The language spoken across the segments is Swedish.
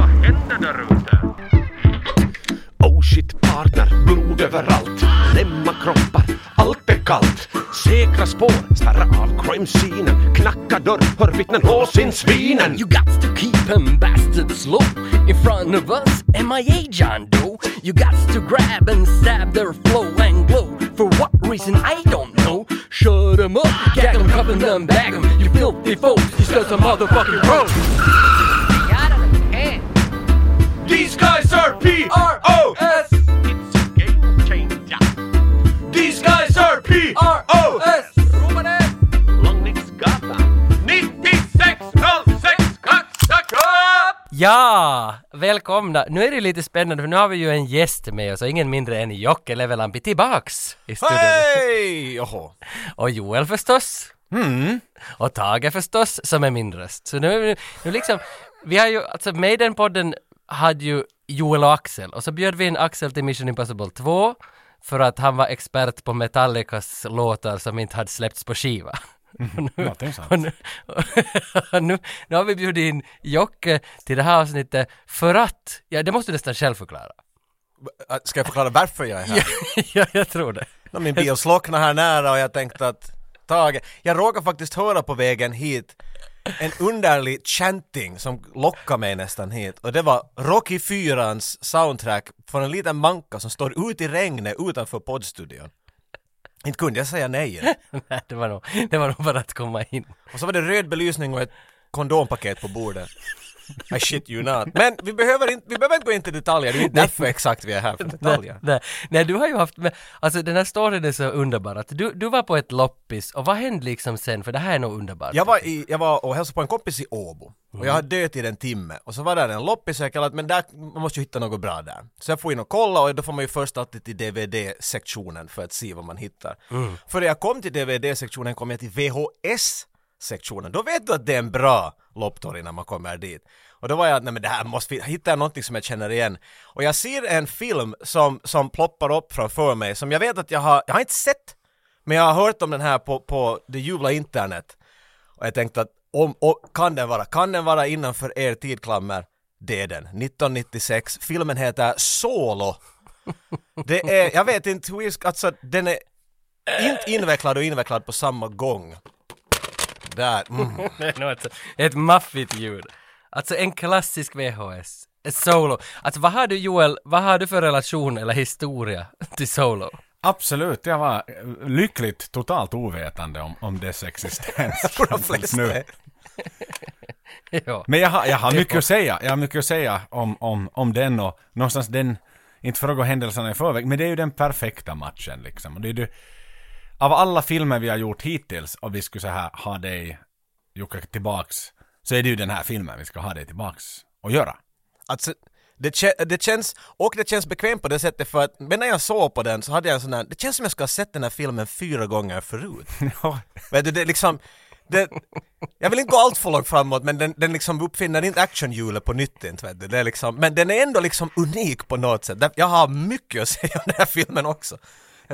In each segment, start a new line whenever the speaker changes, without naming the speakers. Sluta rota.
Oh shit partner, blod överallt. Lämna kroppar, allt är kallt. Säkra spår, spärra av crime scenen. Knacka dörr, hör vittnen lås in svinen.
You got to keep him bastards low in front of us. MIA John Doe. You got to grab and stab their flow and glow. For what reason I don't know. Shut 'em up, gag 'em, cuff 'em, them, bag 'em. You filthy folks, you still some motherfucking road.
These guys are P.R.O.
S
It's a game changer.
These guys are P.R.O.
Långningsgatan 9606 Kaxaka!
Ja, välkomna! Nu är det lite spännande för nu har vi ju en gäst med oss och ingen mindre än Jocke Levelampi tillbaks i studion.
Hej! Jaha.
Och Joel förstås. Och Tage förstås, som är min röst. Så nu, nu liksom, vi har ju, alltså Maiden-podden hade ju Joel och Axel och så bjöd vi in Axel till Mission Impossible 2 för att han var expert på Metallicas låtar som inte hade släppts på skiva.
Någonting sånt.
Och nu, och nu, nu har vi bjudit in Jocke till det här avsnittet för att, ja det måste du nästan själv förklara.
Äh, Ska jag förklara varför jag är här?
ja, jag tror det.
När Min bil slocknade här nära och jag tänkte att Tage, jag råkade faktiskt höra på vägen hit en underlig chanting som lockade mig nästan hit och det var Rocky 4ans soundtrack från en liten manka som står ute i regnet utanför poddstudion. Inte kunde jag säga nej.
Nej, det var nog, det var nog bara att komma in.
Och så var det röd belysning och ett kondompaket på bordet. I shit you not. Men vi behöver inte, vi behöver inte gå in till detaljer, det är inte därför exakt vi är här för detaljer.
Nej, nej, du har ju haft, men, alltså den här storyn är så underbar att du, du var på ett loppis och vad hände liksom sen? För det här är nog underbart.
Jag var, i, jag var och hälsade på en kompis i Åbo och jag hade dött i en timme och så var där en loppis och jag kallade att men där, man måste ju hitta något bra där. Så jag får in och kolla och då får man ju först alltid till DVD-sektionen för att se vad man hittar. För när jag kom till DVD-sektionen kom jag till VHS-sektionen. Då vet du att det är en bra lopptorg när man kommer dit. Och då var jag, nej men det här måste vi, hitta någonting som jag känner igen. Och jag ser en film som, som ploppar upp framför mig som jag vet att jag har, jag har inte sett, men jag har hört om den här på, på det jubla internet. Och jag tänkte att om, och, kan den vara, kan den vara innanför er tidklammer? Det är den. 1996. Filmen heter Solo. Det är, jag vet inte hur jag ska, alltså den är inte invecklad och invecklad på samma gång. Där, mm.
Det är nog ett, ett maffigt ljud. Alltså en klassisk VHS. Ett solo. Alltså vad har du Joel, vad har du för relation eller historia till solo?
Absolut, jag var eh, lyckligt totalt ovetande om, om dess existens.
På de
Tills
flesta.
nu.
ja.
Men jag har, jag har mycket att säga, jag har mycket att säga om, om, om den och någonstans den, inte för att gå händelserna i förväg, men det är ju den perfekta matchen liksom. Och det är ju, av alla filmer vi har gjort hittills och vi skulle så här ha dig Jocke tillbaks, så är det ju den här filmen vi ska ha dig tillbaks och göra.
Alltså, det, kä- det känns, och det känns bekvämt på det sättet för att, men när jag såg på den så hade jag en sån där, det känns som jag ska ha sett den här filmen fyra gånger förut. Vet du, det är liksom, det, jag vill inte gå allt för långt framåt men den, den liksom uppfinner inte actionhjulet på nytt inte, vet du. Det är liksom, men den är ändå liksom unik på något sätt. Där- Jag har mycket att säga om den här filmen också.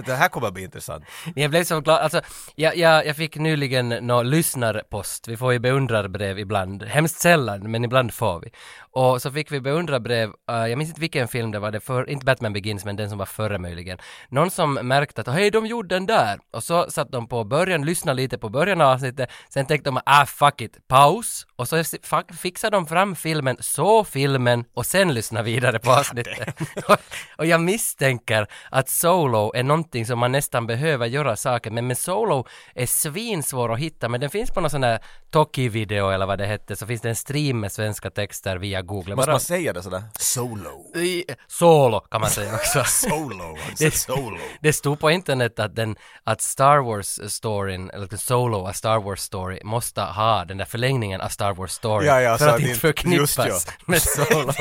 Det här kommer att bli intressant.
Jag blev så glad, alltså jag, jag, jag fick nyligen nå lyssnarpost, vi får ju beundrarbrev ibland, hemskt sällan men ibland får vi. Och så fick vi beundrarbrev, eh, jag minns inte vilken film det var, det för, inte Batman Begins men den som var före möjligen. Någon som märkte att hej de gjorde den där! Och så satt de på början, lyssnade lite på början av avsnittet, sen tänkte de ah fuck it, paus! Och så fa- fixade de fram filmen, så filmen och sen lyssnade vidare på avsnittet. och, och jag misstänker att solo är någonting som man nästan behöver göra saker med, men solo är svinsvår att hitta, men den finns på någon sån här Toki-video eller vad det hette, så finns det en stream med svenska texter via Google.
Måste
Bara,
man säga det sådär? Solo.
i- solo kan man säga också.
Solo, alltså solo.
Det stod på internet att, den, att Star Wars-storyn, eller liksom Solo, A Star Wars-story, måste ha den där förlängningen av Star Wars-story
Ja, ja,
för
så
att
att
inte
inte-
förknippas
just ja.
med Solo.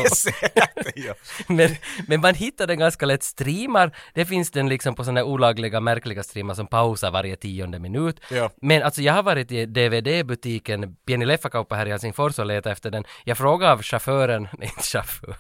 Ja.
men, men man hittar den ganska lätt. Streamar, det finns den liksom på sådana olagliga, märkliga streamar som pausar varje tionde minut.
Ja.
Men alltså jag har varit i DVD-butiken, Pieni Leffakauppa här i Helsingfors och letat efter den. Jag frågade av chauffören, nej inte chauffören,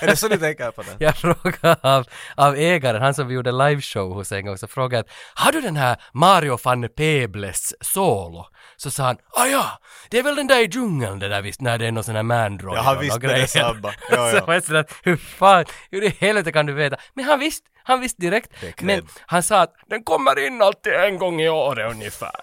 Är det så du tänker på det?
jag frågade av, av ägaren, han som vi gjorde liveshow hos en gång, så frågade jag att har du den här Mario van Pebles solo? Så sa han, ah ja, det är väl den där i djungeln det där visst, när det är någon sån här mandroid
Ja,
och
visst, det
några
är
grejer.
samma. Ja, ja.
Så jag sådär, hur fan, hur i helvete kan du veta? Men han visste, han visste direkt.
Det är cred.
Men han sa att den kommer in alltid en gång i året ungefär.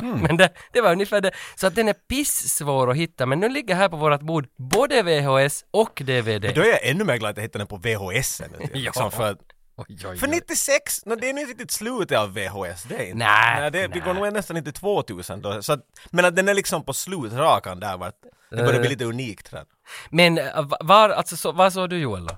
Hmm.
men det, det var ungefär det. Så att den är pissvår att hitta, men nu ligger här på vårt bord både VHS och DVD.
Då är jag ännu mer glad att jag hittade den på VHS. än, vet du. Liksom, för, att-
Oj, oj,
för
oj.
96, no, det är nu inte riktigt slutet av VHS. Det är inte.
Nej,
det, Vi
nej.
går nog nästan in till 2000 då. Så att, men att den är liksom på slutrakan där. Vart, det börjar
Eh.
bli lite unikt. tror jag.
Men eh, va- var, alltså, så, vad såg du Joel då?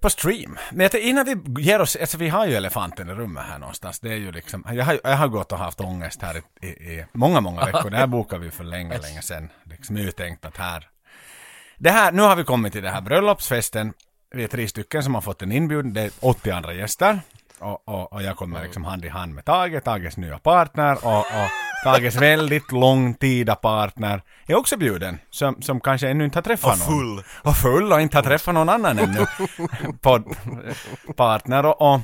På stream. Men jag tänkte, innan vi ger oss, alltså vi har ju elefanten i rummet här någonstans. Det är ju liksom, jag har, jag har gått och haft ångest här i, i, i många, många veckor. Det här bokade vi för länge, länge sedan. Liksom uttänkt att här. Det här, nu har vi kommit till den här bröllopsfesten. Vi är tre stycken som har fått en inbjudan. Det är 80 andra gäster. Och, och, och jag kommer liksom hand i hand med Tage, Tages nya partner och, och Tages väldigt långtida partner är också bjuden. Som, som kanske ännu inte har träffat
Och
någon.
full.
Och full och inte har träffat någon annan ännu. Pod- partner och, och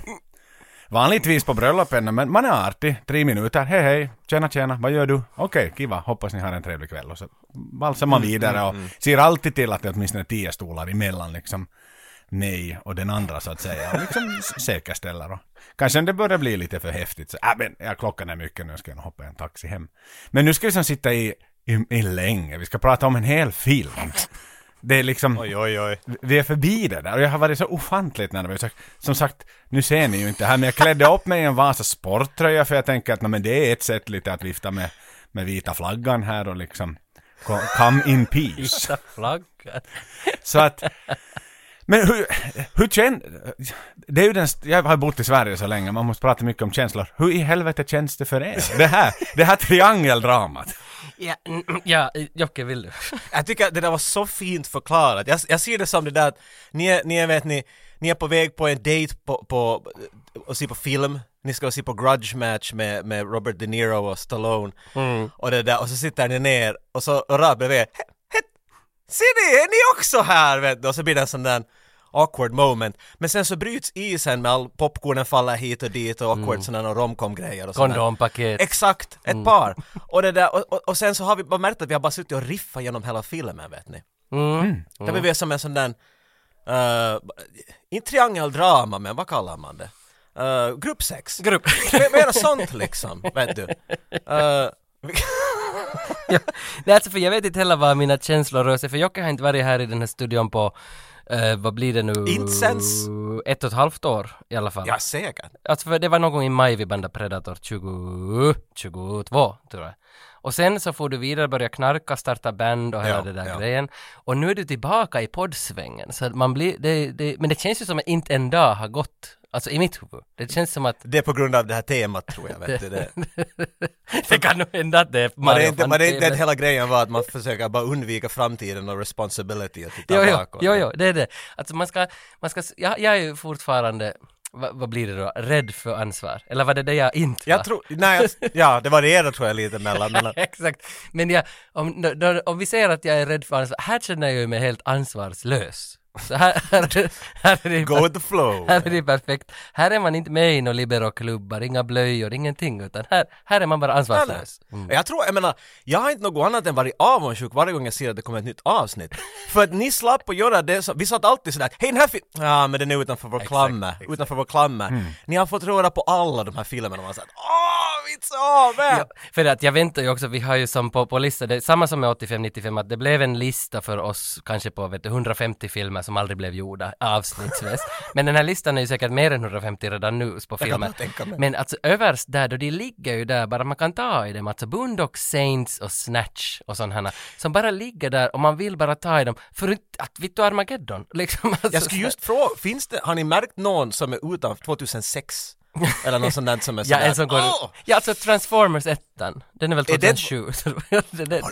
vanligtvis på bröllopen, men man är artig. Tre minuter, hej hej, tjena tjena, vad gör du? Okej, kiva, hoppas ni har en trevlig kväll. Och så valsar man vidare och ser alltid till att det är åtminstone tio stolar emellan liksom mig och den andra så att säga. Och liksom s- säkerställer och kanske om det börjar bli lite för häftigt så, äh, men ja, klockan är mycket nu ska jag nog hoppa i en taxi hem. Men nu ska vi som sitta i, i, i länge, vi ska prata om en hel film. Det är liksom...
Oj, oj, oj.
Vi är förbi det där och jag har varit så ofantligt nervös. Som sagt, nu ser ni ju inte här men jag klädde upp mig i en Vasa sporttröja för jag tänker att "Nå, men det är ett sätt lite att vifta med, med vita flaggan här och liksom co- come in peace.
Vita flaggan.
Så att... Men hur, hur känner... Det är ju den... st- Jag har bott i Sverige så länge, man måste prata mycket om känslor. Hur i helvete känns det för er? Det här, det här triangeldramat.
Ja, mm, ja, Jocke vill du?
Jag tycker att det där var så fint förklarat. Jag, jag ser det som det där att ni är, ni är, vet ni, ni är på väg på en dejt på, på, och se på film. Ni ska se på Grudge Match med, med Robert De Niro och Stallone. Och det där, och så sitter ni ner och så och rad bredvid. "Hä- hä- Ser ni, är ni också här? Vet du? Och så blir det en sån där awkward moment. Men sen så bryts isen med all popcornen faller hit och dit och awkward sådana romcom-grejer och sånt där.
Kondompaket.
Exakt, ett
Mm.
par. Och, det där, och, och, och sen så har vi bara märkt att vi har bara suttit och riffat genom hela filmen vet ni.
Mm.
Det blir vi som en sån där, eh, inte triangeldrama men vad kallar man det? Uh, gruppsex.
Grupp.
Men- Mera sånt liksom, vet du. Eh, vi-
ja. Nej, alltså för jag vet inte heller vad mina känslor rör sig för Jocke har inte varit här i den här studion på, eh, vad blir det nu?
Inte sens.
Ett och ett halvt år i alla fall.
ja säkert.
Alltså för det var någon gång i maj vi bandade Predator 20, 22 tror jag. Och sen så får du vidare, börja knarka, starta band och hela
Ja,
det där
ja.
grejen. Och nu är du tillbaka i poddsvängen. Så att man blir, det, det, men det känns ju som att inte en dag har gått. Alltså i mitt huvud. Det känns som att
Det är på grund av det här temat tror jag, vet du. Det.
det kan nog hända att det är
Var
Mario
det inte, var det inte
Fanti,
att hela grejen var att man försöker bara undvika framtiden och responsibility och titta
Jo, jo,
bakåt?
jo, jo, det är det. Alltså man ska, man ska, jag, jag är ju fortfarande, vad, vad blir det då, rädd för ansvar? Eller var det det jag inte var?
Jag tror, nej, jag, ja det var det där tror jag lite mellan, mellan
Exakt. Men jag, om, då- då- om vi säger att jag är rädd för ansvar, här känner jag ju mig helt ansvarslös. Så här, här, här, är det,
Go with the flow.
här är det perfekt. Här är man inte med i några liberoklubbar, inga blöjor, ingenting, utan här, här är man bara ansvarslös.
Mm. Jag tror, jag menar, jag har inte något annat än varit avundsjuk varje gång jag ser att det kommer ett nytt avsnitt. För att ni slapp att göra det som, vi satt alltid sådär, hej den här filmen, ja men den är utanför vår klamme, utanför vår klamme.
Mm.
Ni har fått röra på alla de här filmerna och man sagt, åh, vi är så
Ja,
med!
för att jag väntar ju också, vi har ju som på, på listan, det är samma som med 85-95, att det blev en lista för oss kanske på vet du, 150 filmer som aldrig blev gjorda avsnittsvis. Men den här listan är ju säkert mer än 150 redan nu på filmer.
bara tänka mig.
Men alltså överst där då, de ligger ju där bara man kan ta i dem. Alltså Boondock Saints och Snatch och sådana som bara ligger där och man vill bara ta i dem. För att, vet du Armageddon? Liksom, alltså,
Jag skulle just fråga, finns det, har ni märkt någon som är utanför 2006? Eller någon sån där som är
Ja,
sådär,
en som går...
"Åh!"
Ja, alltså Transformers 1 den är väl
Är det-
2007. så det, det,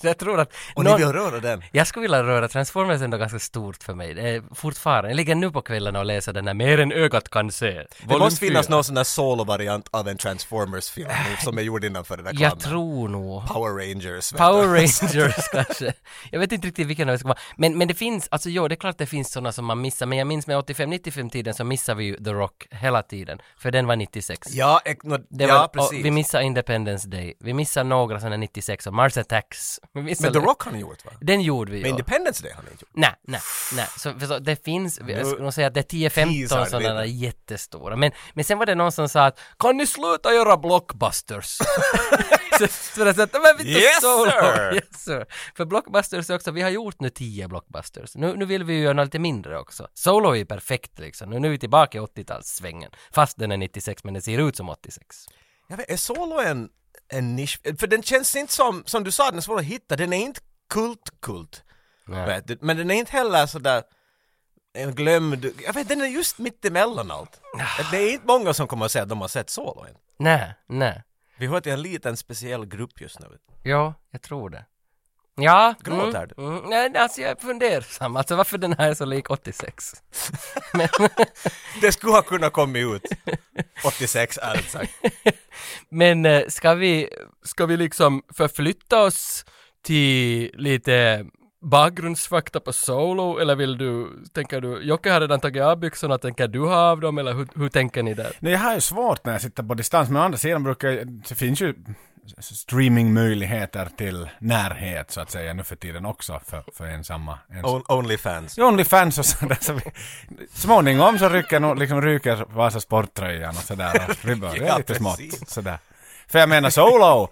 jag tror att...
Och ni
någon-
vill röra den?
Jag skulle vilja röra Transformers är ändå ganska stort för mig. Det är fortfarande. Jag ligger nu på kvällarna och läser den här Mer än ögat kan se.
Det
Volym
måste finnas
fyra.
någon sån där solo-variant av en Transformers-film som är gjord innanför den där klammen.
Jag tror nog.
Power Rangers. vet du.
Power Rangers kanske. Jag vet inte riktigt vilken av det ska vara. Men, men det finns, alltså jo, det är klart det finns sådana som man missar. Men jag minns med 85-95-tiden så missade vi ju The Rock hela tiden. För den var 96.
Ja, ek, no,
Det
ja
var, och
precis.
vi missade Independence Day. Vi missade några sådana 96 och Mars Attacks. Vi
Men
missade
The Rock har ni gjort va?
Den gjorde vi
Men
ju.
Independence Day har ni inte gjort.
Nej, nej, nej. Så, för så, det finns, jag skulle nog säga att det är
teasar
10-15
vi
sådana där
lite.
jättestora. Men, men sen var det någon som sa att kan ni sluta göra blockbusters? så, så jag sa att, men vi tar
Yes,
solo."
sir!
yes sir! För blockbusters är också, vi har gjort nu 10 blockbusters. Nu, nu vill vi ju göra lite mindre också. Solo är ju perfekt liksom. Nu, nu är vi tillbaka i 80-talssvängen. Fast den är 96 men den ser ut som 86.
Jag vet, är Solo en, en nisch? För den känns inte som, som du sa, den är svår att hitta. Den är inte kult-kult.
Nej.
vet du. Men den är inte heller sådär en glömd... Jag vet, den är just mitt emellan allt. Det är inte många som kommer att säga att de har sett Solo än.
Nej, nej.
Vi hör till en liten speciell grupp just nu.
Ja, jag tror det. Ja.
Gråter
mm,
du?
Mm, nej, nej, alltså jag är fundersam. Alltså varför den här är så lik 86? men,
Det skulle ha kunnat komma ut 86, ärligt sagt.
men eh, ska vi, ska vi liksom förflytta oss till lite bakgrundsfakta på Solo eller vill du, tänker du, Jocke har redan tagit av byxorna, tänker du ha av dem eller hur, hur tänker ni där?
Nej, jag har ju svårt när jag sitter på distans, men å andra sidan brukar jag- det finns ju streamingmöjligheter till närhet så att säga nu för tiden också för, för ensamma. ensamma.
On- Onlyfans.
Onlyfans och sådär. Så vi, småningom så rycker nog, liksom ryker Vasa sporttröjan och sådär. Och vi börjar
Ja,
lite smått
precis.
sådär. För jag menar solo,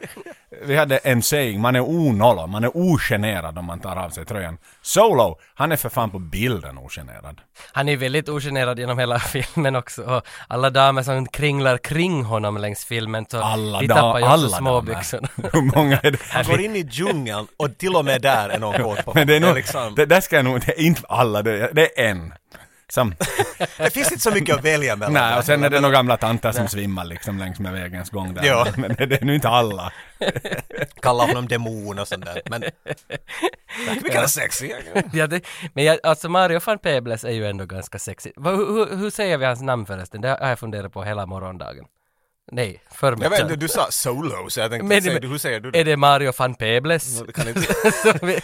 vi hade en saying, man är onollo, man är ogenerad om man tar av sig tröjan. Solo, han är för fan på bilden ogenerad.
Han är väldigt ogenerad genom hela filmen också och alla damer som kringlar kring honom längs filmen så
Alla,
vi
da,
tappar ju
alla
också småbyxorna.
damer. Hur många är det?
Han går in i djungeln och till och med där är någon kåt på
Men det är nog,
liksom,
det,
det,
där ska jag nog, det är inte alla, det, det är en. Som,
finns inte så mycket att välja mellan.
nej, och sen är det några gamla tanter som svimmar liksom längs med vägens gång där.
Ja.
Men det, det är nu inte alla.
Kalla honom demon och sånt där. Men... Tack, vi kallar sexy.
ja, det, men jag, alltså Mario van Peebles är ju ändå ganska sexig. Va, hur, hur, hur säger vi hans namn förresten? Det har jag funderat på hela morgondagen. Nej,
Jag vet inte,
förmiddagen.
du sa solo, så jag tänkte,
Men-
säger du, hur säger du
Är
det?
det Mario van Peebles?
Det, kan inte,
Som vi-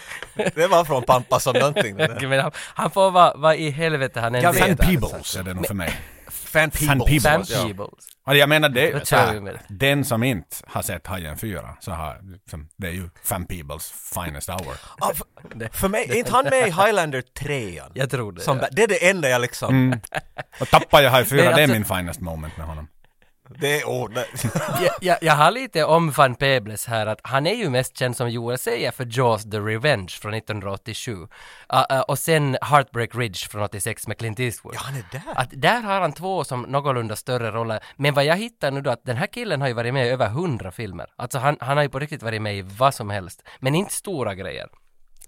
det var från Pampa som någonting. det där.
Men han, han får vara, vad i helvete han än
Jag vet
Fan
är.
inte.
Peebles är det nog för mig.
Fan Peebles.
Peebles.
Sam
Peebles,
ja.
Peebles.
Och jag menar det, är ju
Vad
så
kör vi med
här,
det?
den som inte har sett Hajen 4 så har, liksom, det är ju Fan Peebles finest hour.
Ah, för, för mig, är inte han med i Highlander 3?
Jag tror det.
Som,
ja. Mm.
Det är det enda jag liksom...
Och tappar jag Haj 4,
Men
det är
alltså-
min finest moment med honom.
Det är ordet.
jag, jag, jag har lite om van Peebles här att han är ju mest känd som Joel säger för Jaws the Revenge från 1987 Ah, ah, och sen Heartbreak Ridge från 86 med Clint Eastwood.
Ja, han är där.
Att där har han två som någorlunda större roller. Men vad jag hittar nu då att den här killen har ju varit med i över hundra filmer. Alltså han, han har ju på riktigt varit med i vad som helst. Men inte stora grejer.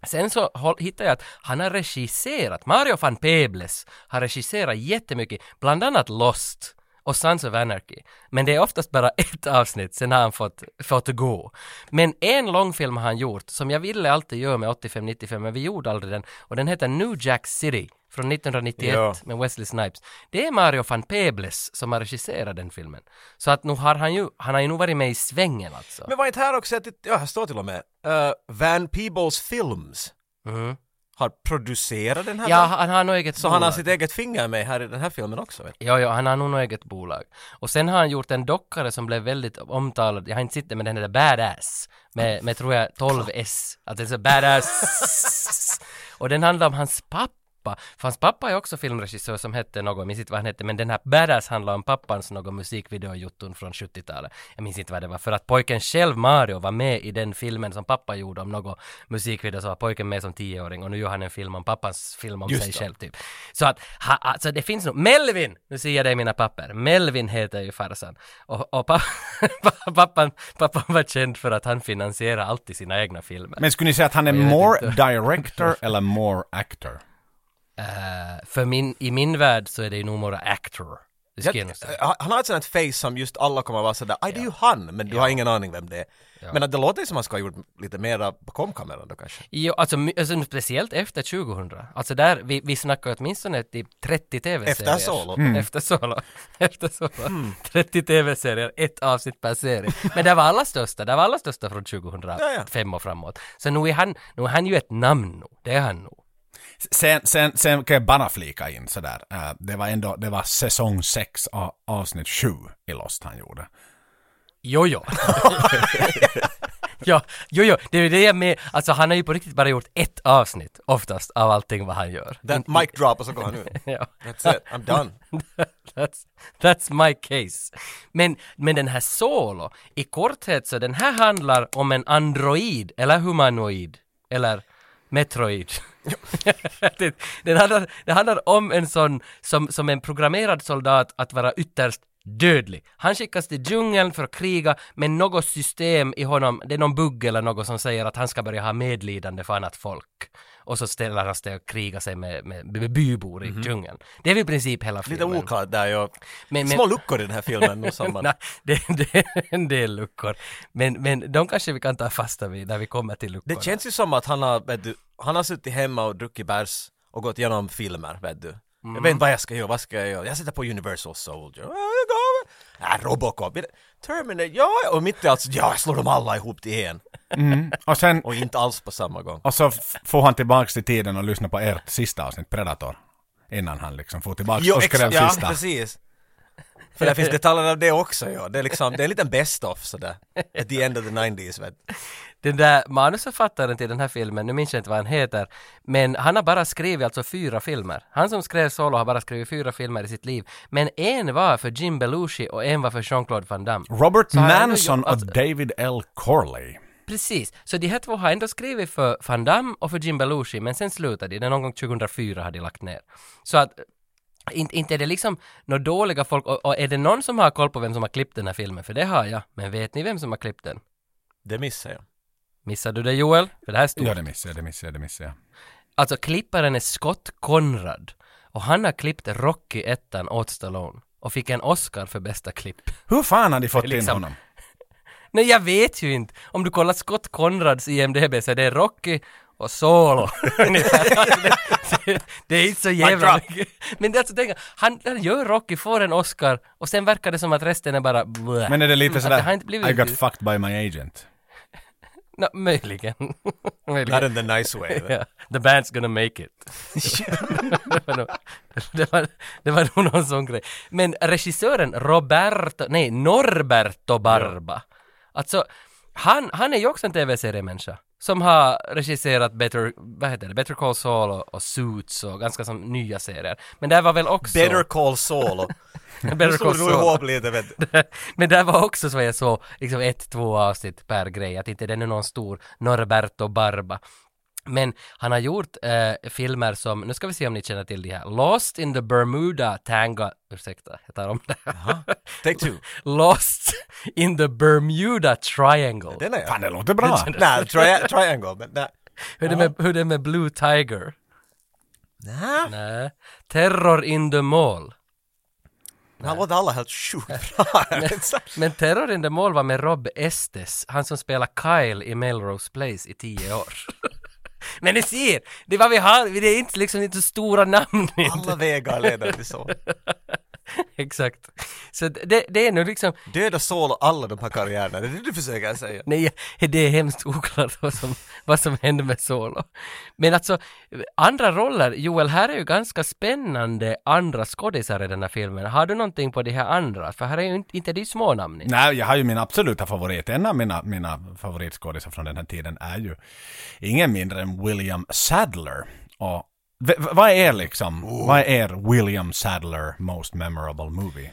Sen så håll- hittar jag att han har regisserat, Mario van Peebles har regisserat jättemycket, bland annat Lost och Sons of Anarchy. Men det är oftast bara ett avsnitt, sen har han fått, fått gå. Men en långfilm har han gjort, som jag ville alltid göra med 85-95, men vi gjorde aldrig den. Och den heter New Jack City från 1991
Ja.
med Wesley Snipes. Det är Mario van Peebles som har regisserat den filmen. Så att nu har han ju, han har ju nog varit med i svängen alltså.
Men var inte här också att, det- ja här står till och med, eh, Van Peebles Films
Mhm.
har producerat den här
Ja,
filmen.
han har nog eget
Så han har
bolag.
sitt eget finger med här i den här filmen också. Vet. du.
Ja, ja, han har nog något eget bolag. Och sen har han gjort en dockare som blev väldigt omtalad, jag har inte sett den, men den heter Badass. Med, med tror jag 12 S. Att det är så Badass. Och den handlar om hans pappa. För hans pappa är också filmregissör som hette något, jag minns inte vad han hette, men den här Badass handlar om pappans någon musikvideojotton från 70-talet. Jag minns inte vad det var, för att pojken själv, Mario, var med i den filmen som pappa gjorde om någon musikvideo, så var pojken med som tioåring och nu gör han en film om pappans film om
Just
sig
det.
själv typ. Så att, ha, alltså det finns nog, Melvin! Nu ser jag det i mina papper. Melvin heter ju farsan. Och, och pappa, pappan, pappan var känd för att han finansierar alltid sina egna filmer.
Men skulle ni säga att han är
Jag vet
more
inte.
director eller more actor?
Eh, för min, i min värld så är det ju nog bara actor. Det ska jag nog säga.
Eh, Han har ett sånt här face som just alla kommer att vara sådär, aj det är ju han, men du har ingen aning vem det är. Men att det låter ju som att han ska ha gjort lite mera bakom kameran då kanske.
Jo, alltså, my- alltså speciellt efter 2000. Alltså där, vi, vi snackar åtminstone typ 30 tv-serier. Mm.
Efter Solo. Mm.
Efter solo. Efter solo. 30 tv-serier, ett avsnitt per serie. Men det var alla största, det var alla största från 2005
Ja,
och framåt. Så nu är han, nu är han ju ett namn nu. Det är han nog.
Sen, sen, sen kan jag bara flika in sådär. eh, det var ändå, det var säsong 6 avsnitt 7 i Lost han gjorde.
Jo, jo. ja, jo, jo. Det är ju det jag med. Alltså han har ju på riktigt bara gjort ett avsnitt oftast av allting vad han gör.
That mic drop och så går han ut.
Ja.
That's it, I'm done.
that's, that's my case. Men, men den här Solo, i korthet så den här handlar om en android, eller humanoid, eller metroid. den, den, handlar, den handlar om en sån som, som en programmerad soldat att vara ytterst dödlig. Han skickas till djungeln för att kriga, men något system i honom, det är någon bugg eller något som säger att han ska börja ha medlidande för annat folk. Och så ställer han sig och krigar sig med, med, med bybor i djungeln. Det är väl i princip hela filmen.
Lite oklart där ju.
Men- men-
Små luckor i den här filmen och samband.
Nej, det, det är en del luckor. Men, men de kanske vi kan ta fasta vid när vi kommer till luckorna.
Det känns ju som att han har, vet du, han har suttit hemma och druckit bärs och gått igenom filmer, vet du. Jag
Mm.
vet inte vad jag ska göra, vad ska jag göra? Jag sitter på Universal Soldier. Ja, jag går. Ja, Äh, Robocop. Terminator, ja, och mitt i allt, så, ja, jag slår dem alla ihop till en.
Och sen,
Och inte alls på samma gång.
och så f- får han tillbaks till tiden och lyssnar på ert sista avsnitt, Predator. Innan han liksom får tillbaks och skrev
ja,
sista.
precis. För det finns detaljer av det också, ja. Det är liksom, det är en liten best-of sådär. At the end of the 90s, vet du.
Den där manusförfattaren till den här filmen, nu minns jag inte vad han heter, men han har bara skrivit alltså fyra filmer. Han som skrev Solo har bara skrivit fyra filmer i sitt liv. Men en var för Jim Belushi och en var för Jean-Claude Van Damme.
Robert
Så han har
Manson
jobbat-
och David L. Corley.
Precis, så de här två har ändå skrivit för Van Damme och för Jim Belushi, men sen slutade de. Det är Någon gång 2004 hade de lagt ner. Så att inte, inte är det liksom några dåliga folk, och, och är det någon som har koll på vem som har klippt den här filmen? För det har jag, men vet ni vem som har klippt den?
Det missar jag.
Missade du det Joel? För det här är stort.
Ja, det missade jag, det missade jag, det missade jag.
Alltså klipparen är Scott Conrad, och han har klippt Rocky 1 åt Stallone, och fick en Oscar för bästa klipp.
Hur fan har de fått in
liksom-
honom?
Nej, jag vet ju inte. Om du kollar Scott Conrads IMDB så är det Rocky och Solo. Ungefär. Alltså, det, det, det är inte så jävla mycket. Men det är alltså, tänk, han, han gör Rocky, får en Oscar och sen verkar det som att resten är bara bleh.
Men är det lite
Mm, Att
sådär,
har inte blivit
I got fucked by my agent.
Nå, möjligen.
Not
möjligen.
in the nice way. vet du.
Ja. The band's gonna make it. det, var nog, det, var, det var nog någon sån grej. Men regissören Roberto, nej Norberto Barba. Alltså, han, han är ju också en tv-seriemänniska. Som har regisserat Better, vad heter det, Better Call Saul och, och Suits och ganska som nya serier. Men där var väl också...
Better call Saul.
Better
Nu slog
Call
du
Saul.
ihop lite, vet du.
Men där var också så jag såg liksom ett, två avsnitt per grej, att inte den är någon stor Norberto Barba. Men han har gjort eh, filmer som, nu ska vi se om ni känner till de här, Lost in the Bermuda Tango, ursäkta, jag tar om det.
Take two.
Lost in the Bermuda Triangle.
Den är jag.
Fan, det låter bra.
Nej, tri- triangle, men nej.
Hur är det med, hur är det med Blue Tiger?
Nej,
Nej. Terror in the Mall.
det här låter alla helt sjukt bra. Jag vet inte.
Men Terror in the Mall var med Rob Estes, han som spelar Kyle i Melrose Place i tio år. Men ni ser, det är vad vi har, det är inte liksom inte så stora namn.
Alla vägar leder till så.
Exakt. Så det, det är nog liksom,
Döda Saul och alla de här karriärerna, det är det du försöker säga.
nej, det är hemskt oklart vad som, vad som hände med Solo. Men alltså, andra roller, Joel, här är ju ganska spännande andra skådisar i den här filmen. Har du någonting på de här andra? För här är ju inte, inte de små namn.
Nej, jag har ju min absoluta favorit. En av mina, mina favoritskådisar från den här tiden är ju ingen mindre än William Sadler. Och, v- v- vad är liksom,
Oh.
vad är er William Sadler most memorable movie?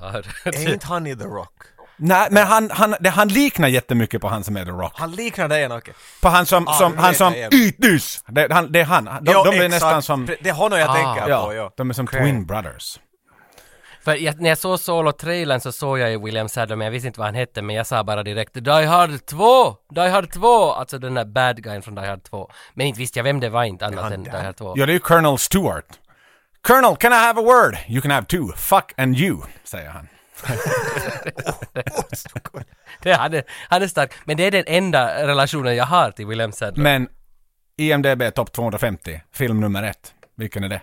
Ja,
Är inte han i The Rock?
Nej, men han, han, det, han liknar jättemycket på han som är The Rock.
Han liknar dig, Nocke.
På han som,
Ah,
som,
nu
han
vet
som
jag igen.
ytys! Det, han, det är han. De,
Ja,
de är
exakt.
nästan som,
Pre- Det är honom jag
Ah,
tänker på,
ja,
ja.
de är som
Okej.
twin brothers.
För jag, när jag såg Solo-trailern så såg jag ju William Sadler, men jag visste inte vad han hette, men jag sa bara direkt Die Hard 2! Die Hard 2! Alltså den där bad guyen från Die Hard 2. Men inte visste jag vem det var inte annat än Die Hard 2.
Ja, det är ju Colonel Stewart. Colonel, can I have a word? You can have two. Fuck and you, säger han.
Det, han, är, han är stark. Men det är den enda relationen jag har till William Sadler.
Men E IMDB topp 250, film nummer ett. Vilken är det?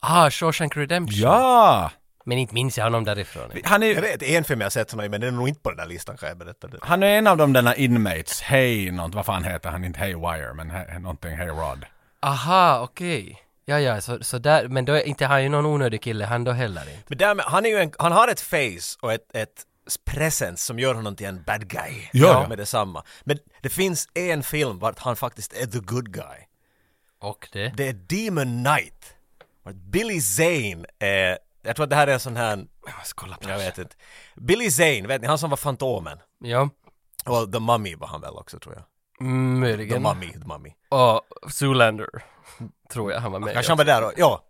Ah, Shawshank Redemption.
Ja!
Men inte minns jag honom därifrån.
Han
Jag
är,
vet, en film jag har sett som är, men den är nog inte på den där listan kan jag berätta. Det.
han är en av de där inmates, Hey något, vad fan heter han? Inte Hey Wire, men hey, någonting Hey Rod.
Aha, okej. Ja, ja, så, så där, men då är inte han ju någon onödig kille han då heller inte.
Men därmed, han, är ju en, han har ett face och ett, ett presence som gör honom till en bad guy.
ja.
Med detsamma. Men det finns en film vart han faktiskt är the good guy.
Och det?
Det är Demon Knight. Vart Billy Zane är, jag tror att det här är en sån här,
Jag måste kolla på
jag vet inte. Billy Zane, vet ni, han som var Fantomen.
Ja,
Och The Mummy var han väl också tror jag.
mm,
The
möjligen.
Mummy, The Mummy.
Och Zoolander, tror jag han var med
Kanske han var där och, ja.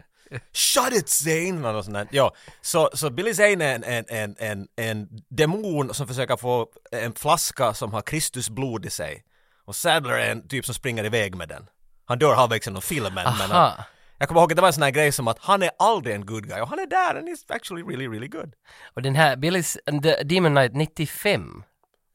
Shut it Zane! Eller något sånt där. Ja. Så, så Billy Zane är en, en, en, en, en demon som försöker få en flaska som har Kristus blod i sig. Och Sadler är en typ som springer iväg med den. Han dör halvvägs genom filmen men han,
Aha.
jag kommer ihåg att det var en sån här grej som att han är aldrig en good guy och han är där and he's actually really really good.
Och den här, Billy's, The Demon Knight 95.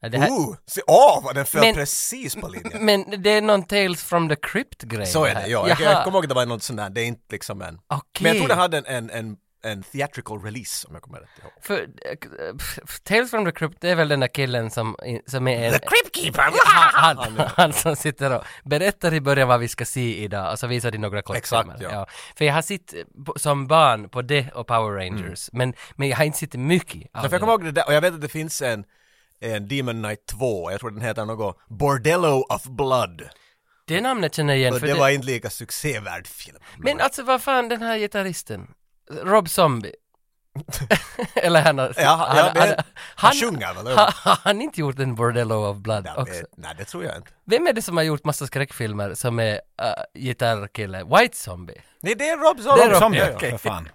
Är Det här,
Ooh! Se, åh vad den föll
Men-
precis på linjen!
Men det är någon Tales from the Crypt-grej
Så är
här.
det, ja. Jag, jag kommer ihåg att det var något sånt där, det är inte liksom en... Men jag
Okej.
tror den hade en, en, en, en theatrical release om jag kommer rätt ihåg.
För, eh, pff, Tales from the Crypt, det är väl den där killen som, som är... en-
Cryptkeeper!
han, han, han som sitter och berättar i början vad vi ska se idag och så visar de några kortfilmer.
Exakt, ja.
För jag har sett eh, på- som barn på det och Power Rangers, men, men jag har inte sett mycket av
Ja, för Mm. jag kommer ihåg det där, och jag vet att det finns en, en Demon Knight 2, jag tror den heter något Bordello of Blood.
det. det namnet känner jag igen.
Och
för
det var inte lika succévärd film.
Men alltså vad fan den här gitarristen, Rob Zombie. Eller han har...
Ja, han, ja, men, han,
han,
sjunger väl?
har- har han inte gjort en Bordello of Blood
Nej,
också?
det- Nej, det tror jag inte.
Vem är det som har gjort massa skräckfilmer som är uh, gitarrkille? White Zombie?
Nej, det är Rob Zombie.
Rob
Som
Ja,
det,
ja.
för fan.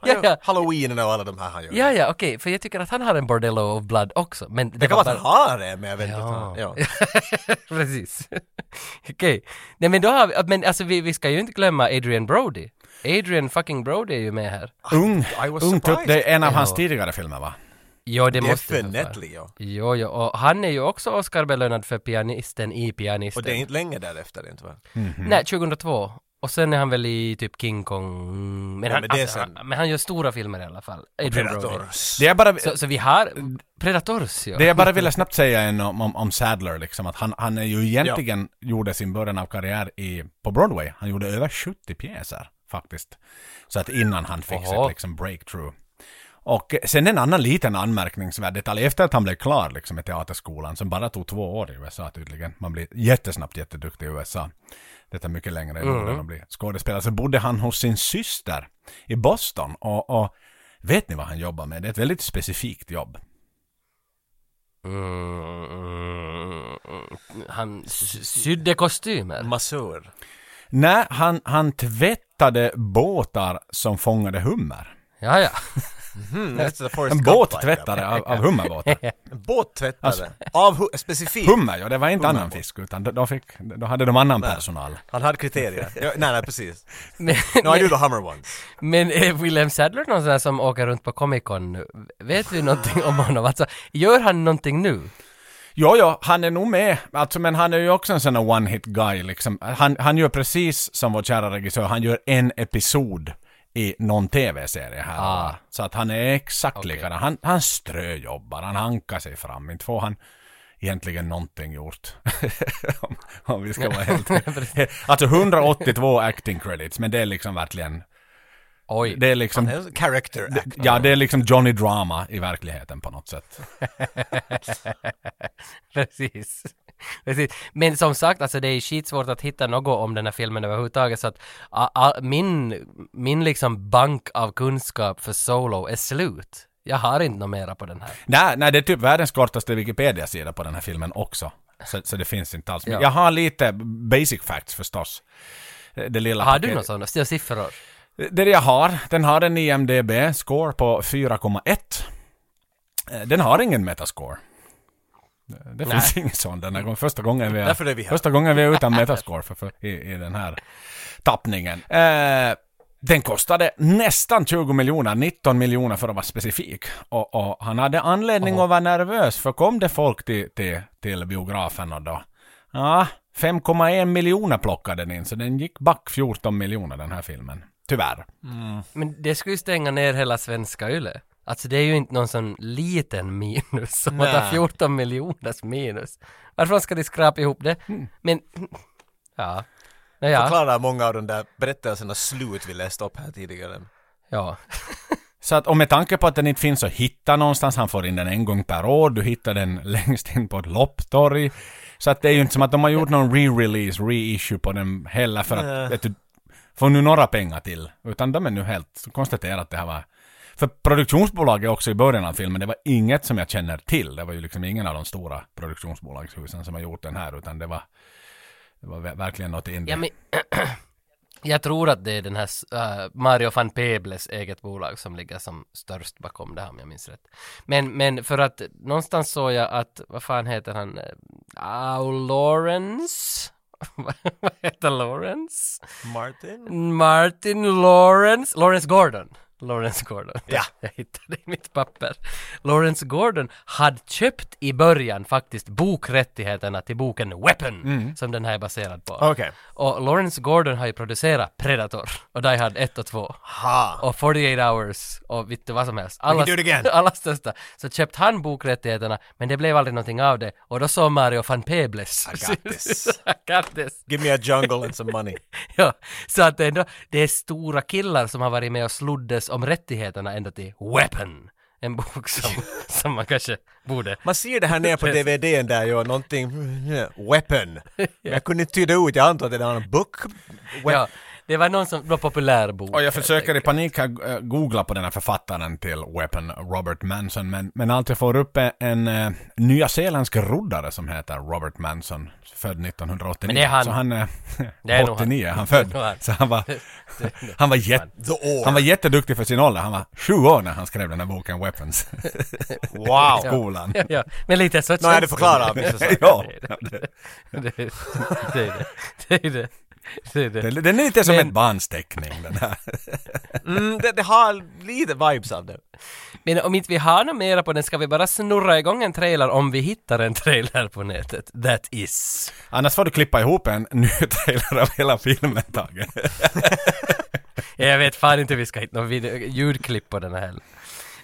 Han gör
Ja, ja.
Halloween och alla de här han gör.
Ja, ja, okej, för jag tycker att han har en Bordello of Blood också, men...
Det kan
var
vara att han har det, men jag vet inte. att han- Ja.
Precis. okej. Nej men då har vi, men alltså vi, vi ska ju inte glömma Adrian Brody. Adrian fucking Brody är ju med här.
Ung,
I was
ung tupp,
surprised.
det är en av
Ja.
hans tidigare filmer va?
Ja, det måste ju för fan.
Definitely, ja.
Jo, jo, och han är ju också Oscar-belönad för pianisten i Pianisten.
Och det är inte Mm. länge därefter, inte va?
Nej, 2002. Och sen är han väl i typ King Kong... Men,
Ja,
han,
men det är
alltså,
sen.
han, men han gör stora filmer i alla fall. Adrian Brody.
Predators.
Det jag bara,
Så, så vi har... Predators ja.
det jag bara ville snabbt säga är om, om, om Sadler liksom, att han, han är ju egentligen gjorde sin början av karriär i, på Broadway. Han gjorde över 70 pjäser faktiskt. Så att innan han fick
Oho.
sitt liksom breakthrough. Och eh, sen en annan liten anmärkningsvärd detalj, efter att han blev klar liksom med teaterskolan, som bara tog två år i USA tydligen, man blir jättesnabbt jätteduktig i USA. Det tar mycket längre i Norden att bli skådespelare. Så bodde han hos sin syster i Boston och, och vet ni vad han jobbar med? Det är ett väldigt specifikt jobb.
Mm, han sy- sydde kostymer.
Massör.
Nej, han, han tvättade båtar som fångade hummer.
Ja, ja.
Mm, that's the first
En
cut
båttvättare av, av hummerbåtar.
En båttvättare.
Alltså-
Av hu- specifikt.
Hummer, ja det var inte annan fisk, utan de, de fick, då hade de annan personal.
Han hade kriterier. Ja, nej, nej, precis.
Men,
No, I do the Hummer ones.
men är William Sadler någon sån här som åker runt på Comic Con nu? Vet vi någonting om honom? Alltså, gör han någonting nu?
Jo, jo, han är nog med. Alltså, men han är ju också en sån där one-hit guy liksom. Han, han gör precis som vår kära regissör, han gör en episod i någon tv-serie här. och där. Så att han är exakt likadan. Han, han ströjobbar, han hankar sig fram. Inte får han egentligen någonting gjort. om, om vi ska vara helt... alltså 182 acting credits, men det är liksom verkligen...
Oj.
Det är liksom...
En Character act.
Ja, det är liksom Johnny Drama i verkligheten på något sätt.
Precis. Precis. Men som sagt, alltså det är skitsvårt att hitta något om den här filmen överhuvudtaget så att a, a, min, min liksom bank av kunskap för Solo är slut. Jag har inte något mera på den här.
Nej, nej, det är typ världens kortaste Wikipedia-sida på den här filmen också. Så, så det finns inte alls. Men
Ja.
Jag har lite basic facts förstås. Det lilla
Har du
paketet.
några sådana? Still siffror?
Det är det jag har. Den har en IMDB-score på 4,1. Eh, Den har ingen metascore. Eh, Det det finns ingen sån den här gången. Första gången vi
Därför är vi här.
första gången vi är utan metascore för, för, i, i den här tappningen. Eh, den kostade nästan 20 miljoner, 19 miljoner för att vara specifik. Och, och han hade anledning att vara nervös, för kom det folk till, till, till biografen och då... Ja, 5,1 miljoner plockade den in, så den gick back 14 miljoner den här filmen. Tyvärr.
Men det skulle ju stänga ner hela svenska yle. Alltså det är ju inte någon sån liten minus som att ha
Nej.
14 miljoners minus. Varför ska de skrapa ihop det? Men, ja. Nej, ja.
Förklarar många av de där berättelserna slut vi läste upp här tidigare.
ja.
Så att, och med tanke på att den inte finns att hitta någonstans, han får in den en gång per år, du hittar den längst in på ett lopptorg. Så att det är ju inte som att de har gjort någon re-release, reissue på den heller för att, vet du, får nu några pengar till. Utan de är nu helt, konstaterat att det här var... För produktionsbolaget också i början av filmen, det var inget som jag känner till. Det var ju liksom ingen av de stora produktionsbolagshusen som har gjort den här, utan det var... Det var ver- verkligen något indie.
ja men, jag tror att det är den här eh, Mario van Peebles eget bolag som ligger som störst bakom det här om jag minns rätt. Men, men för att någonstans såg jag att, vad fan heter han, eh, Au Lawrence? vad heter Lawrence?
Martin?
Martin Lawrence, Lawrence Gordon. Lawrence Gordon.
Ja.
Jag hittade i mitt papper. Lawrence Gordon hade köpt i början faktiskt bokrättigheterna till boken Weapon, som den här är baserad på.
Mm. Okej.
Och Lawrence Gordon har ju producerat Predator och Die Hard 1 och 2
Ha!
och 48 hours och vet du vad som helst.
can
Alla,
do it again.
alla största. Så köpte han bokrättigheterna, men det blev aldrig någonting av det. Och då såg Mario van Peebles.
I got this.
I got this.
Give me a jungle and some money.
Ja, så att ändå, det är stora killar som har varit med och sloddes om rättigheterna ända till Weapon. En bok som, som man kanske borde.
Man ser det här nere på DVDn där ju, någonting... mm, Weapon. Men jag kunde inte tyda ut, jag antar att det är en bok... We-
Ja, det var någon som, det var en populär
Oh,
bok.
Och jag försöker i panik att, eh, googla på den här författaren till Weapon, Robert Manson, men, men allt jag får upp är en eh, nyzeeländsk roddare som heter Robert Manson, född 1989.
Men det är han.
Så han, eh,
Det är nog
89 är
han.
han
Det är nog
född.
han.
Så han var, han var, jätt,
The Orb.
han var jätteduktig för sin ålder. Han var sju år när han skrev den här boken Weapons.
Wow!
Skolan.
Ja, ja, men lite så
Nå, är det förklarat? Mr. Sack?
ja,
Det är det. Det är det. Det är det.
den, den är lite som
Men-
ett barns teckning den här.
Mm, det, det har lite vibes av det.
Men om inte vi har något mera på den ska vi bara snurra igång en trailer om vi hittar en trailer på nätet. That is.
Annars får du klippa ihop en ny trailer av hela filmen, Tage.
Jag vet fan inte hur vi ska hitta någon video, ljudklipp på den här heller.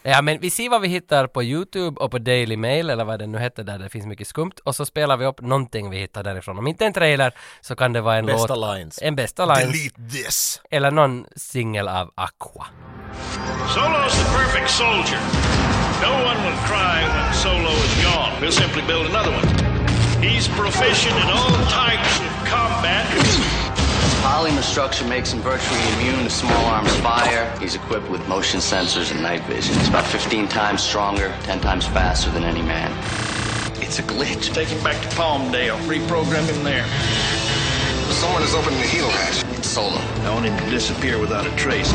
Ja men vi ser vad vi hittar på YouTube och på Daily Mail eller vad det nu hette där det finns mycket skumt och så spelar vi upp någonting vi hittar därifrån. Om inte en trailer så kan det vara en
Bästa
låt,
lines.
en bästa line
Delete this.
eller någon singel av Aqua.
Solo's the perfect soldier. No one will cry when Solo is gone. We'll simply build another one. He's proficient in all types of combat.
Polymer structure makes him virtually immune to small arms fire. He's equipped with motion sensors and night vision. He's about 15 times stronger, 10 times faster than any man. It's a glitch.
Take him back to Palmdale. Reprogram him there.
Someone is opening the heel hatch.
It's solo.
I want him to disappear without a trace.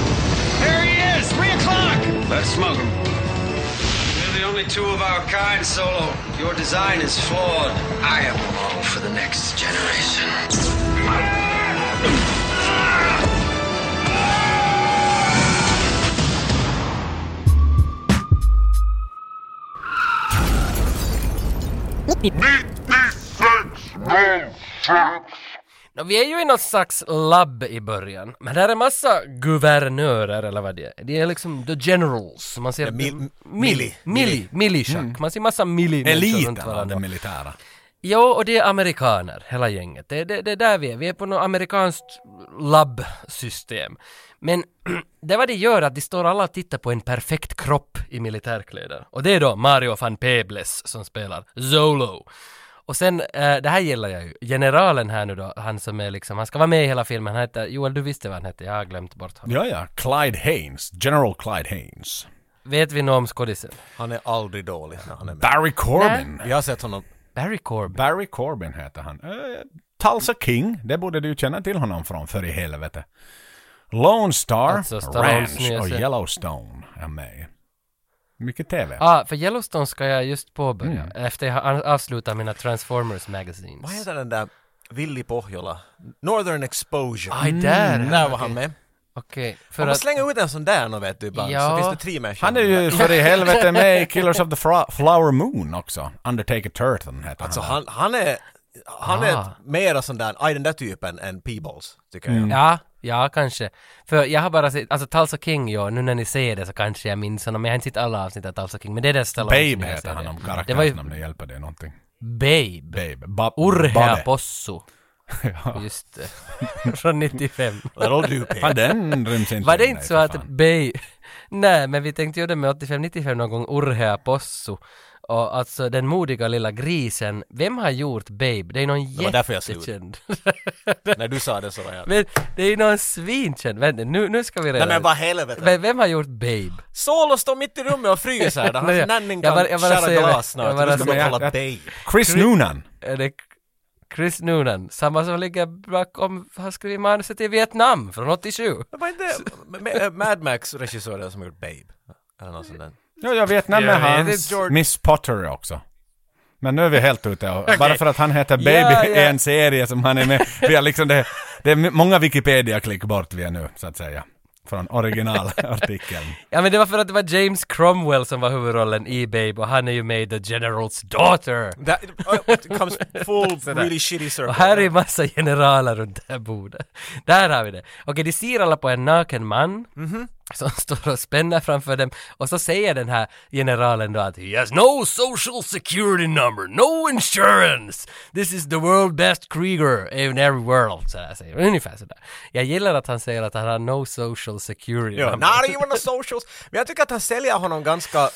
There he is! Three o'clock!
Let's smoke them. We're the only two of our kind, Solo. Your design is flawed. I am long for the next generation.
Nå, vi är ju i något slags labb i början, men där är massa guvernörer eller vad det är. Det är liksom the generals, man ser...
mil-
mili,
mili.
mili, mili, Mm. militiak. Man ser massa mili människor runt
Eliten av
varandra.
den militära.
Jo, och det är amerikaner, hela gänget. Det, det, det är där vi är. Vi är på något amerikanskt labbsystem. Men det vad det gör är att de står alla och tittar på en perfekt kropp i militärkläder. Och det är då Mario van Peebles som spelar Zolo. Och sen, eh, det här gillar jag ju. Generalen här nu då, han som är liksom, han ska vara med i hela filmen. Han heter, Joel du visste vad han hette, jag har glömt bort honom.
Ja, ja. Clyde Haynes. General Clyde Haynes.
Vet vi något om skådisen?
Han är aldrig dålig när han är med.
Barry Corbin.
Vi har sett honom.
Barry Corbin.
Barry Corbin heter han. Eh, Tulsa King. Det borde du känna till honom från, för i helvete. Lone Star,
Alltså Stallones
Ranch
nya
och
serie.
Yellowstone är med. Mycket TV.
Ja, ah, för Yellowstone ska jag just påbörja efter jag har avslutat mina Transformers magazines.
Vad heter den där Willy Pohjola? Northern Exposure.
Aj,
Mm,
där!
Där var han med.
Okej, för
Om man
att...
slänger ut en sån där nå vet du ibland
Ja.
så finns det tre människor.
Han är ju för i helvete med i Killers of the Fra- Flower Moon också. Undertaker Turton heter
Alltså
han.
han, han är... Han
Ah.
är mera sån där, aj den där typen än Peebles, tycker jag.
Ja, ja kanske. För jag har bara sett, alltså Tulsa King ja, nu när ni ser det så kanske jag minns honom, men jag har inte sett alla avsnitt av Tulsa King, men det är där Stallone
Babe heter han om
Det var
karaktärsnamnet
ju
hjälper dig någonting.
Babe.
Babe. Ba-
Urhea
Babbe.
Possu.
ja.
Just det. Från 95.
That'll do, Peter.
Fan, den ryms inte
Var det
in,
inte
nej,
så
för
att
fan.
Bay... Nej, men vi tänkte göra det med 85-95 någon gång, Urhea Possu. Och alltså den modiga lilla grisen, vem har gjort Babe? Det är någon
var därför jag slog ut.
jättekänd.
När du sa det så var jag...
men det är någon svinkänd. Vänta, nu, nu ska vi reda
Nej men
ut.
vad helvete!
Men vem har gjort Babe?
Solo står mitt i rummet och fryser där,
Nej,
hans
jag-
nanning
jag
kan
bara- jag bara
skära
säger det.
glas snart,
Jag bara
du ska gå
säger
och
det.
kolla
Jag-
dig.
Chris Noonan!
Är det Chris Noonan? Samma som ligger bakom, han skrev manuset i Vietnam från 87.
Det var inte M- M- Mad Max-regissören som gjort Babe? Eller något sånt där.
Ja, jag vet namnet
Jag vet
hans.
inte, George.
Miss Potter också. Men nu är vi helt ute. Och Bara för att han heter Baby
Ja, ja.
är en serie som han är med Vi har liksom det, det är många Wikipedia-klick bort vi är nu, så att säga. Från originalartikeln.
Ja men det var för att det var James Cromwell som var huvudrollen i Babe och han är ju med i The General's Daughter.
That, oh, it comes full really shitty circle.
Och här är massa generaler runt det här bordet. Där har vi det. Okej, de ser alla på en naken man. Som står och spänner framför dem. Och så säger den här generalen då att He has no social security number, no insurance. This is the world best Krieger in every world. Så här säger han. Ungefär sådär. Jag gillar att han säger att han har no social security
Ja,
number.
not even the socials. Men jag tycker att han säljer honom ganska...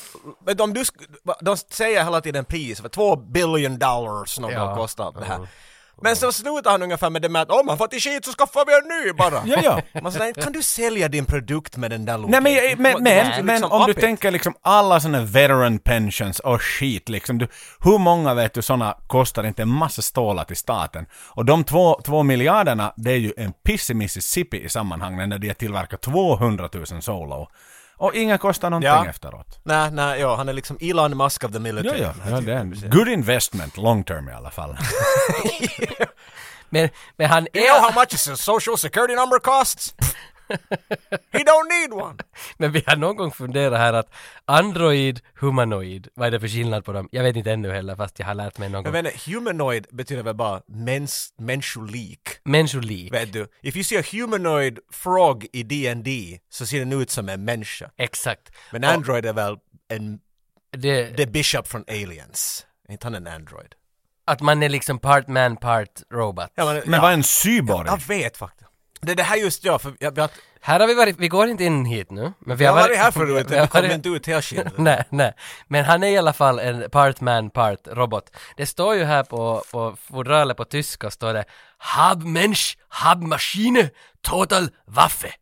Men de, du, sk- de säger hela tiden pris, för två billion dollars någon
Ja.
gång kostar det här. Men så slutar han ungefär med det med att om han får till skit så skaffar vi en ny bara.
Ja, ja.
Man säger, kan du sälja din produkt med den där
Nej
logiken?
men,
Du måste
jag- men, men,
liksom
men om
up
du
it.
tänker liksom alla såna veteran pensions och skit liksom. Du, hur många vet du såna kostar inte en massa stålar till staten? Och de två, två miljarderna, det är ju en piss i Mississippi i sammanhanget när de har tillverkat 200 000 solo. Och ingen kostar någonting
Ja.
efteråt.
Nej, nej, ja, han är liksom Elon Musk of the
Ja,
military.
ja, ja, det är en good investment long term i alla fall.
Men, men han
You know
är...
how much is a social security number costs? He don't need one!
Men vi har någon gång funderat här att android, humanoid, vad är det för skillnad på dem? Jag vet inte ännu heller fast jag har lärt mig någon
Jag
gång.
menar, humanoid betyder väl bara mens, människolik?
Människolik.
Vet du, if you see a humanoid frog i D&D så ser den ut som en människa.
Exakt.
Men Android är väl en,
Det,
the bishop från Aliens? Är inte han en Android?
Att man är liksom part man, part robot.
Ja, men,
Men
ja,
vad är en cyborg?
Jag vet faktiskt. Det är det här just jag, för jag, jag,
Här har vi varit, vi går inte in hit nu. Men vi
jag
har
har varit här förut,
vi har
jag kom
varit-
inte ut helskinnad.
Nej, nej. Men han är i alla fall en part man, part robot. Det står ju här på, på fodralet på tyska står det Habmensch, Habmaschine, Total Waffe.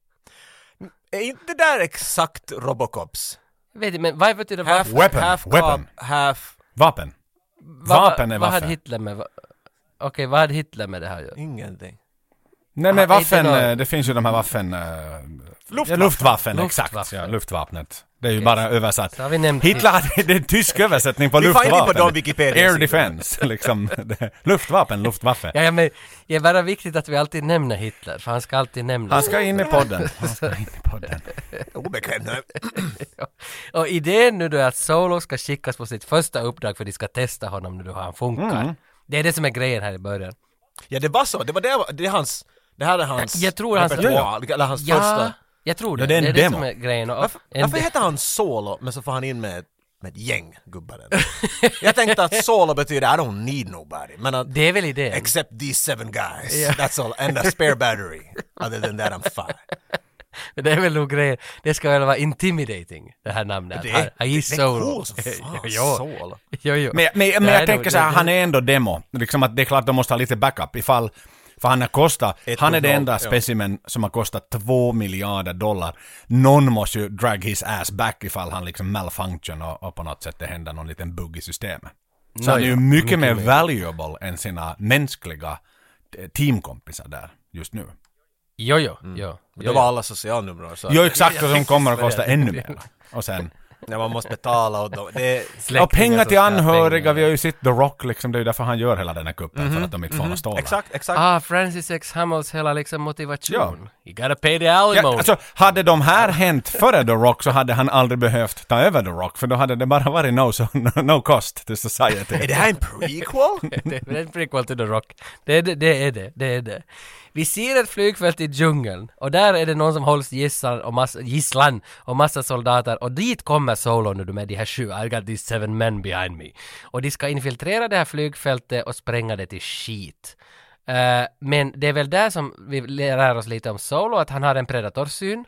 Är inte det där exakt Robocops?
Jag Vet inte, men vad betyder
Half,
typ Waffe?
Weapon,
half
weapon.
cop, half...
Vapen.
Vad-
Vapen är
Vad hade
Waffe.
Hitler med... va- Okej, vad hade Hitler med det här att göra?
Ingenting.
Nej
Ja,
men vaffen,
inte någon-
eh, det finns ju de här vaffen... Luftwaffen. Ja, luftwaffen, exakt.
Luftwaffen.
Ja, luftvapnet. Det är ju bara översatt.
Så har vi nämnt
Hitler hade, det är en tysk översättning på
Vi får inte
luftvapen.
på de Wikipedia-sidorna.
Air defense, liksom. Det- luftvapen, luftwaffe.
Ja, ja, men det är bara viktigt att vi alltid nämner Hitler, för han ska alltid nämnas.
Han ska in i podden. Han ska in i podden.
Obekväm. nej.
Och idén nu då är att Solo ska skickas på sitt första uppdrag för de ska testa honom nu då hur han funkar.
Mm.
Det är det som är grejen här i början.
Ja, det var så. Det var det, det är hans... Det här är hans...
Jag tror hans-
repertoar, Eller hans första...
jag tror det.
Ja, det är en
det är det
demo.
som är grejen. Och,
Varför,
en
varför
de-
heter han Solo, men så får han in med, ett- med ett gäng gubbar? där? Jag tänkte att Solo betyder I don't need nobody, men att
det är väl idén?
except these seven guys, that's all, and a spare battery. Other than that I'm fine.
det är väl nog grejen. Det ska väl vara intimidating, det här namnet.
Det,
han, han är
det är
Solo.
coolt som fan,
jo,
Solo.
jo, jo.
Men, men, men
Det
jag
är
tänker
nog-
så här,
det-
han är ändå demo. Liksom att det är klart de måste ha lite backup ifall... För han har kostat...
Ett
Han är
och
den
noll,
enda
ja.
specimen som har kostat två miljarder dollar. Någon måste ju drag his ass back ifall han liksom malfunction och, och på något sätt det händer någon liten bugg i systemet. Så han är ju mycket, mer valuable än sina mänskliga eh, teamkompisar där just nu.
Jo, jo, jo.
Men
jo,
Då var alla socialnummer så
Jo, exakt, och de kommer att kosta ännu mer. Och sen...
när man måste betala och då, det,
Släktingar
Och pengar
som
till
ska ha
anhöriga,
pengar.
vi har ju sett The Rock liksom, det är ju därför han gör hela den här kuppen,
Mhm.
för att de inte får några stålar.
Exakt, exakt.
Ah, Francis X. Hamels hela liksom motivation.
Ja.
You gotta pay the alimony.
Ja, alltså, hade de här hänt före The Rock så hade han aldrig behövt ta över The Rock, för då hade det bara varit no, so, no cost to
Är
society.
det här en prequel?
det det är en prequel till The Rock. Det är det, det är det, det är det. Vi ser ett flygfält i djungeln och där är det någon som hålls gisslan och massa, gisslan och massa soldater och dit kommer Solo nu med de här sju, I got these seven men behind me. Och de ska infiltrera det här flygfältet och spränga det till skit. Eh, men det är väl där som vi lär oss lite om Solo, att han har en predatorsyn.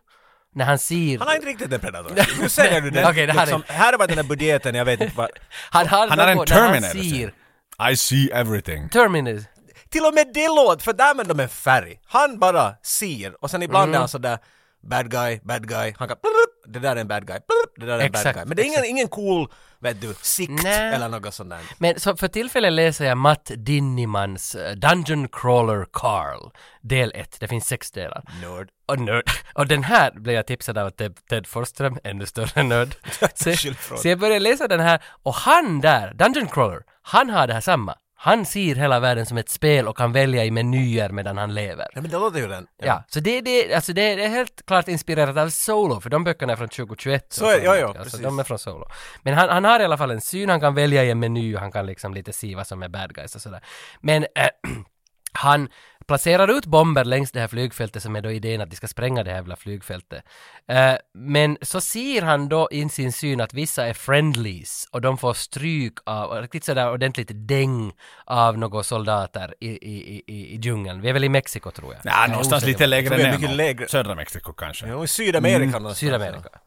När han ser...
Han har inte riktigt en predator. Nu säger du det.
Okej, det här är-
här har varit den här budgeten, jag vet inte vad...
han har,
han har en
något när
Terminator,
Han
säger
ser
I see everything.
Terminator.
Till och med det låt, för där använder de en färg. Han bara ser och sen ibland
Mm.
är han sådär bad guy, bad guy, han kan blurp, det där är en bad guy, blurp, det där är en bad
Exakt,
guy. Men det är ingen, ingen cool, vet du, sikt
Nej.
eller något sånt där.
Men så för tillfället läser jag Matt Dinnimans eh, Dungeon Crawler Carl, del 1. Det finns sex delar.
Nörd.
Och nörd. Och den här blev jag tipsad av Ted, Ted Forsström, ännu större nörd. Så,
Skyldig.
så jag började läsa den här och han där, Dungeon Crawler, han har det här samma. Han ser hela världen som ett spel och kan välja i menyer medan han lever.
Nej men det låter ju den.
Ja, så det, det, alltså det, det är helt klart inspirerat av Solo, för de böckerna är från 2021.
Så är- ja, ja,
alltså,
precis.
de är från Solo. Men han, han har i alla fall en syn, han kan välja i en meny, han kan liksom lite se vad som är bad guys och sådär. Men eh, han placerar ut bomber längs det här flygfältet som är då idén att de ska spränga det här jävla flygfältet. Eh, men så ser han då in sin syn att vissa är friendlies och de får stryk av, och riktigt sådär ordentligt däng av några soldater i, i, i- i, i djungeln. Vi är väl i Mexiko tror jag. Jag
Ja,
är
någonstans
osäker
lite lägre
Det är
ner.
mycket
nog.
lägre.
Södra Mexiko kanske.
Jo, i Sydamerika någonstans.
Mm, Sydamerika.
Alltså.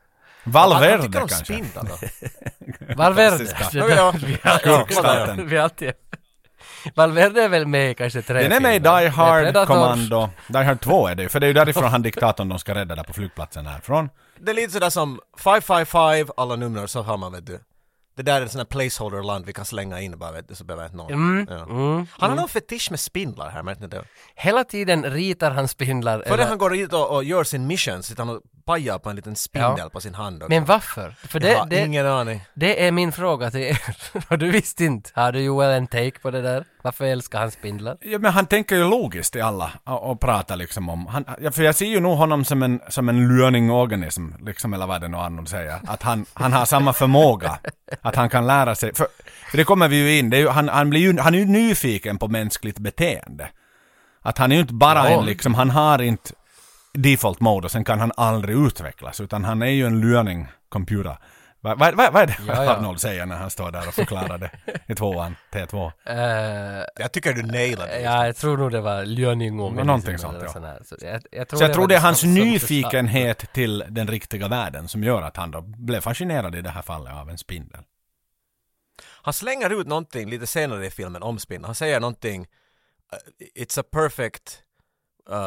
Vad
Valverde
tycker om
kanske.
spindlar då?
Valverde.
Klassiska.
Ja,
Det-
ja.
vi har-
Skurkstaten.
vi har alltid... Valverde är väl med i kanske tre
Den är med i
filmer.
Die
Det är Predator.
Hard Commando. Die Hard 2 är det ju, för det är ju därifrån han diktatorn de ska rädda där på flygplatsen härifrån.
Det är lite sådär som 555, alla nummer så har man vet du. Det där är en sån här placeholder-land vi kan slänga in bara vet du, så behöver jag inte någon.
Mm,
ja. Han har någon fetisch med spindlar här, märkte ni det?
Hela tiden ritar han spindlar.
Före
eller-
han går hit och, och gör sin mission sitter han och pajar på en liten spindel på sin hand. Och,
Men varför? För det,
jag har
det,
ingen aning.
det är min fråga till er. Och du visste inte. Har du Joel en take på det där? Varför älskar han spindlar?
Ja, men han tänker ju logiskt i alla och, och pratar liksom om... Han, ja, för jag ser ju nog honom som en, som en learning-organism, liksom, eller vad det nu Arnold säger. Att han, han har samma förmåga. Att han kan lära sig. För, för det kommer vi ju in, det är ju, han, han, blir ju, han är ju nyfiken på mänskligt beteende. Att han är ju inte bara
Ja.
en liksom, han har inte default mode och sen kan han aldrig utvecklas. Utan han är ju en learning computer. Vad va, va, va är det
Ja, ja.
Arnold säger när han står där och förklarar det i tvåan, T2?
Eh,
Jag tycker du nailade det.
ja, jag tror nog det var Lönningunge.
Någonting sånt, ja.
Så jag, jag tror
Så jag tror
var
det är hans
som- som-
nyfikenhet till den riktiga världen som gör att han då blev fascinerad i det här fallet av en spindel.
Han slänger ut någonting lite senare i filmen om spindeln. Han säger någonting uh, It's a perfect uh,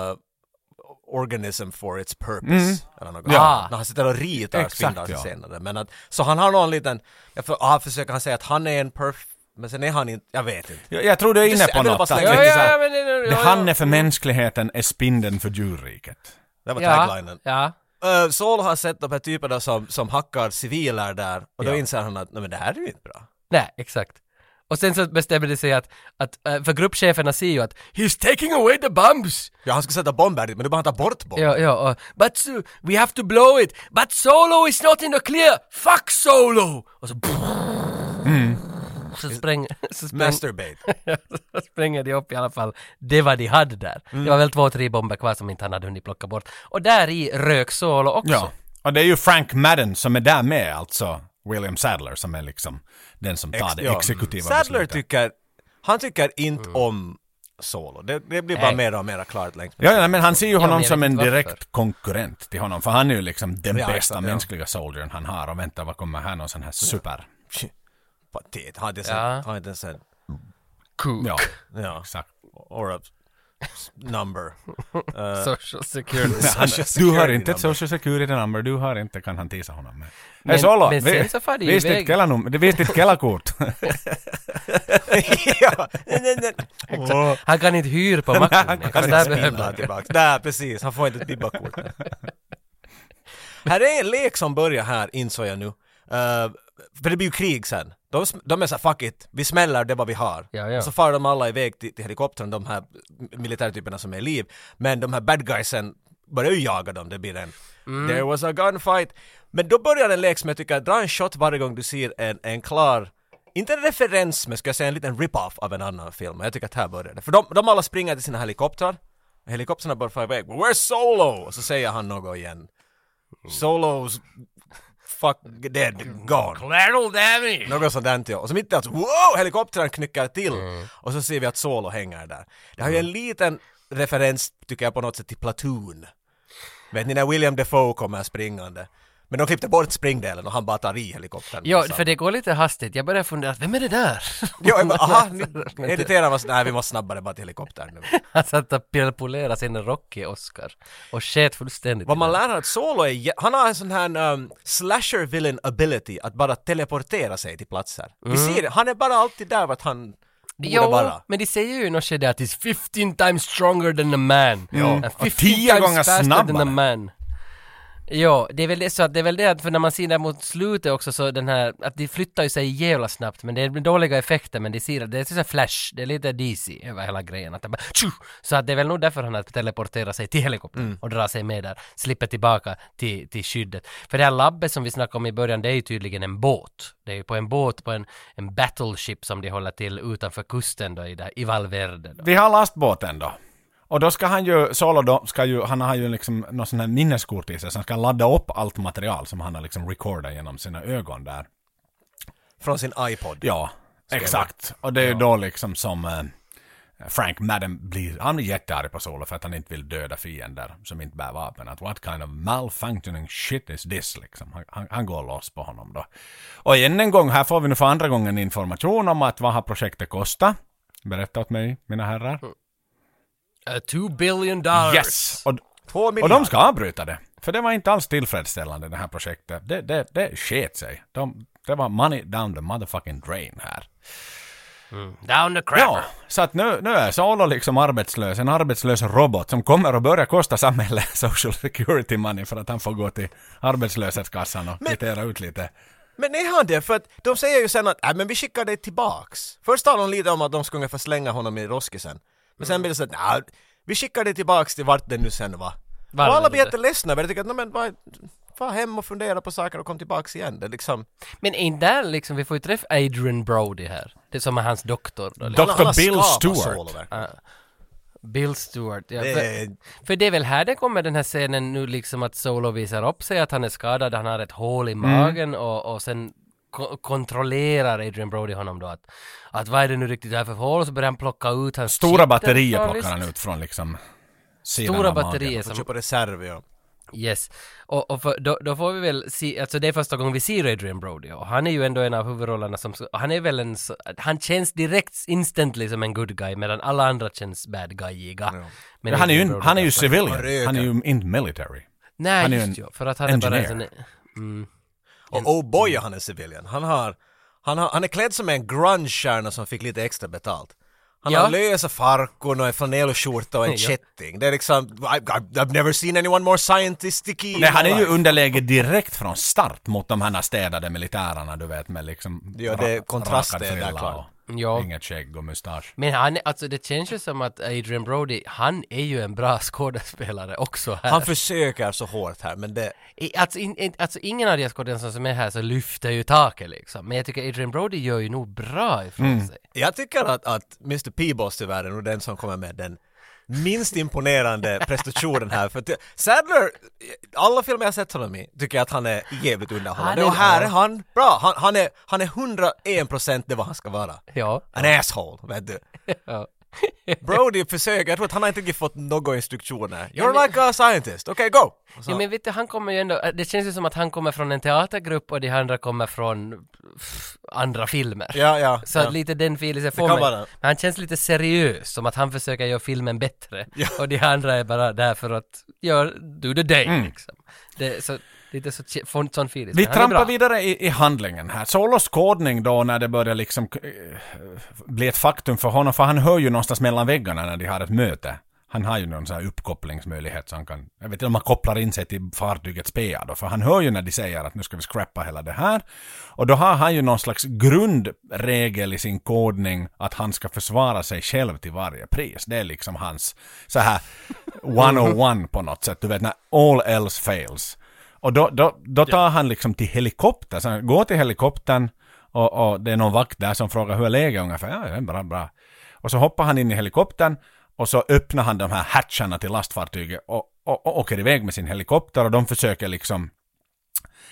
organism for its purpose. Eller något.
Mm. Ja.
När han sitter och ritar
Exakt,
spindlar
ja.
senare. Men att, så han har någon liten, jag för, ah, försöker han säga att han är en perf... Men sen är han inte, jag vet inte.
Jag, jag tror du är inne
Just-
på
jag vill bara
något.
slänga-
att
Ja,
det är så
ja,
här,
ja, men, det- ja,
det
ja. Mm.
han är för mänskligheten är spindeln för djurriket.
Det var
Ja,
taglinen.
ja.
Uh, Saul har sett de här typerna som, som hackar civiler där och då
Ja.
inser han att nej men det här är ju inte bra.
Nej, exakt. Och sen så bestämde de sig att, att eh, för gruppcheferna ser ju att “He's taking away the bombs!”
Ja han skulle sätta bomber dit men då bara han ta bort bomber.
Ja, ja, och “But so- we have to blow it! But Solo is not in the clear! Fuck Solo!” Och så...
Mm.
Så, spräng, så, spräng,
Masturbate.
så spränger de upp i alla fall. Det var de hade där.
Mm.
Det var väl två, tre bomber kvar som inte han hade hunnit plocka bort. Och där i rök Solo också.
Ja. Alltså. Och det är ju Frank Madden som är där med, alltså William Sadler som är liksom den som tar det
ja.
exekutiva
Sadler
beslutet. Mm.
tycker, han tycker inte om Solo. Det, det blir bara
Nej.
mer och mer klart längs med.
Ja, ja, men han ser ju
men
honom
jag
som
vet
en
inte
direkt
varför.
konkurrent till honom, för han är ju liksom den
Ja,
bästa
exakt, ja.
mänskliga soldiern han har. Och vänta, vad kommer här någon sån här super...
Patet. Han hade
Ja.
sen, han hade sen,
Cool.
Ja,
ja,
exakt.
or a s- number.
Social security.
Han,
Social
du har
security
inte ett
number.
social security number, du har inte, kan han tisa honom med.
Men-
Men, Solo,
men sen så far det ju
visst
iväg.
ditt kellanum, det- visst ditt kellakort.
ja, nej, nej, nej. Åh.
Han kan inte hyra på macken.
han
för
kan
där
inte
behövde
Spindlar
han-
tillbaks. Där, precis. Han får inte ett bibbakort. här är en lek som börjar här, insåg jag nu. Eh, för det blir ju krig sen. De, sm- de är såhär, fuck it, vi smäller det vad vi har.
Ja, ja.
Och så far de alla iväg till, till helikoptern, de här militärtyperna som är i liv. Men de här bad guysen börjar ju jaga dem, det blir en
Mm.
“There was a gunfight”. Men då börjar en lek som jag tycker, dra en shot varje gång du ser en, en klar inte en referens, men ska jag säga en liten rip-off av en annan film. Jag tycker att här börjar det. För de, de alla springer till sina helikoptrar. Helikoptrarna börjar fara iväg. Where's Solo? Och så säger han något igen. Solos fuck dead, gone.
Collateral damage!
Något sånt där, ja. Och så mitt i allt, så, wow, helikoptern knyckar till. Och så ser vi att Solo hänger där. Det har ju en liten referens, tycker jag, på något sätt till Platoon. Vet ni när William Defoe kommer springande? Men de klippte bort springdelen och han bara tar i helikoptern.
Ja,
Så-
för det går lite hastigt. Jag börjar fundera, vem är det där?
Ja, jag bara, aha, editeraren var så, nej vi måste snabbare bara till helikoptern nu.
Han satt och pelpolerade sin Rocky Oscar och sket fullständigt.
Vad man
i den.
lär är att Solo är, jä- han har en sån här um, slasher villain ability att bara teleportera sig till platser. Vi
Mm.
ser det, han är bara alltid där vart han borde
Jo,
vara.
men de säger ju i något skede att he's 15 times stronger than a man. Mm.
och tio gånger
than
snabbare.
a man. Ja, det är väl det så att det är väl det att för när man ser det mot slutet också så den här, att de flyttar ju sig jävla snabbt men det är dåliga effekter men de ser att det är så här flash, det är lite DC över hela grejen att det bara tju! Så att det är väl nog därför han har teleporterat sig till helikoptern och dra sig med där, slipper tillbaka till, till skyddet. För det här labbet som vi snackade om i början det är ju tydligen en båt. Det är ju på en båt, på en, en battleship som de håller till utanför kusten då i, där, i Valverde då.
Vi har lastbåten då. Och då ska han ju, Solo då, ska ju, han har ju liksom någon sån här minneskort i sig, så han ska ladda upp allt material som han har liksom recordat genom sina ögon där.
Från sin iPod.
Ja, exakt. Och det är ju då liksom som eh, Frank Madden blir, han är jättearg på Solo för att han inte vill döda fiender som inte bär vapen. Att what kind of malfunctioning shit is this liksom. Han, han, han går loss på honom då. Och än en gång, här får vi nu för andra gången information om att vad har projektet kostat? Berätta åt mig, mina herrar.
Uh, two billion dollars!
Yes! Och,
Två
och
miljarder.
de ska avbryta det. För det var inte alls tillfredsställande det här projektet. Det, det, det sket sig. De, det var money down the motherfucking drain här.
Down the crapper!
Ja, så att nu, nu är Solo liksom arbetslös. En arbetslös robot som kommer att börja kosta samhället social security money för att han får gå till arbetslöshetskassan och kvittera ut lite.
Men är han det? För att de säger ju sen att äh, men vi skickar dig tillbaks. Först talar de lite om att de ska ungefär slänga honom i roskisen. Men
Mm.
sen blir det så att nej, vi skickar dig tillbaks till vart det nu sen var.
Var
och alla
det
blir
det?
jätteledsna över det. Tycker att, "Nej, men vad, far hem och fundera på saker och kom tillbaks igen. Det är liksom...
Men är inte där liksom, vi får ju träffa Adrian Brody här. Det som är hans doktor. Då, liksom.
Dok-
alla-
Dr.
alla
Bill
skapar
Stewart.
Solo, verkligen.
Bill Stewart. Ja,
Det är-
för, för det är väl här det kommer den här scenen nu liksom att Solo visar upp sig, att han är skadad, han har ett hål i
Mm.
magen och, och sen ko- kontrollerar Adrian Brody honom då att, att vad är det nu riktigt det här för hål? Så börjar han plocka ut hans
Stora
kittel.
batterier
Ja,
plockar
visst.
han ut från liksom sidan
Stora
av magen.
batterier
De
som
kör på reserv, ja.
Yes, och, och för, då, då får vi väl se, alltså det är första gången vi ser Adrian Brody och han är ju ändå en av huvudrollerna som, och han är väl en, så- han känns direkt instantly som en good guy medan alla andra känns bad guy-iga. Men
Men han är ju,
Adrian
en-
Brody
han är ju
nästan-
civilian.
Och röker.
Han är ju inte military.
Nej,
han är ju
just
en
ju, för att han är bara en sån,
engineer.
mm,
Och oh
Mm.
boy, han är civilian. Han, har, han, har, han är klädd som en grunge-stjärna som fick lite extra betalt. Han
Ja.
har lösa farkon och en flanellskjorta och en kätting. Det är liksom, I, I, I've never seen anyone more scientistic in
Nej, han
my
är ju
life.
underläge direkt från start mot de här städade militärerna, du vet, med liksom...
Ja, det är
ra-
kontraster
rakad
där,
frilla
klart.
och
Ja.
Inget skägg och mustasch.
men han, är- alltså det känns ju som att Adrian Brody, han är ju en bra skådespelare också här.
Han försöker så hårt här men det...
I- Alltså, in, in, alltså ingen av de här skådespelarna som är här så lyfter ju taket liksom, men jag tycker Adrian Brody gör ju nog bra ifrån
Mm.
sig.
Jag tycker att, att Mr. Peebles tyvärr är nog den som kommer med den minst imponerande prestationen här. För att Sadler, alla filmer jag sett honom i tycker jag att han är jävligt underhållande.
Han är
Och här
bra.
är han bra. Han, han, är, han är 101% det vad han ska vara.
Ja.
An asshole, vet du.
ja.
Brody försöker, jag tror att han har inte riktigt fått några instruktioner. You're like a scientist, okej okay, go! Och så-
Ja, men vet du, han kommer ju ändå, det känns ju som att han kommer från en teatergrupp och de andra kommer från pff, andra filmer.
ja, ja.
Så
ja.
att lite den filen jag får
kan
mig.
vara
Men
det.
han känns lite seriös, som att han försöker göra filmen bättre. Och de andra är bara där för att göra, do the day
Mm.
liksom. Det, så, lite så, får en sån feeling.
Vi
Men han är bra.
trampar vidare i, i handlingen här. Solos kodning då när det börjar liksom eh, bli ett faktum för honom, för han hör ju någonstans mellan väggarna när de har ett möte. Han har ju någon sån här uppkopplingsmöjlighet så han kan, jag vet inte om han kopplar in sig till fartygets PA då, för han hör ju när de säger att nu ska vi scrappa hela det här. Och då har han ju någon slags grundregel i sin kodning att han ska försvara sig själv till varje pris. Det är liksom hans så här 101 på något sätt, du vet när all else fails. Och då, då, då tar han liksom till helikoptern, så han går till helikoptern och, och det är någon vakt där som frågar hur är läget ungefär? Ja, det är bra, bra. Och så hoppar han in i helikoptern och så öppnar han de här hatcharna till lastfartyget och, och, och åker iväg med sin helikopter och de försöker liksom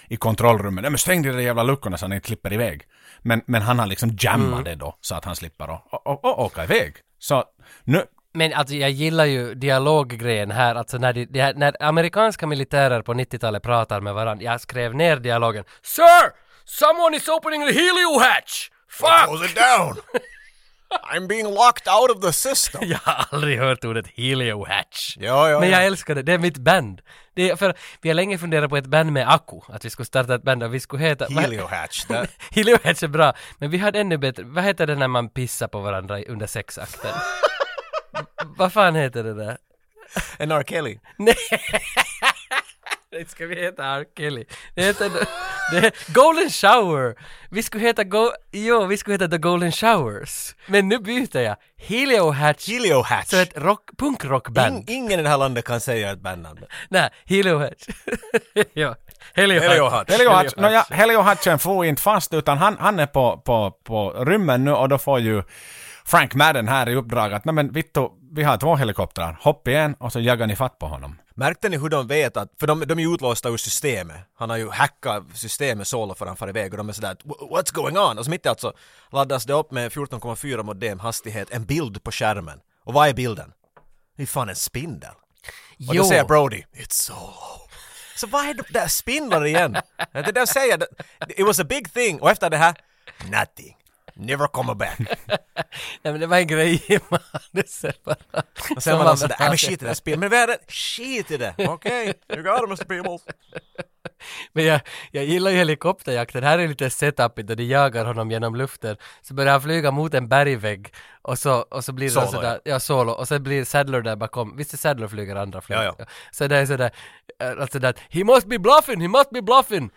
i kontrollrummet. Nej men stäng de där jävla luckorna så han inte slipper iväg. Men, men han har liksom jammat det då så att han slipper att å- å- å- åka iväg. Så nu,
Men alltså jag gillar ju dialoggrejen här, alltså när, de, de här, när amerikanska militärer på 90-talet pratar med varandra, jag skrev ner dialogen Sir! Someone is opening the helio hatch! Fuck!
Close it down! I'm being locked out of the system!
Jag har aldrig hört ordet helio hatch.
Ja, ja,
Men jag
ja.
älskar det, det är mitt band. Det är för, vi har länge funderat på ett band med Aku, att vi skulle starta ett band och vi skulle heta... vad-
Helio hatch. That,
Helio Hatch är bra, men vi hade ännu bättre, vad heter det när man pissar på varandra under sexakten? vad fan heter det där?
and R. Kelly.
Det ska vi heta R. Kelly. Det heter det, Golden Shower! Vi skulle heta go, jo, vi skulle heta The Golden Showers. Men nu byter jag. Helio Hatch.
Helio hatch.
Så ett rock, punkrockband.
In, ingen i det här landet kan säga ett bandnamn.
Nej, Helio Hatch. ja, Helio,
Helio
Hatch.
hatch.
Helio Hatch, nåja, Helio Hatchen får inte fast utan han, han är på, på, på rymmen nu och då får ju Frank Madden här i uppdrag att nej men Vittu, vi har två helikoptrar, hopp igen och så jagar ni fatt på honom.
Märkte ni hur de vet att, för de, de är ju utlåsta ur systemet. Han har ju hackat systemet solo för han far iväg och de är sådär att, "Wh- “What's going on?” och så mitt i allt så laddas det upp med 14,4 modem hastighet, en bild på skärmen. Och vad är bilden? Det är fan en spindel. Och
Jo.
då säger Brody “It's solo”. Så vad är det där spindlar igen? Det där säger, det- it was a big thing och efter det här, nothing. Never come back.
Nej men det var en grej i manuset bara.
Och sen var han sådär, "Äh, men skit i det här spelet, men vad är det? Skit i det, okej, you got it Mr. Peebles.
Men jag, jag gillar ju helikopterjakten, här är lite setupigt då de jagar honom genom luften. Så börjar han flyga mot en bergvägg och så, och så blir det
Solo,
sådär, ja solo, och så blir Sadler där bakom, visst är Sadler flyger andra flyger?
Ja, ja.
Så det är sådär, eh, alltså där, he must be bluffing, he must be bluffing!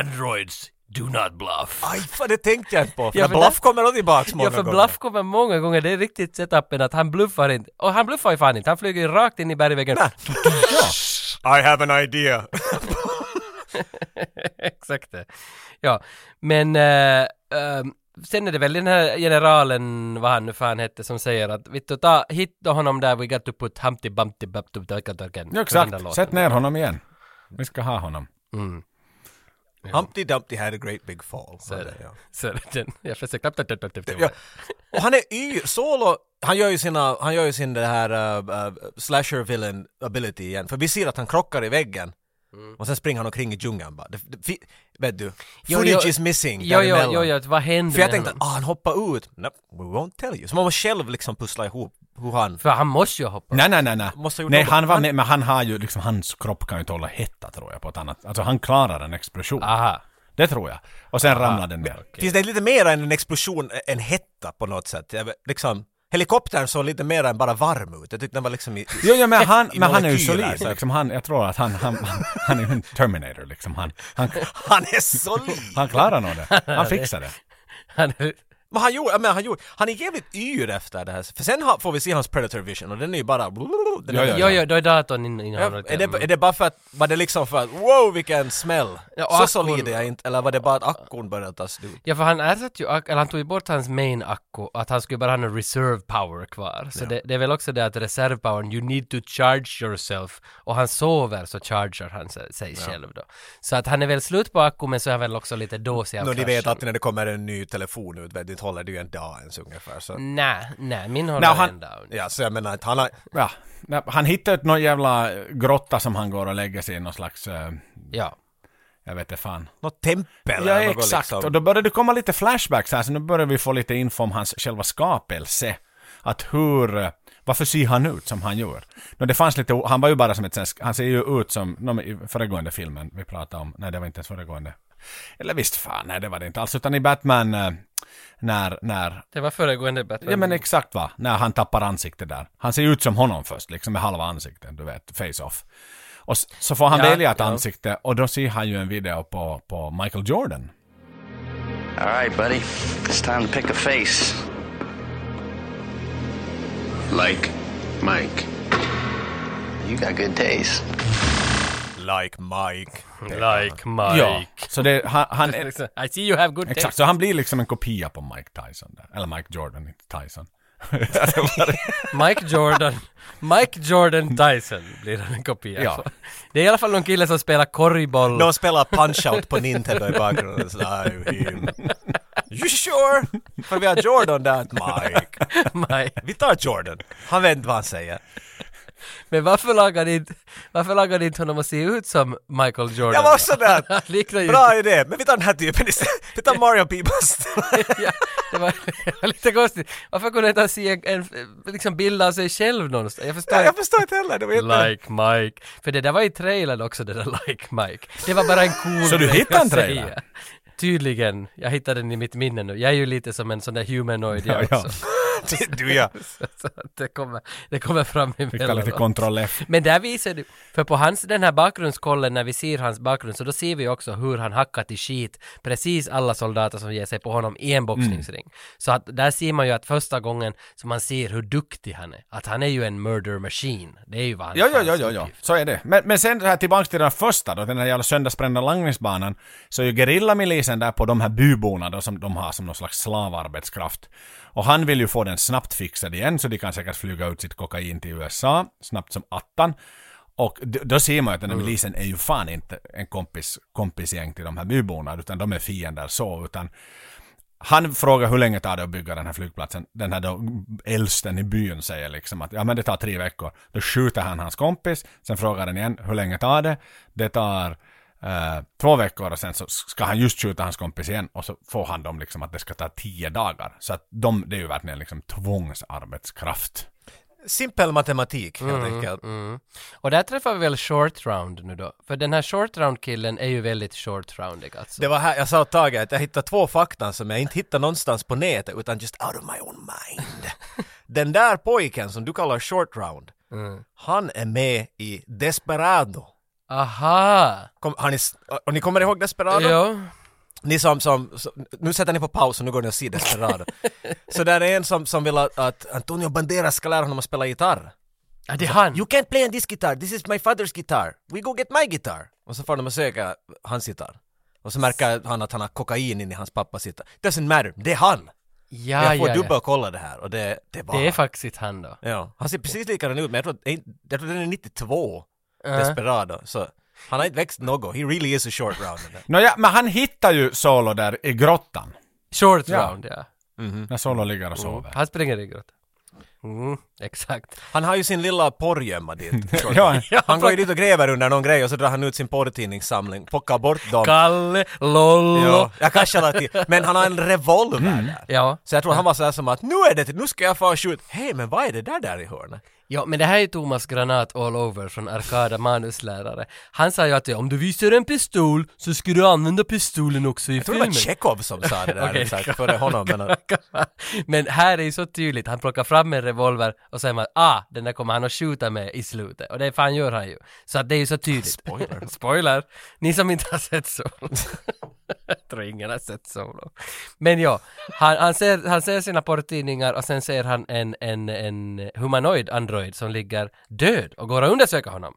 Androids, do not bluff!
Aj, fan, det tänkte jag inte på. För
Ja,
ja,
för
Bluff
det-
kommer nog tillbaks många
ja för
gånger.
bluff kommer många gånger, det är riktigt setupen att han bluffar inte. Och han bluffar ju fan inte, han flyger ju rakt in i bergväggen.
I have an idea.
Exakt det. Ja, men eh, ehm, sen är det väl den här generalen, vad han nu fan hette, som säger att vittu ta hit då honom där, we got to put Humpty Bumpty typ, Bumpty Bumpty Bumpty
Ja, exakt, sätt ner honom igen. Vi ska ha honom.
Humpty Dumpty had a great big fall. Så det, ja.
Så är det den, jag försökte knappt typ,
Ja. Och han är yr. Solo, han gör ju sina, han gör ju sin det här uh, uh, slasher villain ability igen. För vi ser att han krockar i väggen.
Mm.
Och sen springer han omkring i djungeln bara. Det, det, fi, vet du,
Jo,
footage
jo.
is missing
Jo, jo,
däremellan.
jo, jo, vad händer
För jag
med
tänkte att
honom?
ah, han hoppar ut. No, we won't tell you. Så man måste själv liksom pussla ihop hur han...
För han måste ju hoppa.
Nej, nej, nej, nej.
Måste ha gjort
nej
något.
han var,
Han-
nej, men han har ju liksom, hans kropp kan ju inte hålla hetta tror jag på ett annat, alltså han klarar en explosion.
Aha.
Det tror jag. Och sen ramlar den ner.
Finns det lite mer än en explosion, en hetta på något sätt? Jag vet, Liksom, helikoptern såg lite mer än bara varm ut. Jag tyckte den var liksom i...
Jo, jo men, han,
i
men han är ju
molekyler,
solid.
så-
Liksom, han, jag tror att han, han, han, han är ju en Terminator liksom. Han, han,
Han är solid!
han klarar nog det. Han fixar det.
Han,
Men han gjorde, ja, men han gjorde, han är jävligt yr efter det här. För sen har, får vi se hans predator vision och den är ju bara... Den är,
Ja,
jo, jo, då är datorn in, in honom.
Är, det, är det bara för att, var det liksom för att wow vilken smäll?
Ja, och
så
akkon-
solid är jag inte, eller var det bara att akkon började ta slut?
Ja, för han ersatte ju, ak- eller han tog ju bort hans main akku, att han skulle bara ha en reserve power kvar. Så det, det är väl också det att reservpowern, you need to charge yourself, och han sover så chargear han sig, sig själv då. Så att han är väl slut på akku, men så är han väl också lite dåsig av
Nå, ni
kraschen.
vet att när det kommer en ny telefon ut, vet, det håller det ju en dag ens ungefär.
Mm.
Så,
Nej, nej, min
Nej,
håller
och han-
en down.
ja, så jag menar att han har...
Ja. Ja, Han hittar ett någon jävla grotta som han går och lägger sig i någon slags, eh,
Ja.
jag vet inte fan.
Något tempel
Ja
något
exakt,
liksom.
och då började det komma lite flashbacks här, så nu börjar vi få lite info om hans själva skapelse. Att hur, eh, varför ser han ut som han gör? Nå, det fanns lite, o- han var ju bara som ett, svensk- han ser ju ut som, nå, men i föregående filmen vi pratade om, nej det var inte ens föregående. Eller visst fan, nej det var det inte alls, utan i Batman, eh, när, när
Det var föregående Batman.
Ja men exakt va, när han tappar ansiktet där. Han ser ut som honom först, liksom med halva ansiktet, du vet, face-off. Och s- så får han
Ja,
välja ett
ja.
ansikte och då ser han ju en video på, på Michael Jordan.
All right, buddy. It's time to pick a face. Like Mike. You got good taste.
Like Mike.
Like Mike.
Ja, så det, han, han
I see you have good
exakt,
taste.
så han blir liksom en kopia på Mike Tyson där. Eller Mike Jordan, inte Tyson.
Mike Jordan, Mike Jordan Tyson blir han en kopia
Ja.
på. Det är i alla fall någon kille som spelar korgboll.
De spelar punch-out på Nintendo i bakgrunden. Så, I'm him. You sure? För vi har Jordan där. Mike.
Mike.
Vi tar Jordan. Han vet inte vad han säger.
Men varför lagar ni inte, varför lagar ni inte honom att se ut som Michael Jordan?
Jag var sådär.
Han liknar ju
Bra idé, men vi tar den här typen istället. Vi tar Mario Peebles.
ja, det var, det var lite konstigt. Varför kunde inte han se en, en liksom bild av sig själv någonstans? Jag förstår
Ja, jag
inte.
förstår inte heller. Det var jätte-
Like Mike. För det där var i trailern också, det där Like Mike. Det var bara en cool
Så du
grej
hittade
att
en trailer?
säga. Tydligen. Jag hittade den i mitt minne nu. Jag är ju lite som en sån där humanoid jag
Ja, ja.
också.
Du ja.
Så att det kommer, det kommer fram
Vi kallar det
emellanåt.
kontroll F.
Men där visar du, för på hans, den här bakgrundskollen när vi ser hans bakgrund så då ser vi också hur han hackat i skit precis alla soldater som ger sig på honom i
Mm.
en boxningsring. Så att där ser man ju att första gången som man ser hur duktig han är, att han är ju en murder machine. Det är ju vad han
Ja, ja,
hans
ja, ja, ja,
uppgift.
så är det. Men, men sen här tillbaka till den här första då, den här jävla söndagsbrända langningsbanan, så är ju gerillamilisen där på de här byborna då som de har som någon slags slavarbetskraft. Och han vill ju få den snabbt fixad igen, så de kan säkert flyga ut sitt kokain till USA, snabbt som attan. Och d- då ser man ju att den här milisen är ju fan inte en kompis, kompisgäng till de här byborna, utan de är fiender så, utan han frågar hur länge tar det att bygga den här flygplatsen. Den här då äldsten i byn säger liksom att ja men det tar tre veckor. Då skjuter han hans kompis, sen frågar han igen hur länge tar det. Det tar eh, två veckor och sen så ska han just skjuta hans kompis igen och så får han dem liksom att det ska ta tio dagar. Så att de, det är ju verkligen liksom tvångsarbetskraft.
Simpel matematik helt
Mm.
enkelt.
Och där träffar vi väl short round nu då? För den här short round killen är ju väldigt short roundig alltså.
Det var här jag sa åt Tage att jag hittade två fakta som jag inte hittade någonstans på nätet utan just out of my own mind. Den där pojken som du kallar short round, han är med i Desperado.
Aha!
Kom, har ni, s- och ni kommer ihåg Desperado?
Jo.
Ni som, som, som, nu sätter ni på paus och nu går ni och ser Desperado. så där är en som, som vill att, att Antonio Banderas ska lära honom att spela gitarr.
Ja, det är han.
You can't play on this guitar, this is my father's guitar. We go get my guitar. Och så får de och söka hans gitarr. Och så märker han att han har kokain in i hans pappas gitarr. Doesn't matter, det är han!
ja,
jag får
Ah, ja, ja.
dubbelkolla det här och det, det var
Det är
han.
faktiskt han då.
Ja. Han ser precis likadan ut men jag tror, att- jag tror att den är 92,
Ja.
Desperado. Så han har inte växt något, he really is a short round.
Nåja, men han hittar ju Solo där i grottan.
Short
Ja.
round, ja.
När Solo ligger och sover.
Han springer i grottan. Mm, exakt.
Han har ju sin lilla porrgömma dit. short
Ja.
round. han går ju dit och gräver under någon grej och så drar han ut sin porrtidningssamling, plockar bort dem.
Kalle, Lollo.
Ja,
Ja.
jag kanske la till. Men han har en revolver
Mm.
där.
Ja.
Så jag tror han var sådär som att nu är det, nu ska jag få skjuta. Hej men vad är det där där i hörnet?
men det här är Thomas Granat all over från Arkada manuslärare. Han sa ju att om du visar en pistol så ska du använda pistolen också i
Jag tror det
filmen.
var Tjechov som sa det där
Okej.
exakt före honom. Men,
men här är ju så tydligt, han plockar fram en revolver och säger man ah, den där kommer han att skjuta med i slutet. Och det fan gör han ju. Så att det är ju så tydligt. Spoiler. Spoiler. Ni som inte har sett Solo. Jag tror ingen har sett Solo. Men ja, han, han, ser, han ser sina porrtidningar och sen ser han en, en, en humanoid android som ligger död och går och undersöker honom.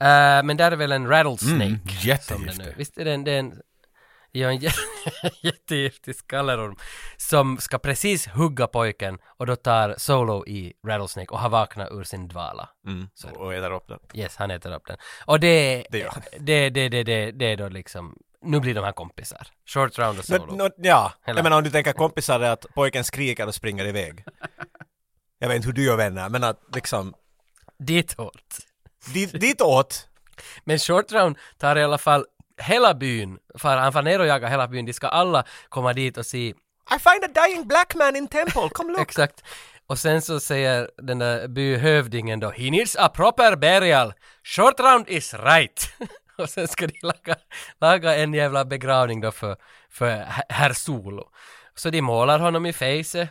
Eh, men där är väl en rattlesnake.
Mm,
som den nu.
jättegiftig.
Visst är den, den Ja, en jä- jättegiftig skallerorm som ska precis hugga pojken och då tar Solo i Rattlesnake och har vaknat ur sin dvala.
och äter upp den.
Yes, han äter upp den. Och det,
Mm. Det gör han.
det, det, det, det, det är då liksom, nu blir de här kompisar. Short round och
Men,
Solo.
nå- ja,
Hela.
jag menar om du tänker kompisar är att pojken skriker och springer iväg. Jag vet inte hur du gör vänner, men att liksom
Dit hårt.
dit, ditåt.
Men Short Round tar i alla fall hela byn, för han far ner och jagar hela byn, de ska alla komma dit och se
I find a dying black man in temple, come look!
Exakt. Och sen så säger den där byhövdingen då, he needs a proper burial, short round is right. och sen ska de laga, laga en jävla begravning då för, för he- herr Solo. Så de målar honom i face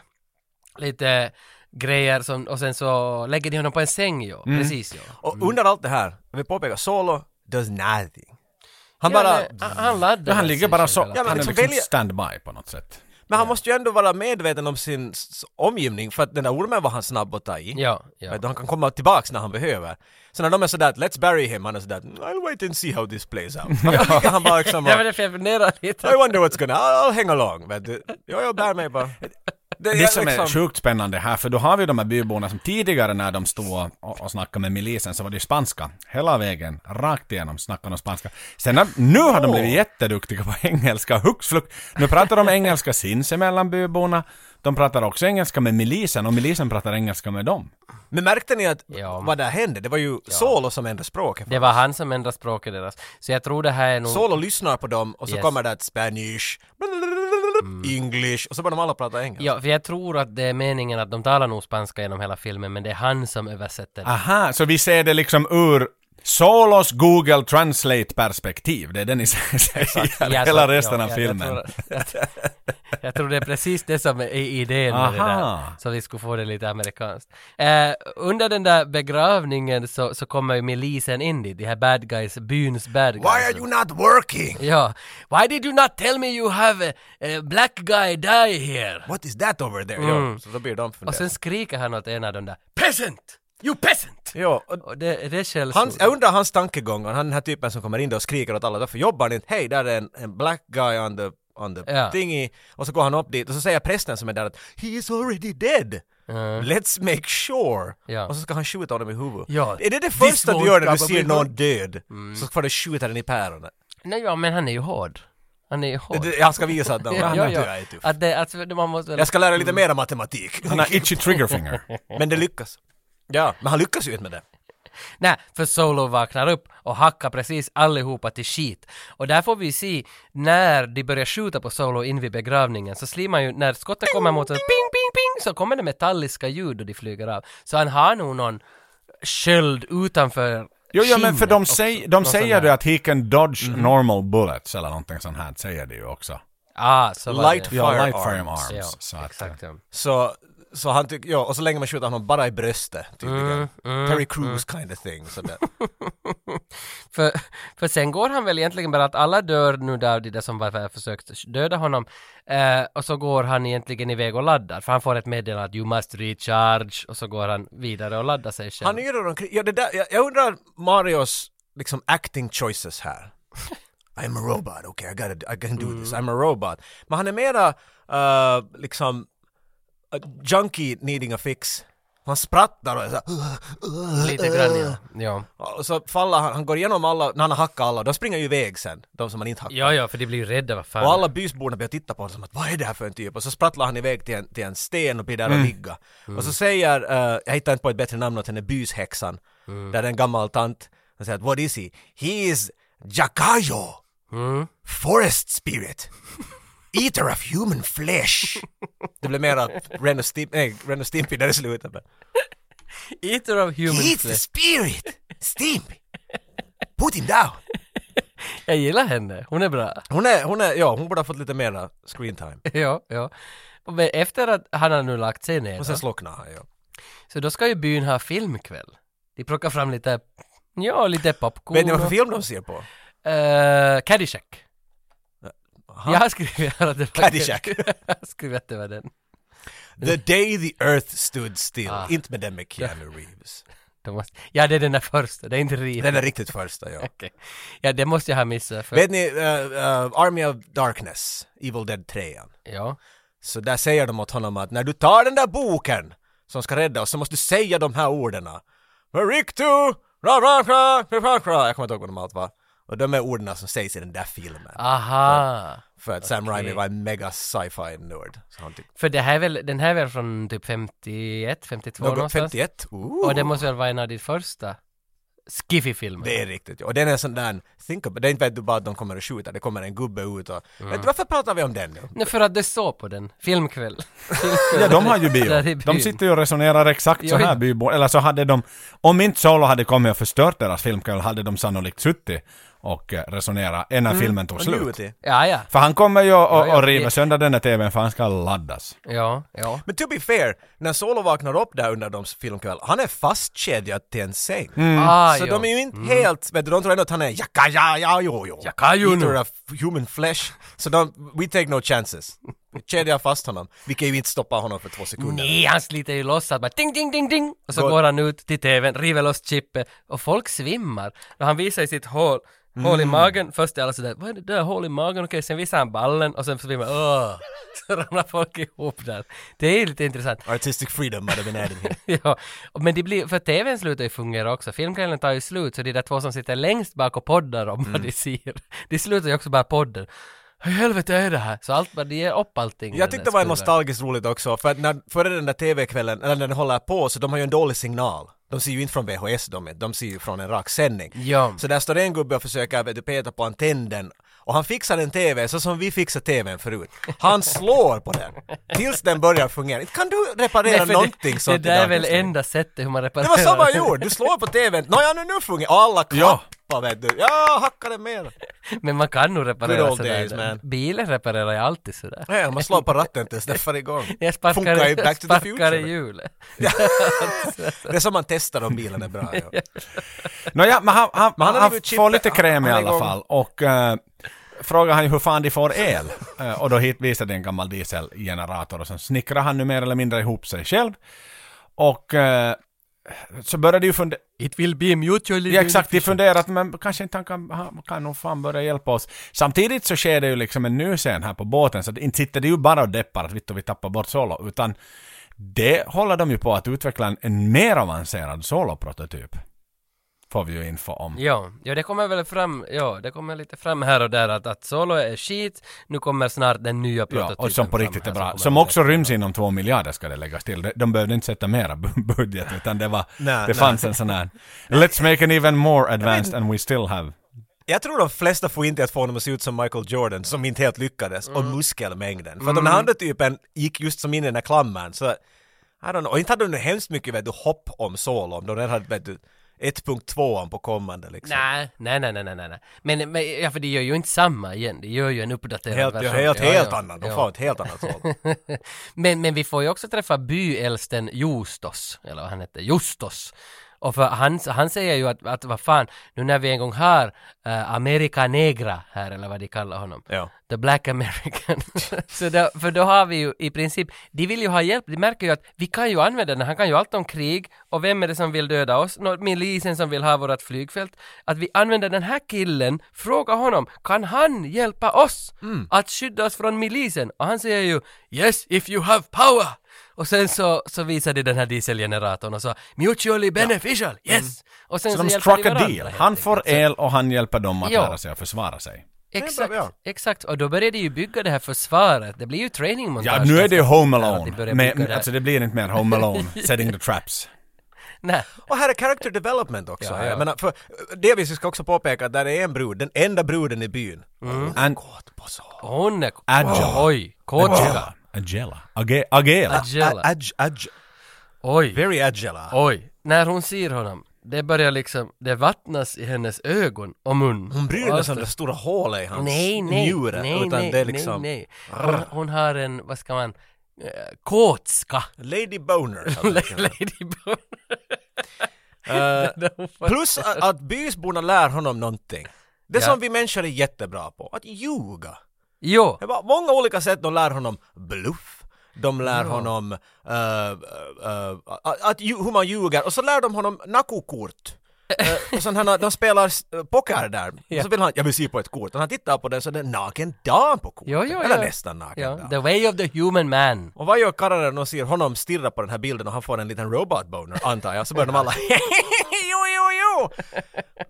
lite grejer som, och sen så lägger de honom på en säng ju,
Mm.
precis ju.
Och under allt det här, jag vill påpeka, Solo does nothing. Han
Ja,
bara...
nej, han, han laddar
Ja, han
sig
ligger bara
själv
så.
hela
Han är
men
liksom
liksom välja-
standby på något sätt.
Men han måste ju ändå vara medveten om sin s- omgivning för att den där ormen var han snabb att ta i.
Ja, ja.
Vet du, Han kan komma tillbaks när han behöver. Så när de är sådär att “Let's bury him” han är sådär "Mm, “I'll wait and see how this plays out”. han bara liksom
Ja, men det är för jag funderar lite.
“I wonder what's gonna... I'll, I'll hang along”. Vet du. Ja, jag bär mig bara.
Det,
jag
som är
liksom-
sjukt spännande här, för då har vi ju de här byborna som tidigare när de stod och, och snackade med milisen så var det ju spanska. Hela vägen, rakt igenom snackade de spanska. Sen har- nu har de blivit jätteduktiga på engelska, hux flux. Nu pratar de engelska sinsemellan byborna. De pratar också engelska med milisen och milisen pratar engelska med dem.
Men märkte ni att
Ja.
vad där hände? Det var ju Solo som ändrade språket.
Det var han som ändrade språket deras. Så jag tror det här är nog...
Solo lyssnar på dem och så
Yes. Mm.
kommer det ett Spanish, English och så börjar de alla prata engelska.
Ja, för jag tror att det är meningen att de talar nog spanska genom hela filmen, men det är han som översätter.
Ah,
Aha, så vi ser det liksom ur Solos Google Translate-perspektiv. Det är det ni säger,
Ja, så-
hela resten
ja,
av
jag-
filmen.
Jag tror, jag, jag tror det är precis det som är idén med det
Aha.
där. Så vi skulle få det lite amerikanskt. Eh, under den där begravningen så, så kommer ju milisen in dit, de här bad guys, byns bad guys.
Why are you not working?
Ja. Why did you not tell me you have a, a black guy die here?
What is that over there? Ja, så då blir de
Mm. Och
fundersamma.
sen skriker han åt en av de där Peasant! You peasant!
Ja, och
Och det, det är
han,
skällsord.
jag undrar hans tankegångar, han den här typen som kommer in och skriker åt alla, varför jobbar ni inte? Hej, där är en, en black guy on the, on the
Ja.
thingy. Och så går han upp dit och så säger prästen som är där att he is already dead. Let's make sure!
Ja.
Och så ska han skjuta honom i huvudet.
Ja.
Är det det
This
första du
won't Mm.
gör när du
probably
ser någon
hurt.
död? Så får du skjuta den i päronen.
Nej, ja, men han är ju hård. Han är ju hård.
Det- Han ska visa att den
ja, ja, ja.
är tuff.
Att det, att man måste väl...
Jag ska lära lite mer om matematik.
Han har itchy triggerfinger.
Men det lyckas. Ja, men han lyckas ju inte med det.
Nej, för Solo vaknar upp och hackar precis allihopa till skit. Och där får vi se när de börjar skjuta på Solo in vid begravningen så slir man ju, när skottet kommer mot oss, ping, ping, ping, så kommer det metalliska ljud och de flyger av. Så han har nog någon sköld utanför
Jo, ja, men för
skinnet
de,
också.
säg,
Någon
de
sån
säger
där-
ju att he can dodge normal bullets eller någonting sånt här, säger de ju också.
Ah, så var
Light
det.
Ja, light
Firearms.
firearms.
Ja,
så att,
exakt. ja.
Så, så han tycker, ja, och så länge man skjuter honom bara i bröstet tydligen. Terry Crews kind of thing. Så det.
För, för sen går han väl egentligen bara att alla dör nu där, de där som var försökt döda honom. Eh, och så går han egentligen iväg och laddar, för han får ett meddelande att you must recharge, och så går han vidare och laddar sig själv.
Han yrar omkring, ja det där, jag, jag undrar Marios liksom acting choices här. I'm a robot, okay I, gotta, I can do this, I'm a robot. Men han är mera eh, liksom a junkie needing a fix. Han sprattar och är så här,
Lite grann ja. ja.
Och så faller han, han går igenom alla, när han hackar alla, de springer ju iväg sen, de som han inte hackar.
Ja, ja, för de blir ju rädda, vad fan.
Och alla bysborna börjar titta på honom som att vad är det här för en typ? Och så sprattlar han iväg till en, till en sten och blir där
Mm.
och ligga. Och så säger, eh, jag hittar inte på ett bättre namn åt henne, byshäxan.
Mm.
Där är en gammal tant. Hon säger att what is he? He is Jakayo!
Mm.
Forest spirit! Eater of human flesh! Det blir mera Ren och Stim- nej, Ren och Stimpy där i slutet. men-
Eater of human
He eats the
flesh.
spirit! Stimpy! Put him down!
Jag gillar henne, hon är bra.
Hon är, hon är, ja hon borde ha fått lite mera screen time.
ja, ja. Men efter att han har nu lagt sig ner,
Och sen slocknar han ja.
så då ska ju byn ha filmkväll. De plockar fram lite, ja, lite popcorn.
Vet ni vad
och-
för film de ser på?
Eh, Caddyshack.
Aha.
Jag har skrivit här att det var
Caddyshack.
Jag har skrivit att det var den.
The day the earth stood still.
Ah.
Inte med den med Keanu Reeves.
De måste... Ja, det är den där första, det är inte Rio.
Den är riktigt första, ja.
Okej. Ja, det måste jag ha missat. För...
Vet ni, eh, eh, Army of Darkness, Evil Dead 3.
Ja.
Så där säger de åt honom att när du tar den där boken som ska rädda oss så måste du säga de här orden. Riktu, ra ra ra, ra ra Jag kommer inte ihåg vad de allt var. Och de är orden som sägs i den där filmen.
Ah, Aha.
För att Sam Raimi var en mega sci-fi nörd. Så han tyckte,
För det här är väl, den här är väl från typ 51, 52
något
någonstans?
51?
Och
Ooh.
det måste väl vara en av de första skiffy-filmer?
Det är riktigt. Och den är sån där, think about, det är inte vet du bara att de kommer att skjuta, det kommer en gubbe ut och... Vet du, varför pratar vi om den nu?
Nej, för att det står på den. Filmkväll.
Ja, de har ju
Där i
bio.
byn.
De sitter ju och resonerar exakt så här, bybo. Eller så hade de, om inte Solo hade kommit och förstört deras filmkväll, hade de sannolikt suttit och eh, resonerat innan filmen tog
Och nu
slut.
till.
Ja, ja.
För han kommer ju och,
Ja, ja,
och
det-
riva sönder den där TVn för han ska laddas.
Ja, ja.
Men to be fair, när Solo vaknar upp där under deras filmkväll, han är fastkedjad till en säng.
Ah,
Så
jo.
de är ju inte helt, vet du, de tror ändå att han är jacka ja ja jo jo.
Jacka, jo,
Eater
no.
of human flesh. Så de, we take no chances. Kedjar fast honom. Vi kan ju inte stoppa honom för två sekunder.
Nej, han sliter ju loss att bara ding, ding, ding, ding. Och så
Går-
går han ut till tvn, river loss chippet och folk svimmar. Och han visar i sitt hål Hål i
Mm.
magen, först är alla sådär, vad är det där, hål i magen, okej, sen visar han ballen och sen så blir man åh, så ramlar folk ihop där. Det är ju lite intressant.
Artistic freedom hade been added here.
ja, men det blir, för tvn slutar ju fungera också, filmkvällen tar ju slut så de där två som sitter längst bak och poddar om
Mm.
vad de ser, de slutar ju också bara podden. Hur i helvete är det här? Så allt bara, de ger upp allting.
Jag tyckte det var
nostalgi.
nostalgiskt roligt också, för att när, före den där TV-kvällen, eller när den håller på, så de har ju en dålig signal. De ser ju inte från VHS de, de ser ju från en rak sändning.
Ja.
Så där står en gubbe och försöker vet du, peta på antennen och han fixar en TV så som vi fixar TVn förut. Han slår på den tills den börjar fungera. Inte Kan du reparera
för
någonting
det, det
sånt i
där är väl
dagens läge?
enda sättet hur man reparerar.
Det var så man gjorde, du slår på TVn, nåja nu, nu fungerar Och alla
Ja.
klappar vet du. Ja, hacka den mer.
Men man kan nog
Good
reparera
old days,
sådär.
man.
Bilen reparerar jag alltid sådär.
Ja, man slår på ratten tills den far igång.
Jag
Funkar i
sparkar,
Back to the
sparkar i
Future.
hjulet.
Det är som man testar om bilen är bra. Ja.
Nåja, men han, han,
Men han
han,
har
han
ju chip-
får lite kräm i
han är
alla
igång.
fall. Och eh, frågar han ju hur fan de får el. Eh, och då hit visade en gammal dieselgenerator och sen snickrar han nu mer eller mindre ihop sig själv. Och eh, så började ju fundera...
It will be mutually
Ja exakt, de funderar att men kanske inte han kan, han kan nog fan börja hjälpa oss. Samtidigt så sker det ju liksom en ny scen här på båten så att inte sitter det ju bara och deppar att vittu vi tappar bort Solo utan det håller de ju på att utveckla en, en mer avancerad Solo-prototyp. Får vi ju info om.
Ja, ja, det kommer väl fram, ja, det kommer lite fram här och där att, att Solo är skit, nu kommer snart den nya
Ja,
prototypen
och som på
fram
riktigt
här
är bra.
kommer
Som
att-
också ryms inom två miljarder ska det läggas till. De, de behövde inte sätta mera bu- budget utan det var...
Nej,
det
nej.
fanns en sån här... Let's make an even more advanced and we still have...
Jag tror de flesta får inte att få honom att se ut som Michael Jordan, som inte helt lyckades, och
Mm.
muskelmängden. För att om den andra typen gick just som in i den där klammern, så... I don't know. Och inte hade de nu hemskt mycket vet du, hopp om solo, om de redan hade vet du, 1.2 på kommande liksom.
Nej, nej, nej, nej, nej, nej. Men, men ja, för det gör ju inte samma igen, det gör ju en uppdaterad
Helt,
version.
helt,
Ja,
helt
ja,
annan. De
ja.
får ett helt annat solo.
men, men vi får ju också träffa byäldsten Justos, eller vad han hette, Justos. Och för han, han säger ju att, att vad fan, nu när vi en gång har eh, America Negra här, eller vad de kallar honom.
Ja.
The Black American. så då, för då har vi ju i princip, de vill ju ha hjälp, de märker ju att vi kan ju använda den, han kan ju allt om krig och vem är det som vill döda oss? Nå, milisen som vill ha vårt flygfält. Att vi använder den här killen, fråga honom, kan han hjälpa oss
Mm.
att skydda oss från milisen? Och han säger ju Yes, if you have power! Och sen så, så visar de den här dieselgeneratorn och sa Mutually beneficial, yes! Och sen
Mm. Så de
hjälper
struck a
varandra
deal.
helt
Han
enkelt.
får
Så-
el och han hjälper dem att
Ja.
lära sig att försvara sig.
Exakt,
ja.
exakt. Och då började ju bygga det här försvaret. Det blir ju training
Ja, nu är det ju Home Alone.
Med,
Men, men, alltså det blir inte mer Home Alone, setting the traps.
Nej,
Och här är character development också.
Ja, ja.
Jag menar, för, delvis vi ska också påpeka att där är en brud, den enda bruden i byn.
Mm.
And
Kåt på solo.
hon är...
Agela.
Oj, Kotska.
Agela. Agela. Age- Agela.
Agela.
Ag- ag-
Oj,
very agile.
oj. När hon ser honom, det börjar liksom, det vattnas i hennes ögon och mun.
Hon bryr sig
Och
nästan om
allt-
det stora hålet i hans
Nej, nej,
njure.
nej,
utan
nej,
det är liksom
nej, nej. Hon, hon har en, vad ska man, eh, kåtska.
Lady Boner. kallar det.
Ladybug.
Eh. Plus att, att bysborna lär honom någonting. Det
Ja.
som vi människor är jättebra på, att ljuga.
Jo,
Det var många olika sätt de lär honom bluff. De lär honom eh, eh, eh, att, att, lju- hur man ljuger och så lär de honom nakokort. Eh, och sen han, de spelar s- eh, poker där, och så vill han, jag vill se på ett kort, och han tittar på den så är det en naken dam på kortet.
jo, jo.
Eller
jo.
nästan naken
ja.
dam.
The way of the human man.
Och vad gör karlarna när de ser honom stirra på den här bilden och han får en liten robotboner antar jag, så börjar de alla jo, jo, jo!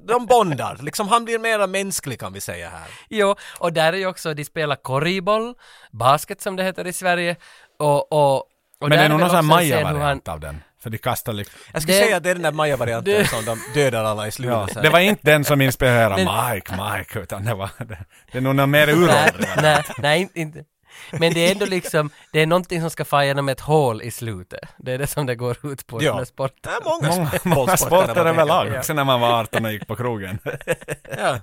De bondar, liksom han blir mera mänsklig kan vi säga här.
Jo, och där är ju också, de spelar korriboll, basket som det heter i Sverige, och, och, och
Men
där
det är
väl
nog någon sån här
också en scen hur
Maja-variant av den. För de kastar liksom...
Jag skulle
Det-
säga att det är den där Maja-varianten som de dödar alla i slutet.
Ja,
så här.
det var inte den som inspirerade Mike, Mike, utan det var... Det, det är nog någon mer
Nej,
uråldrig.
nej, nej, inte- inte. Men det är ändå liksom, det är någonting som ska fara genom ett hål i slutet. Det är det som det går ut på i
Ja.
den här
Det
sporten.
är många,
Många,
sp-
många sporter
man
överlag,
tänker på.
också när man var 18 och gick på krogen.
Ja.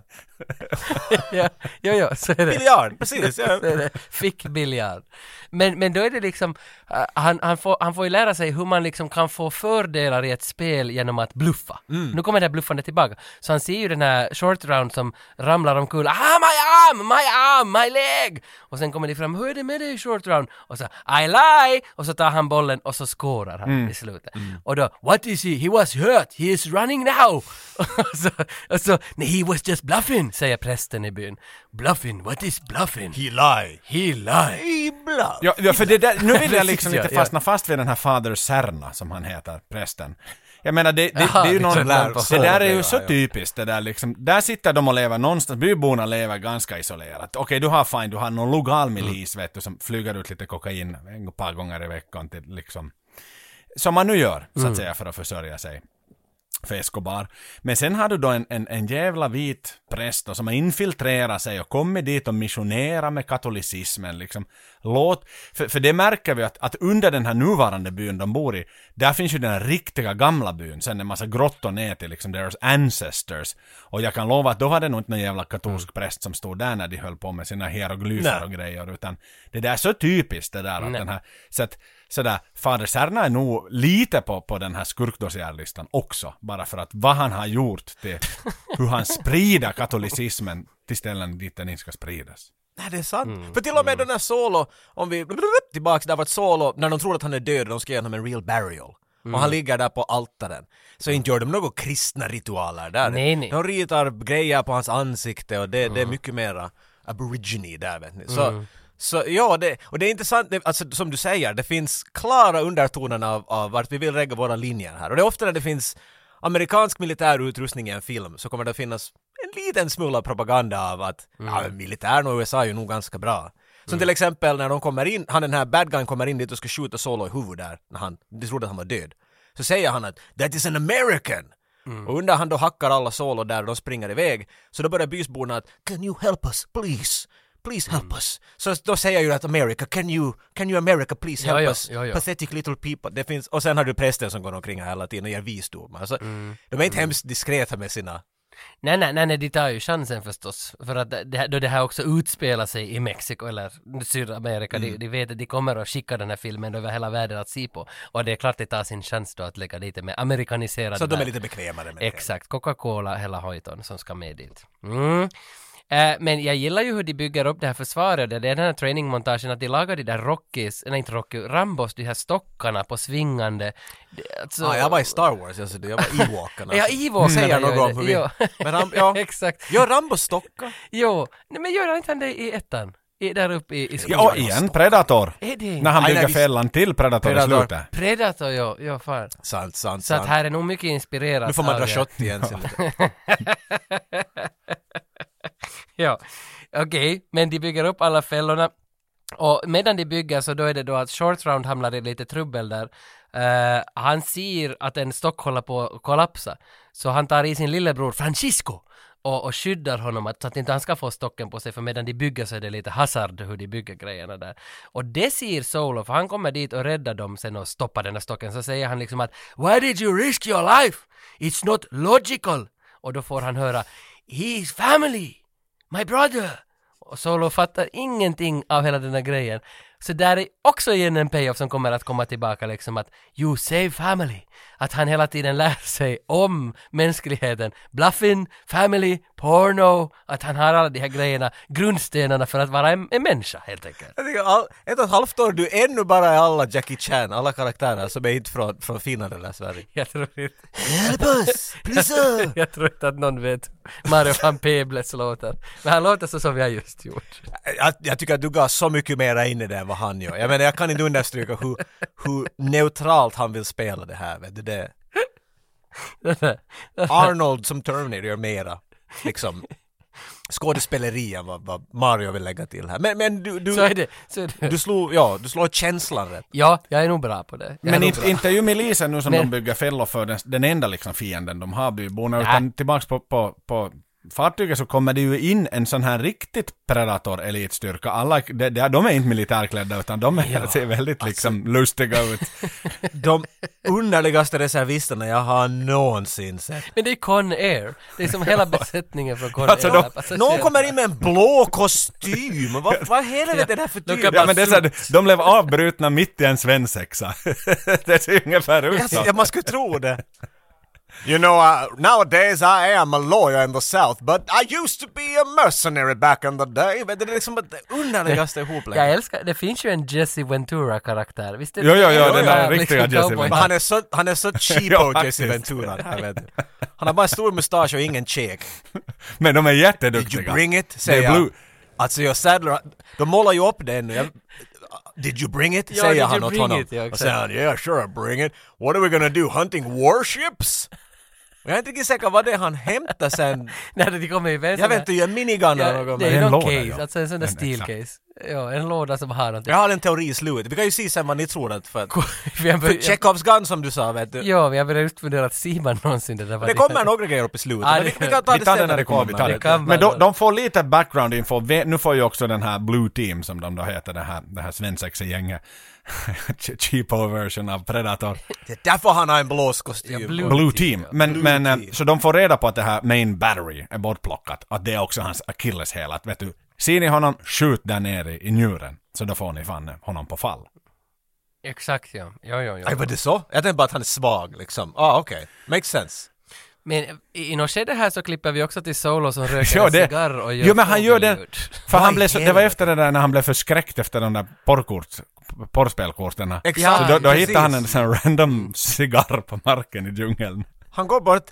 Ja, ja, ja, så är det.
Biljard, precis. Ja.
Så är det. Fick biljard. Men, men då är det liksom, eh, han, han, får, han får ju lära sig hur man liksom kan få fördelar i ett spel genom att bluffa. Nu kommer det här bluffandet tillbaka. Så han ser ju den här short round som ramlar omkull. Ah, my arm, my arm, my leg! Och sen kommer det fram, hur är det med dig short round? Och så, I lie! Och så tar han bollen och så scorar han i slutet. Och då, what is he? He was hurt, he is running now! och, så, och så, nej, he was just bluffing! Bluffin, säger prästen i byn. Bluffin, what is bluffin?
He lie.
He lie.
Ibland.
Ja, ja för det där, nu vill jag liksom
Ja,
inte
ja.
fastna fast vid den här Fader Serna som han heter, prästen. Jag menar, det, det,
Jaha,
det är ju
liksom
någon,
där på
det där är ju
Fågelö,
så
ja.
typiskt det där liksom. Där sitter de och lever någonstans, byborna lever ganska isolerat. Okej, du har fine, du har någon lokal
Mm.
milis vet du som flyger ut lite kokain en par gånger i veckan till liksom. Som man nu gör,
Mm.
så att säga, för att försörja sig för Escobar. Men sen har du då en, en, en jävla vit präst då, som har infiltrerat sig och kommit dit och missionerat med katolicismen. Liksom. Låt, för, för det märker vi att, att under den här nuvarande byn de bor i, där finns ju den här riktiga gamla byn, sen en massa grottor ner till liksom deras ancestors. Och jag kan lova att då var det nog inte någon jävla katolsk präst som stod där när de höll på med sina hieroglyfer
Nej.
och grejer, utan det där är så typiskt det där att den här, så att sådär, Fader Serna är nog lite på, på den här skurkdossiärlistan också, bara för att vad han har gjort till hur han sprider katolicismen till ställen dit den inte ska spridas.
Nej, det är sant.
Mm,
För till och med den här Solo, om vi tillbaks där vart Solo, när de tror att han är död, de ska ge honom en real burial. Och
Mm.
han ligger där på altaren. Så inte gör de några kristna ritualer där.
Nej, nej.
De ritar grejer på hans ansikte och det, det är mycket mera aborigine där vet ni. Så, så ja, det, och det är intressant, det, alltså, som du säger, det finns klara undertoner av, av vart vi vill lägga våra linjer här. Och det är ofta när det finns amerikansk militär utrustning i en film så kommer det finnas en liten smula propaganda av att ja, men militären och USA är ju nog ganska bra. Som till exempel när de kommer in, han den här bad guyn kommer in dit och ska skjuta Solo i huvudet där, när han, de trodde att han var död. Så säger han att “That is an American!”
Mm.
Och under han då hackar alla Solo där och de springer iväg, så då börjar bysborna att “Can you help us, please?” Please
Mm.
help us. Så då säger ju att America, can you, can you America please
Ja,
help
ja,
us?
ja, ja.
Pathetic little people. Det finns, och sen har du prästen som går omkring här hela tiden och ger visdomar. Så
Mm.
De är inte hemskt diskreta med sina
Nej, nej, nej, nej, de tar ju chansen förstås. För att det, här- då det här också utspelar sig i Mexiko eller Sydamerika,
Mm.
de, de vet att de kommer att skicka den här filmen över hela världen att se på. Och det är klart de tar sin chans då att lägga dit med amerikaniserad
Så att de är
värld.
lite bekvämare med det.
Exakt, Coca-Cola, hela hojton som ska med dit. Mm. Eh, men jag gillar ju hur de bygger upp det här försvaret, det är den här trainingmontagen, att de lagar de där Rockies, nej inte Rocky, Rambos, de här stockarna på svingande. Det- Alltså,
Ja, jag var i Star Wars, alltså, jag var Ewokarna.
Ja, Ewokarna
Säger
gör
någon gång
det,
förbi.
ja.
Men Ram, ja.
Exakt.
Gör Rambo stocka?
Jo, nej men gör inte han det i ettan? I, där uppe i, i skogen?
Ja, och igen Predator!
Är det
När han
Nej, nej,
bygger
visst.
fällan till Predator, i
Predator.
slutet.
Predator, jo, jo fan.
Sant, sant,
Så att
sant.
här är nog mycket inspirerat
Nu får man
av
dra
det.
kött igen. sen lite.
Ja, okej, men de bygger upp alla fällorna. Och medan de bygger så då är det då att short round hamnar i lite trubbel där. Eh, han ser att en stock håller på att kollapsa. Så han tar i sin lillebror Francisco och, och skyddar honom att, så att inte han ska få stocken på sig för medan de bygger så är det lite hazard hur de bygger grejerna där. Och det ser Solo för han kommer dit och räddar dem sen och stoppar den här stocken. Så säger han liksom att “Why did you risk your life? It's not logical!” Och då får han höra “His family!” My brother! Och Solo fattar ingenting av hela den här grejen. Så där är också igen en payoff som kommer att komma tillbaka liksom att You save family! Att han hela tiden lär sig om mänskligheten. Bluffin, family, porno, att han har alla de här grejerna, grundstenarna för att vara en, en människa helt enkelt.
Jag tycker all- Ett och ett halvt år, du ännu bara är alla Jackie Chan, alla karaktärer som är inte från, från Finland eller Sverige.
Jag tror inte,
Help us! Please!
jag tror inte att någon vet Mario van Peebles låtar. Men han låter så som vi har just gjort.
jag, jag tycker att du gav så mycket mera in i det än vad han gör. Jag menar, jag kan inte understryka hur, hur neutralt han vill spela det här. Vet du, det. Arnold som Terminator gör mera liksom, skådespeleri än vad, vad Mario vill lägga till här. Men, men du,
Så är
du,
det. Så är det.
du, slog, ja, du slår känslan rätt.
Ja, jag är nog bra på det. Jag är
Men
nog
inte,
bra.
inte ju milisen nu som
Men-
de bygger fällor för, den, den enda liksom fienden de har byborna,
Nä.
utan tillbaks på, på, på fartyget så kommer det ju in en sån här riktigt predator-elitstyrka. Alla, de, de, de är inte militärklädda utan de är, ser väldigt
alltså.
liksom lustiga ut.
De underligaste reservisterna jag har någonsin sett.
Men det är Con Air. Det är som hela besättningen från Con
Alltså,
Air.
de-
Alla passagerare.
Någon kommer in med en blå kostym! Vad, vad helvete är det här för typ?
ja, men det är så här, de blev avbrutna mitt i en svensexa. det ser ungefär ut så.
Ja, man skulle tro det. You know, uh, nowadays I am a lawyer in the South, but I used to be a mercenary back in the day. Men det är liksom det underligaste
Jag
ihoplänket.
älskar, det finns ju en Jesse Ventura-karaktär, visst är
Jo, jo, jo, den
där
liksom
riktiga Jesse
cowboy.
Ventura.
Men han är så, han är så
Ja,
cheapo,
faktiskt.
Jesse Ventura, den här vet du. Han har bara en stor mustasch och ingen käk.
Men de är
Did
jätteduktiga.
you bring it?
Det är
Säger jag.
blue.
Alltså jag Sadler, de målar ju upp det nu. Jag- Did you bring it?
Ja, did
säger
you
han åt
bring
honom.
it? Ja,
och
exakt.
säger han, yeah sure I bring it. What are we gonna do? Hunting warships? Och jag är inte riktigt säker vad det är han hämtar sen.
Nej, det kommer ju väl
Jag vet inte, jag är minigun eller
Ja,
något.
det
men-
Det är
är
en
någon
låda,
case,
ja.
alltså en sån där
Men exakt.
stilcase. Ja, en låda som har någonting.
Jag har en teori i slutet. Vi kan ju se sen vad ni tror att för...
Vi har
för
börjat-
Chekhovs gun som du sa vet du.
Ja, vi har börjat just fundera att ser man någonsin det där? vad
Det kommer några grejer upp i slutet.
Ja,
men
det-
vi, vi kan ta
Vi
det
tar
sen
den när det kommer. Vi tar
Det
det.
kan
Men
man-
de, de får lite background info. Ve- Nu får ju också den här Blue Team som de då heter, det här, det här svensexa gänget. Cheapo version av Predator.
Det är därför han har en blåskostym.
Ja, blue-
Blue Team. Men, men eh,
Team.
så de får reda på att det här Main Battery är bortplockat. Att det är också hans akilleshäl. Att vet du, ser ni honom, skjut där nere i i njuren. Så då får ni fan eh, honom på fall.
Exakt ja, ja, ja, ja.
Nej, var det så? Jag tänkte bara att han är svag liksom. Ah, okej. Makes sense.
Men i, i något skede här så klipper vi också till Solo som röker
Ja,
en
det.
cigarr och gör
Jo men han gör det.
fågelljud.
För
Vad
han
i
blev så, det var
helvete?
efter det där när han blev förskräckt efter de där porrkort, porrspelkorten.
Exakt,
så då, då
precis.
hittade han en sån random cigarr på marken i djungeln.
Han går bort,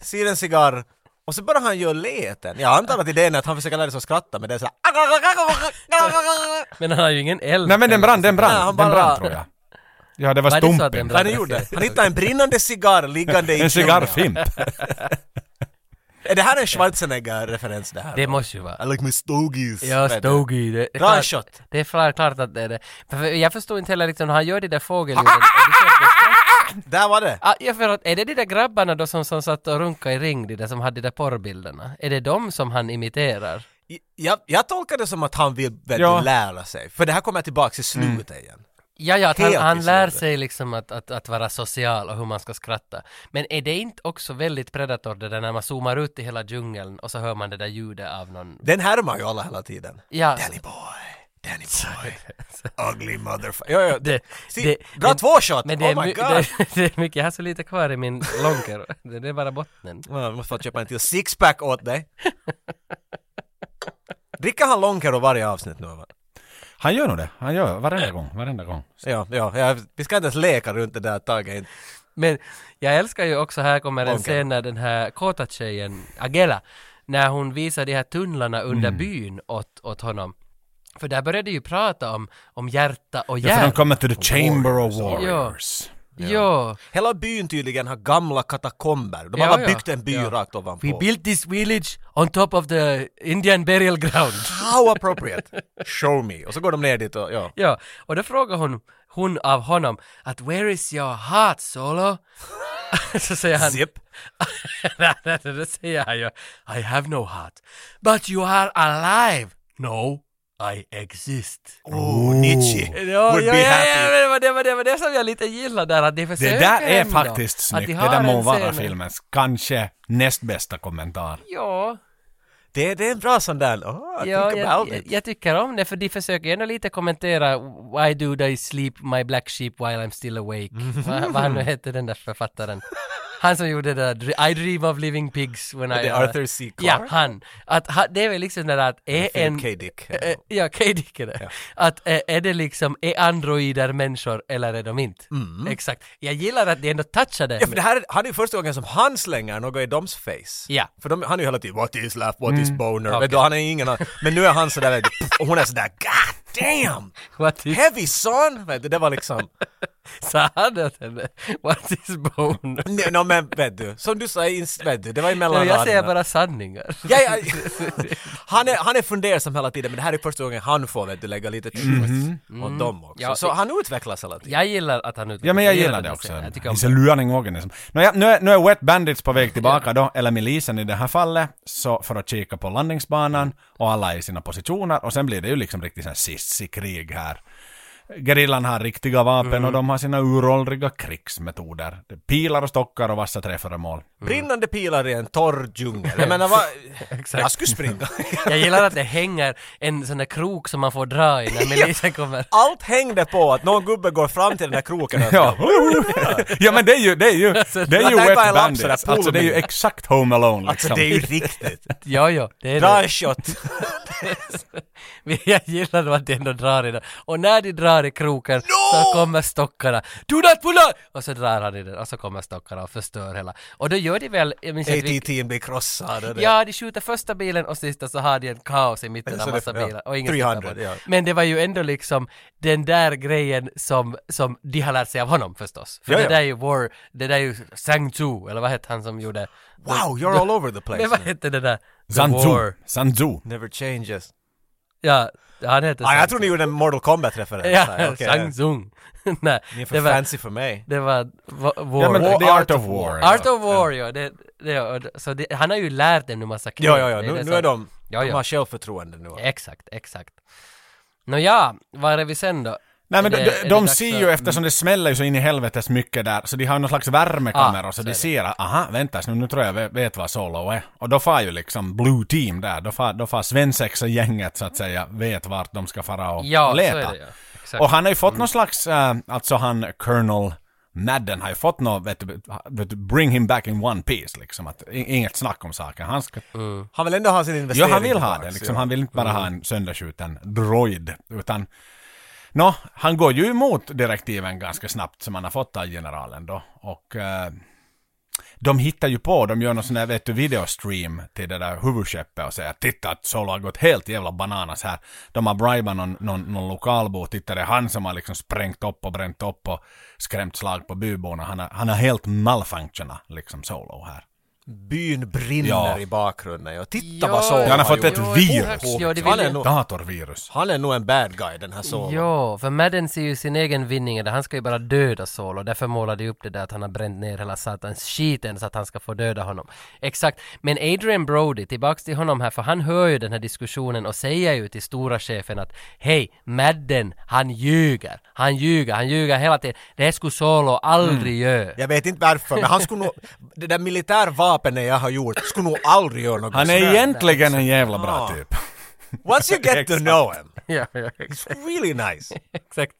ser en cigarr och så börjar han göra leten. Jag antar att idén är att han försöker lära sig att skratta men det är så här...
Men han har ju ingen eld.
Nej men den brann, den brann,
Nej, han
den brann
bara-
tror jag. Ja det var
Var det så att den
stumpen.
brann?
Han gjorde det. Han hittade en brinnande cigarr liggande i
En
djungeln.
cigarrfimp.
Är det här en Schwarzenegger-referens det här?
Det måste ju vara.
I like my stogies.
Ja,
vet du.
Stogie. Det, det,
Bra
klart-
shot.
det är klart, klart att det är det. För- för Jag förstod inte heller liksom, när han gör de där fågelljuden. och det känns-
Där var det.
Ah, Ja, för att, är det de där grabbarna då som, som satt och runkade i ring, de där som hade de där porrbilderna? Är det de som han imiterar?
Jag, jag tolkar det som att han vill väl
Ja.
lära sig. För det här kommer tillbaka i
Mm.
slutet igen.
Ja, ja, att han,
Helt
han lär
isolerade.
sig liksom att, att, att vara social och hur man ska skratta. Men är det inte också väldigt Predator det där när man zoomar ut i hela djungeln och så hör man det där ljudet av någon...
Den härmar ju alla hela tiden.
Ja,
Danny boy, Danny boy, ugly motherfucker. Ja, ja,
det,
See,
det,
dra
men-
två shot!
Men det är,
oh my
my-
god!
Det, det är mycket, jag har så lite kvar i min lonker. det, det är bara botten.
Ja, Jag måste få köpa en till sixpack åt dig. Dricker han Lonkero varje avsnitt nu? va?
Han gör nog det, han gör varenda gång, varenda gång.
Ja, ja, ja, vi ska inte ens leka runt det där taget.
Men jag älskar ju också, här kommer en
Okej.
scen när den här kåta tjejen, Agela, när hon visar de här tunnlarna under
Mm.
byn åt, åt honom. För där började ju prata om, om hjärta och
Ja, för de
hjärna.
kommer till the Chamber of Warriors.
Ja.
Hela byn tydligen har gamla katakomber. De
Ja,
har bara
ja.
byggt en by
Ja.
rakt
We
ovanpå.
built this village on top of the Indian burial ground.
How appropriate! Show me! Och så går de ner dit och ja.
ja, och då frågar hon, hon av honom att “Where is your heart, Solo?” Så säger han...
Zip.
nej, nej, nej, då säger han ju “I have no heart, but you are alive!” “No, I exist.”
Oh, Nietzsche!
Ja,
Would
ja,
be
ja,
happy.
ja, men det, var det var det var det som jag lite gillar där, att de
Det
försöker
där är
ändå.
faktiskt
Att
snyggt.
de
Det
har
där
en
må vara
scen-
filmens kanske näst bästa kommentar.
Ja,
Det, det är en bra sån där... Oh,
ja
think
jag,
about
jag,
it.
jag tycker om det, för de försöker ändå lite kommentera “Why do I sleep my black sheep while I'm still awake?”
Mm.
Va- Vad han nu hette den där författaren. Han som gjorde det där “I dream of living pigs when I...”
det
are-"
Arthur C.
Ja,
Clarke?
han. Att, ha- det är väl liksom det där att är en...
Philip K. Dick.
Eh, Ja, K. Dick är det. Att eh, är det liksom, är androider människor eller är de inte? Exakt. Jag gillar att de ändå touchade.
Mm. Ja, för det här är, han är ju första gången som han slänger något i doms face.
Ja. Mm.
För de, han är ju hela tiden “What is love? What is boner?” Vet du, han är ingen annan. Men nu är han sådär, vet du, och hon är sådär “God damn!
What is,
Heavy son!” Vet du, det var liksom...
sa han åt henne? What is bone?
Nej, no, men vet du, som du sa, ins- vet du, det var
Ja,
emellan
jag säger
raderna.
bara sanningar.
Ja, ja. Han, är, han är fundersam hela tiden, men det här är första gången han får vet du, lägga lite truth åt dem också.
Mm-hmm. Mm. Ja,
så
det-
han utvecklas hela tiden.
Jag gillar att han utvecklar
Ja men jag gillar
den
det
här
också.
scenen. Jag tycker om
He's a learning organism. Nåja, nu, är, nu är Wet Bandits på väg tillbaka då, eller milisen i det här fallet, så för att kika på landningsbanan och alla är i sina positioner och sen blir det ju liksom riktigt sån här sissi-krig här. Gerillan har riktiga vapen och de har sina uråldriga krigsmetoder. Pilar och stockar och vassa träföremål.
Mm.
Brinnande pilar i en torr djungel. Jag menar, vad... Jag skulle springa.
Jag gillar att det hänger en sån där krok som man får dra i när milisen kommer.
Allt hängde på att någon gubbe går fram till den här kroken och
Ja. ja men det är ju, det är ju, det är ju
Tänk bara
Wet
en lapp sådär,
Bandits. Alltså det är ju
pullman.
exakt Home Alone
Alltså
liksom.
det är ju riktigt.
Ja, ja, det är
Dra
det.
en shot.
Men Jag gillar nog att de ändå drar i den. Och när de drar i kroken så kommer stockarna. Do not pull out! Och så drar han i den och så kommer stockarna och förstör hela. Och då gör de väl, jag minns inte vilken-
AT-team blir krossad. och det-
Ja, de skjuter första bilen och sista så har de en kaos i mitten
Så
av
det-
massa
ja.
bilar. Och ingen tittar på
300,
det.
ja.
Men det var ju ändå liksom den där grejen som, som de har lärt sig av honom förstås. För
Ja,
det
ja.
där är ju War, det där är ju Sang Tzu, eller vad hette han som gjorde?
Wow, you're all over the
Men vad
place.
hette det där? The
Zanzu.
War.
Zanzu.
Never changes.
Ja, han heter
Ah,
Sang
jag tror ni gjorde en Mortal Kombat-referens.
Ja,
här. Okej.
Sang Tsung. Nej,
Ni är för
det var,
fancy för mig.
det var va- War.
Ja men
War- alltså.
The Art of War.
Art of War, ja. Det, det, ja, och det- så det, han har ju lärt dem nu massa knep.
Ja, ja, ja.
Det
Nu,
det
nu
som-
är de...
Ja,
De
ja.
har självförtroende nu.
Exakt, exakt. Nåja, var är vi sen då?
Nej men
Är
de,
det- är
de,
det
de
dags
ser
för-
ju eftersom det smäller ju så in i helvetes mycket där, så de har någon slags värmekameror
Ah,
så
så
de
är det.
ser att aha, vänta nu, nu tror jag jag vet vad Solo är. Och då far ju liksom Blue Team där, då far, då far svensexa-gänget så att säga, vet vart de ska fara och
Ja,
leta.
så är det ja. Exakt. Mm.
Och han har ju fått någon slags, äh, alltså han Colonel Madden har ju fått något, vet, du, vet, du, bring him back in one piece liksom. Att, i- inget snack om saken. Han ska,
Mm.
Han vill ändå ha sin
ja,
investering
han vill ha
tillbaks,
det liksom.
ja. Mm.
Han vill inte bara ha en sönderskjuten droid. Utan, nå, han går ju emot direktiven ganska snabbt som han har fått av generalen då. Och eh, de hittar ju på, de gör någon sån där, vet du, videostream till det där huvudskeppet och säger titta att Solo har gått helt jävla bananas här. De har bribat någon, någon, någon lokalbo, titta det är han som har liksom sprängt upp och bränt upp och skrämt slag på byborna. Han har, han har helt malfunctionat liksom Solo här.
Byn brinner
Ja.
i bakgrunden. Ja, titta
Ja,
vad Solo
Han har fått
gjort.
ett virus.
exakt. Ja, det
Han
vill
är
ju...
nog-
Datorvirus.
Han är nog en bad guy den här Solo.
Ja, för Madden ser ju sin egen vinning i det. Han ska ju bara döda Saul och därför målar de upp det där att han har bränt ner hela satans skiten så att han ska få döda honom. Exakt. Men Adrian Brody, tillbaks till honom här, för han hör ju den här diskussionen och säger ju till stora chefen att hej, Madden, han ljuger. Han ljuger, han ljuger hela tiden. Det här skulle Solo aldrig
Mm.
göra.
Jag vet inte varför, men han skulle nog... Det där militärvapnet jag har gjort skulle nog aldrig göra något
Han är
sådär.
egentligen en jävla bra typ.
Once you get to know him,
Ja, ja, exakt.
it's really nice.
Exakt.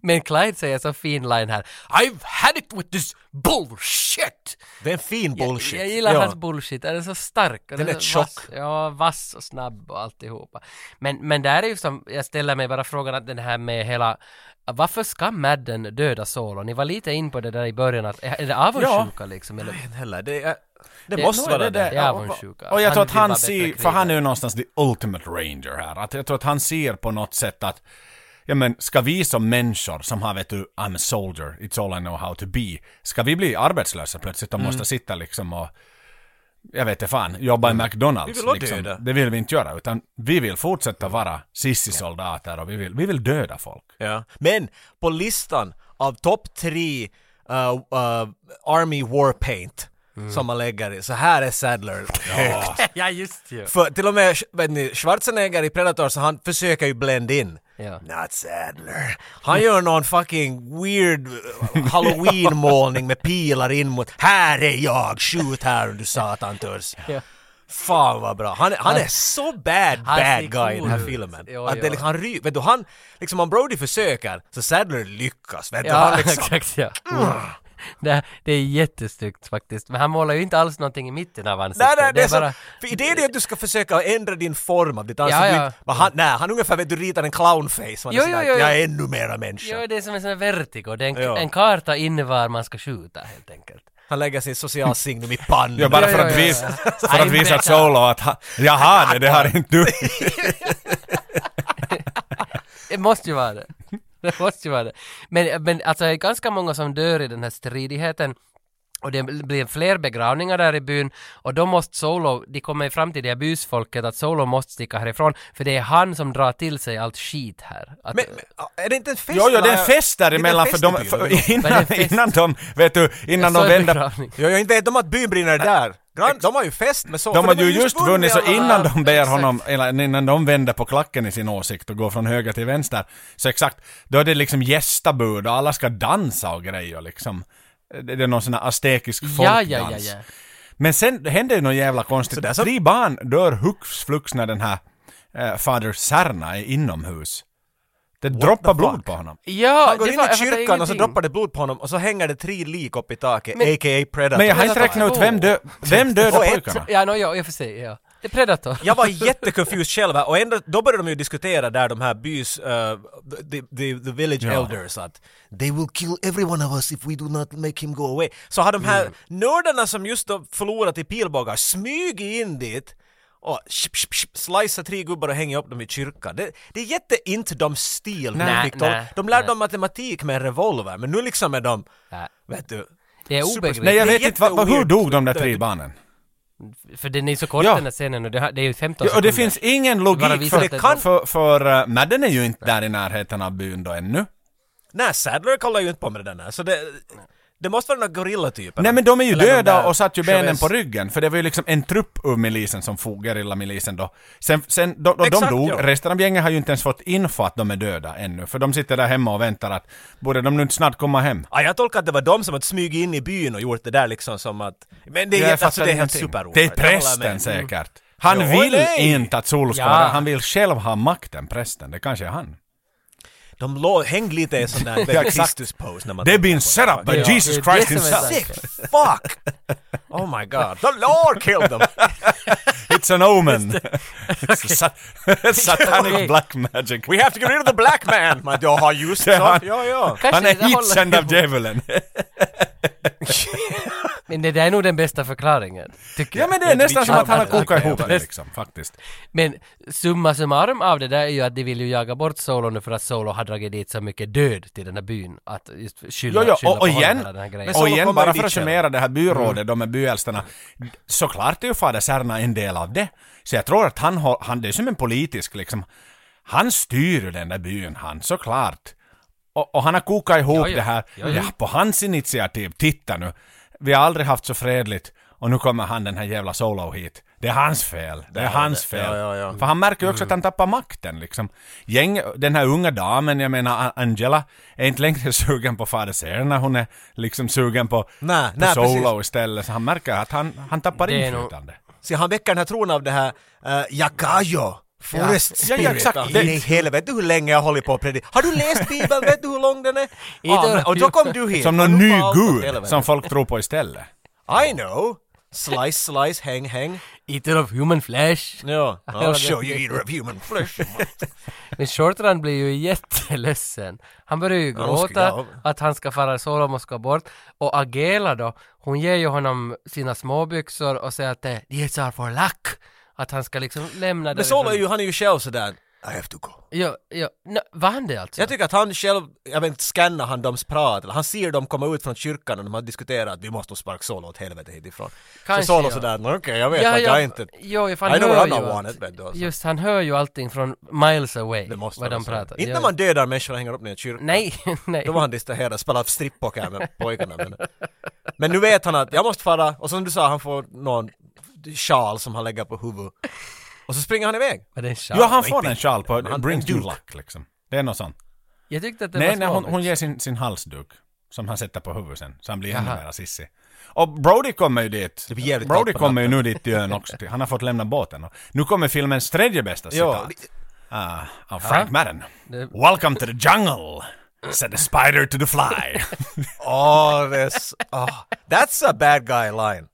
Men Clyde säger så fin line här. I've had it with this bullshit!
Det är en fin bullshit.
Jag, jag gillar
Ja.
hans bullshit, den är så stark. och
Den är
så
tjock.
vass. Ja, vass och snabb och alltihopa. Men, men där är ju som, jag ställer mig bara frågan att den här med hela varför ska Madden döda Solo? Ni var lite in på det där i början att är är det avundsjuka liksom? Eller?
Men heller, det, är, det,
Det-
måste
nog är
vara det.
det det.
Ja,
avundsjuka.
Och jag tror att
Han vill vara
han
bättre
ser, för
krigare.
han är ju någonstans the ultimate ranger här. Att jag tror att han ser på något sätt att, ja men ska vi som människor som har vet du, I'm a soldier, it's all I know how to be, ska vi bli arbetslösa plötsligt och måste sitta liksom och jag vet inte fan, jobba i McDonalds.
Vi vill ha
liksom.
döda.
Det Mm. vill Mm. vi inte göra, utan vi vill fortsätta vara sissisoldater och vi vill, vi vill döda folk.
Ja. Men på listan av topp tre uh, uh, Army War Paint som man lägger i, så här är Sadler högt.
Mm. ja, just ju.
För till och med vet ni, Schwarzenegger i Predator, så han försöker ju blend in.
Ja.
Not Sadler. Han gör någon fucking weird uh, halloween-målning med pilar in mot Här är jag, skjut här du satan törs.
Ja.
Fan vad bra. Han, är- han är så bad,
han ser
bad guy i den här
cool ut.
filmen.
Jo,
att det,
jo.
är liksom- han ry, vet du, han, liksom om Brody försöker så Sadler lyckas. Vet du,
Ja,
han liksom,
exakt ja. Det, det är jättesnyggt faktiskt. Men han målar ju inte alls någonting i mitten av ansiktet.
Nej, nej, det är
bara-
så, för idén är att du ska försöka ändra din form av ditt ansikte.
Ja,
Ja,
ja.
Han, nej, han ungefär vet du ritar en clownface. Han är
Jo,
sådär,
jo, jo, jo.
Jag är ännu mera människa.
Ja, det är som en sån här vertigo. Det är en,
Ja.
en karta in var man ska skjuta helt enkelt.
Han lägger sin social signum i pannan.
Ja, bara
Ja,
för
ja,
att
ja,
visa,
ja.
för att
I'm
visa att
better.
Solo att, ha- jaha, det, det har inte du.
Det måste ju vara det. Det måste ju vara det. Men, men alltså det är ganska många som dör i den här stridigheten. Och det blir fler begravningar där i byn och då måste Solo, de kommer fram till det här bysfolket att Solo måste sticka härifrån för det är han som drar till sig allt skit här. Att,
Men, men är det inte en fest?
Jo, jo, det är
Laila?
en fest
Det är en
däremellan för
fest i
de,
byn, eller?
för,
Vad är det
innan,
en fest?
innan de, vet du, innan
Jag
de
sa ju
vänder
begravning.
Jo, jag inte vet om att byn brinner där. Gran, de har ju fest med så.
De
för
har ju just vunnit, så
alla-
innan de ber
Exakt.
honom, eller innan de vänder på klacken i sin åsikt och går från höger till vänster, så exakt, då är det liksom gästabud och alla ska dansa och grejer liksom. Det det är någon sån här astekisk
Ja,
folkdans.
ja, ja, ja.
Men sen händer ju något jävla konstigt.
Så där som-
Tre barn dör hux flux när den här eh, Fader Serna är inomhus. Det droppar
the
blod
fuck?
på honom.
Ja,
Han går
det
in
var-
i
jag fattar
kyrkan och så
ingenting.
droppar det blod på honom och så hänger det tre lik upp i taket,
Men-
a.k.a. Predator.
Men jag har
det
inte
var
räknat ut
två.
vem, dö vem dödar
Och ett-
pojkarna.
Ja, no, ja, i och för sig, ja. Det är Predator.
Jag var jättekonfus själv här, och ändå, då började de ju diskutera där de här bys, eh, the, the, the village elders att “They will kill every one of us if we do not make him go away”. Så har de här
Mm.
nördarna som just då förlorat i pilbågar smugit in dit och shp, shp, shp, sliceat tre gubbar och hänga upp dem i kyrkan. Det, det är jätte inte de stil.
Nej,
Viktor.
nej,
de lärde
nej.
dem matematik med en revolver, men nu liksom är de,
Nej.
vet du,
Det är
Super-
obegripligt.
Nej, jag
Det är
vet inte, vad, vad, hur
jätteweird.
dog de där tre barnen?
För den är så kort
Ja.
den här scenen och det, har- det är ju 15
Alltså,
Ja, och det
sekunder.
finns ingen
Bara
logik
visa
för,
att det
för,
kan-
för, för eh, Madden är ju inte där i närheten av byn då ännu.
nej Sadler kollar ju inte på med den här, så det, det måste vara några gorillatyper.
Nej men de är ju
Eller de
döda
där
och satt ju benen
Chavez-
på ryggen, för det var ju liksom en trupp ur milisen som for gerillamilisen då. Sen, sen då, då, de
Exakt,
dog,
ja.
resten av gänget har ju inte ens fått info att de är döda ännu, för de sitter där hemma och väntar att borde de nu inte snart komma hem?
Ja, jag tolkar att det var de som hade smugit in i byn och gjort det där liksom som att... Men det är,
Jag
helt, alltså,
fattar
det är helt
ingenting.
superroligt.
Det är
Jag håller
prästen
med. Mm.
säkert. Han
Ja,
vill
nej.
inte att Solo ska
Ja.
vara där, han vill själv ha makten, prästen. Det kanske är han.
De lå, hängde lite i sån där
exakt.
Kristus-pose när man...
They've been set up by
Ja,
Jesus
det är
Christ
det som är
himself.
Sick! Fuck! Oh my god. The Lord killed them!
It's an omen. It's a sat- satanic
Okej.
black magic.
We have to get rid of the black man! Men jag har just
Det har-
så. Ja, ja.
Kanske
Han
det där
är
håller
hitsänd
ihop.
av djävulen.
Men det där är nog den bästa förklaringen, tycker
Ja
jag.
men det är nästan som att han har
Ja,
kokat
ja,
ihop
ja.
det liksom, faktiskt.
Men summa summarum av det där är ju att de vill ju jaga bort Solo nu för att Solo har dragit dit så mycket död till den här byn. Att just skylla,
Jo, jo,
skylla
och,
på
och
honom
igen,
hela den här grejen.
så
och
då
igen
kommer
bara
han
för att
dit själv.
summera det här byrådet, de är byälstarna. Såklart är ju fader Serna en del av det. Så jag tror att han, har, han det är som en politisk liksom. Han styr ju den där byn, han, såklart. Och, och han har kokat ihop
ja.
det här,
Ja,
ja,
ja.
på hans initiativ. Titta nu, vi har aldrig haft så fredligt. Och nu kommer han den här jävla Solo hit. Det är hans fel. Det är hans fel.
Ja, ja, ja.
För han märker ju också att han tappar makten liksom. Gäng, den här unga damen, jag menar A- Angela, är inte längre sugen på fader Serna. Hon är liksom sugen på,
Nej,
på
nej,
Solo
precis.
istället. Så han märker att han, han tappar
Det är nog-
inflytande.
Så han väcker den här tron av det här uh, Yakayo. Forest
Ja,
Spirit.
ja, exakt.
In
Det-
i helvete hur länge jag håller på att predika. Har du läst Bibeln? Vet du hur lång den är? Ja,
Inte-
men, och då kom du hit.
Som
Och
någon
nu
ny
var allt åt
gud
helvete.
som folk tror på istället.
I know! Slice, slice, häng, häng.
Eater of human flesh.
Ja.
Ja,
I'll show
det-
you eater of human flesh.
Men Short Run blir ju jätteledsen. Han börjar ju
Ja, hon ska-
gråta
ja.
att han ska fara solo och ska bort. Och Agela då, hon ger ju honom sina småbyxor och säger att eh, det these are for luck. Att han ska liksom lämna
Men Solo är ju, han är ju själv sådär. I have to go.
Ja, ja. No, var han det alltså?
Jag tycker att han själv, jag vet inte, scannar han dems prat. eller Han ser dem komma ut från kyrkan och de har diskuterat att vi måste sparka Solo åt helvete hitifrån.
Kanske,
så Solo
ja.
sådär, okej jag vet att jag inte...
Jo, ifall
I
han
know
hör
what
ju
I'm
allt.
wanted, vet du. alltså.
Just, han hör ju allting från miles away.
Det måste
vad
vara
de
så.
pratar.
Inte
Ja,
när man dödar människor och hänger upp ner i kyrkan.
Nej, nej.
Då var han distraherad, spelade stripppoker med pojkarna. Men, men nu vet han att jag måste fara, och som du sa, han får någon sjal som han lägger på huvudet. Och så springer han iväg.
Var det en
Ja,
shout?
han får en sjal på,
han-
brings
en
you
duk.
luck liksom. Det är något sånt.
Jag tyckte att det var
Nej, nej hon,
småligt.
hon ger sin, sin halsduk. Som han sätter på huvudet sen, så han blir ännu
Jaha.
mer sissig. Och Brody kommer ju dit.
Det blir jävligt
Brody
kallt på
kommer ju nu dit till ön också. till- Han har fått lämna båten. Och nu kommer filmens tredje bästa
Ja,
citat. Ah, av Frank Madden.
Det-
Welcome to the jungle! Said the spider to the fly.
åh, det är s- åh. that's a bad guy line.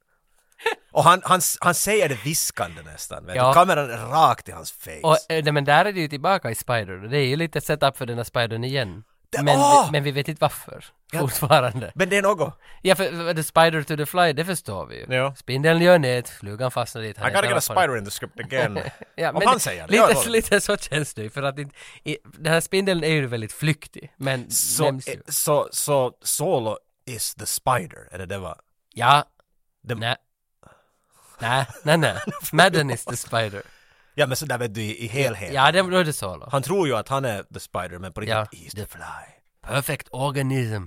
Och han, han, han säger det viskande nästan. Vet
Ja.
du? Kameran är rakt i hans face.
Och, eh, nej, men där är det ju tillbaka i Spider. Det är ju lite setup för den här Spidern igen. Men,
åh!
vi, men vi vet inte varför. Fortfarande.
men det är något.
Ja, för eh, The Spider to the Fly, det förstår vi ju.
Ja.
Spindeln gör nät, flugan fastnar dit.
I
han
gotta
äter
get a
upp honom.
spider in the script again.
Ja,
Om
men
han säger det, jag
lite,
håller.
lite så känns det ju, för att inte, i, den här spindeln är ju väldigt flyktig, men
Så,
nämns ju.
eh, så, så Solo is the spider, är det det var?
Ja.
De-
Nej. Nej, nej, nej. Madden is the spider.
Ja men sådär vet du i, i helhet.
Ja, det, då är det solo.
Han tror ju att han är the spider men på riktigt,
Ja.
he's the fly.
Perfect organism.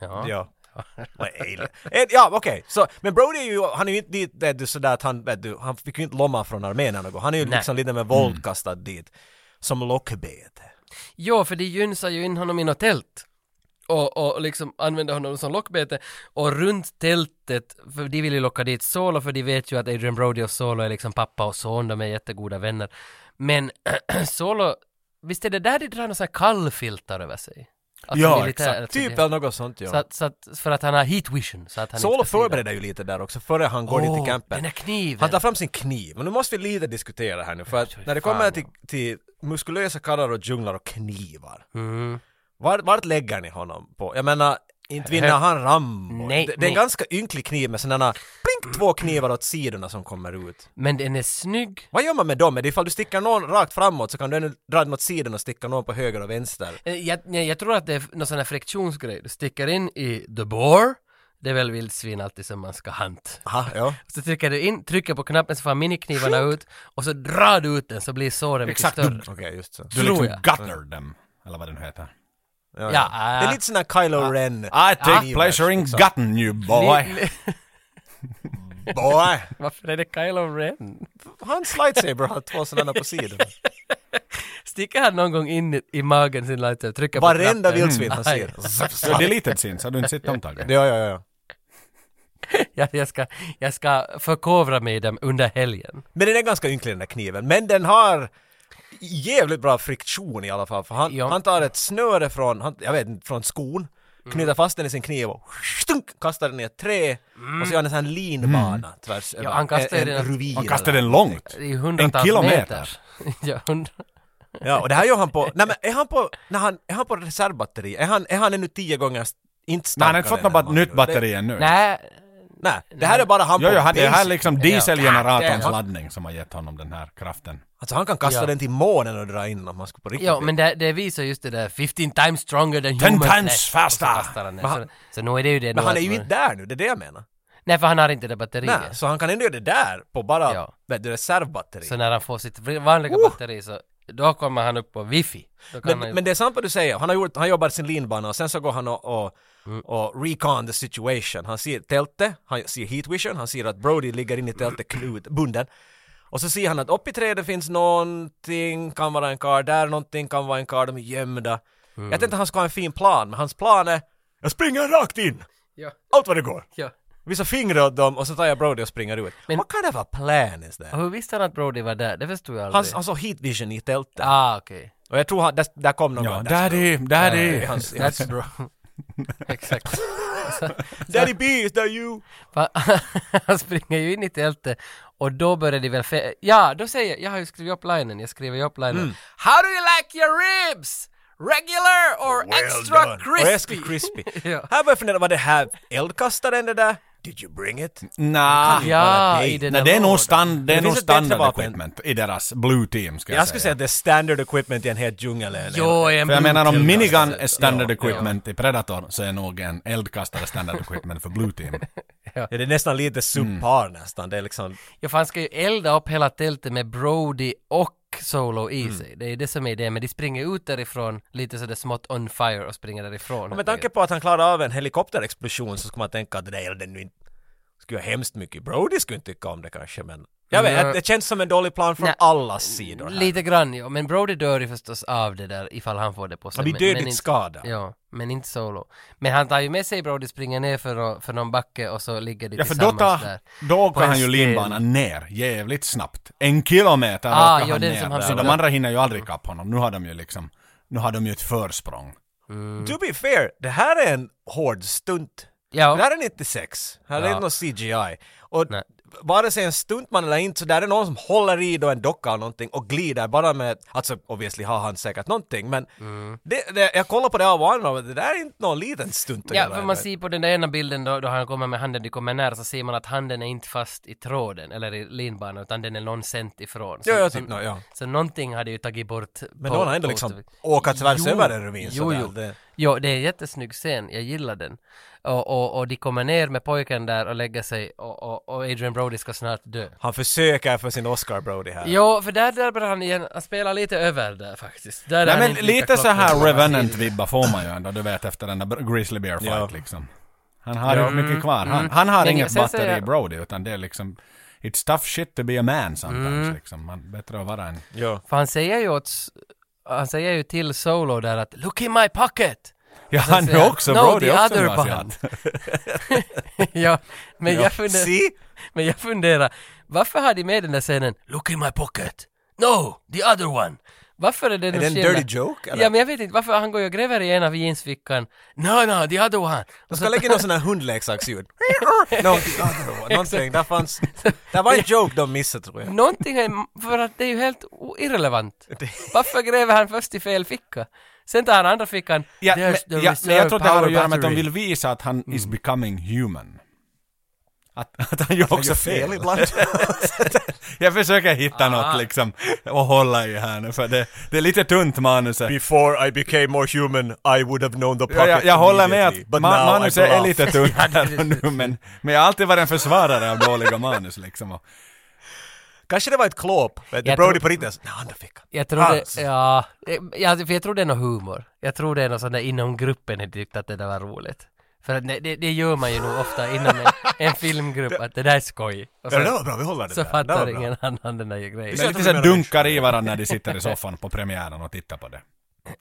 Ja.
Ja. Vad alien. Eh, Ja, okej. Så, men Brody är ju, han är ju inte dit, vet du, sådär att han, vet du, han fick ju inte lomma från armén eller något. Han är ju
Nej. Mm.
liksom lite med våld kastad dit. Som lockbete.
Ja, för det gynnsar ju in honom i något tält. Och, och liksom använder honom som lockbete. Och runt tältet, för de vill ju locka dit Solo, för de vet ju att Adrian Brody och Solo är liksom pappa och son, de är jättegoda vänner. Men Solo, visst är det där de drar några sådana kallfiltar över sig? Att
Ja,
de militärer-
exakt.
att de-
Typ eller något sånt
Så
ja.
att, så att, för att han har heat vision, så att han
Solo
inte ska se
förbereder ju lite där också före han går
dem.
dit
Åh,
i campen.
den här kniven!
Han tar fram sin kniv, men nu måste vi lite diskutera här nu för att när det kommer till, till muskulösa karlar och djunglar och knivar.
Mm.
Vart, vart lägger ni honom på? Jag menar, inte vinner
Hö-
han Rambo.
Nej,
det, det är
nej.
en ganska ynklig kniv med sådana blink två knivar åt sidorna som kommer ut.
Men den är snygg.
Vad gör man med dem? Är det ifall du stickar någon rakt framåt så kan du ännu dra den åt sidan och sticka någon på höger och vänster?
Eh, Jag, nej, jag tror att det är någon sån här friktionsgrej. Du sticker in i the bore, det är väl vildsvin alltid som man ska hunt.
Aha, ja.
Så trycker du in, trycker på knappen så får miniknivarna ut och så drar du ut den så blir såren mycket
Exakt, du-
större.
Okej, just så.
Du
Tror
liksom
jag.
gutter dem. Eller vad den heter.
Ja,
Ja,
Det är
äh.
lite sån här Kylo Ren. liksom.
I take
Knivar,
pleasure
liksom.
in gotten you boy.
Ni-
Boy!
Varför är det Kylo Ren?
Hans lightsaber har två sådana på sidan.
Sticker han någon gång in i, i magen sin lighter och trycker på knappen? Mm.
Varenda vildsvin
Mm.
han
Aj.
ser.
Så det är litet syns, har du inte sett dem Tage?
Ja, ja, ja.
Jag, jag, ska, jag ska förkovra mig i dem under helgen.
Men den är ganska ynklig den där kniven. Men den har jävligt bra friktion i alla fall. För han,
Ja.
han tar ett snöre från, han, jag vet inte, från skon.
Mm.
Knyter fast den i sin kniv och stunk, kastar den i ett trä. Och så gör han en sån här linbana
Mm.
tvärs över
han kastar
en,
den-
en ruvin.
Han kastar den långt.
Det är hundratals
kilometer.
meter. ja, hundra...
Ja, och det här gör han på, nej men är han på, när han, är han på reservbatteri? Är han, är han ännu tio gånger st- inte
Men
starkare?
han har inte fått något
än
bat-
man
nytt
gjorde?
batteri ännu.
Nej,
Det, nej, det här är bara han
Jo,
på
jo, han, det här är
bensin.
liksom
Ja.
dieselgeneratorns laddning som har gett honom den här kraften.
Alltså han kan kasta
Ja.
den till månen och dra in om han skulle på riktigt.
ja, men det, det visar just det där 15 times stronger than human
times
flesh.
faster.
Och så kastar han den.
Men
Så,
han-
så nu är det ju det.
men
nog
han är
att
ju
man-
inte där nu, det är det jag menar.
Nej, för han har inte det batteriet.
Nej, så han kan ändå göra det där på bara
Ja.
vet du, reservbatteri.
Så när han får sitt vanliga batteri så då kommer han upp på wifi. Då kan
Uh! Men,
han ju...
men det är sant vad du säger, han har, gjort, han jobbar sin linbana och sen så går han och, och,
Mm.
och recon the situation. Han ser tältet, han ser heatvision, han ser att Brody ligger inne i tältet knut, bunden. Och så ser han att uppe i trädet finns någonting, kan vara en karl där, någonting kan vara en karl, de är gömda.
Mm.
Jag tänkte han ska ha en fin plan, men hans plan är jag springer rakt in!
Ja,
Allt vad det går!
ja.
Visar fingret åt dem och så tar jag Brody och springer ut.
Men-
What kind of a plan is
Och
that?
hur visste han att Brody var där? Det förstod jag
Han,
aldrig.
han såg heatvision i tältet.
Ah, okej.
Och jag tror han, där, där kom någon.
Ja, Eh,
That's
daddy, daddy.
Hans, hans,
That's bro. Exakt.
Daddy B, is that you?
Va- han springer ju in i tältet och då börjar de väl fe- Ja, då säger jag, jag har ju skrivit upp linen, jag skriver upp linen. How do you like your ribs? Regular or extra
Och
crispy?
jag skulle crispy.
Ja.
Här börjar jag fundera, var det här eldkastaren det där? Did you bring it?
Nja,
Bara
Ah, Ja,
dig.
i den
Nej,
där
det är nog
lådan.
stand, det är
Det
nog
finns ett bättre
standard
vapen.
equipment i deras blue team ska jag,
Jag skulle säga att det är standard equipment i en hel djungel. eller-
Jo, en
För jag menar om
blodtillgång.
minigun är standard equipment i Predator så är nog en eldkastare standard equipment för blue team.
Ja, det är nästan lite subpar nästan. Det är liksom...
Ja, för han ska ju elda upp hela tältet med Brody och Solo i sig. Det är det som är det, men de springer ut därifrån lite sådär smått on fire och springer därifrån.
Med tanke på att han klarade av en helikopterexplosion så skulle man tänka att det där elden nu inte skulle göra hemskt mycket. Brody skulle inte tycka om det kanske men... Jag vet,
Nej.
det känns som en dålig plan från
Nej.
allas sidor här.
Lite grann, ja. Men Brody dör ju förstås av det där ifall han får det på sig.
Han blir
men- men
dödligt
inte-
skadad.
Ja, men inte Solo. Men han tar ju med sig Brody, springer ner för, nå- för någon backe och så ligger de
Ja, för då,
tillsammans
tar,
där.
då
På
åker
en
han ju
sten.
linbanan ner jävligt snabbt. En kilometer
Ah,
åker
ja,
han
den
ner.
som han
så
cyklar.
de andra hinner ju aldrig ikapp honom. Nu har de ju liksom, nu har de ju ett försprång.
To be fair, det här är en hård stunt.
Ja.
Det här är 96. Här är
Ja.
inte någon CGI. Och
Nej.
vare sig en stuntman eller inte så där är det någon som håller i då en docka eller någonting och glider bara med, alltså obviously har han säkert någonting men
Mm.
det, det, jag kollar på det av och an och det där är inte någon liten stunt att
Ja,
göra
för man
med.
ser på den där ena bilden då, då han kommer med handen, de kommer nära, så ser man att handen är inte fast i tråden eller i linbanan, utan den är någon cent ifrån. Så,
Ja, ja,
så,
typ, nå, ja.
så någonting hade ju tagit bort.
Men någon har ändå liksom åkat tvärs över en ravin
Jo,
sådär.
jo.
Det-
Jo, det är en jättesnygg scen, jag gillar den. Och, och, och de kommer ner med pojken där och lägger sig och, och, och Adrian Brody ska snart dö.
Han försöker för sin Oscar Brody här.
Jo, för där där börjar han igen, han spelar lite över där faktiskt. Där är
Nej
han
men
inte lika
lite så här
klockren som han tidigare.
Revenant-vibba får man ju ändå, du vet efter den där Grizzly Bear fight
Ja.
liksom. Han har ju mycket kvar. Han, han har
Mm. Men jag-
inget
sen
batteri
säger-
Brody utan det är liksom It's tough shit to be a man sometimes
Mm.
liksom. Man, bättre att vara en...
Jo.
För han säger ju åt, han säger ju till Solo där att “Look in my pocket!”
Ja
Sen
han
säger han,
är också,
"No,
Brody
the
är också en
other
asiat.
ja, men, Jag funder,
See?
men jag funderar, varför har de med den där scenen “Look in my pocket!” “No, the other one!” Varför är det
Är
någon
det en
skillnad?
dirty joke? eller?
Ja, men jag vet inte, varför han går ju och gräver i ena jeansfickan “No, no, the other one!”
De ska lägga in någon sån här hundleksaksljud. no, the other one. Någonting. Där fanns... Det var en joke de missade tror jag.
Någonting är, för att det är ju helt o- irrelevant. Varför gräver han först i fel ficka? Sen tar han andra fickan.
Ja, men,
"There's the
ja, men jag
reserve
tror att det har
power
att göra med att de
battery." Mm.
vill visa att han is becoming human.
Ah.
Att, att han gör också fel.
ibland.
Jag försöker hitta
Ah.
något liksom att hålla i här nu för det, det är lite tunt manuset.
Before I became more human I would have known the pocket
Ja, jag, jag håller med att
immediately, but
ma-
now I
manuset är
bluff.
lite tunt här och nu men, men jag har alltid varit en försvarare av dåliga manus liksom. Och,
Kanske det var ett klåp. Vet du,
Jag
Brody
tror-
på riktigt. alltså, Nej, andra fickan.
Jag tror det,
Hans.
ja, ja, alltså, för jag tror det är någon humor. Jag tror det är något sånt där inom gruppen ni tyckte att det där var roligt. För att det, det, det gör man ju nog ofta inom en, en filmgrupp, att det där är skoj. Och
Ja,
så,
det var bra, vi håller det
så
där. Det var
fattar
bra.
ingen annan den där grejen.
men lite
vi
så
menar
dunkar i varandra när de sitter i soffan på premiären och tittar på det.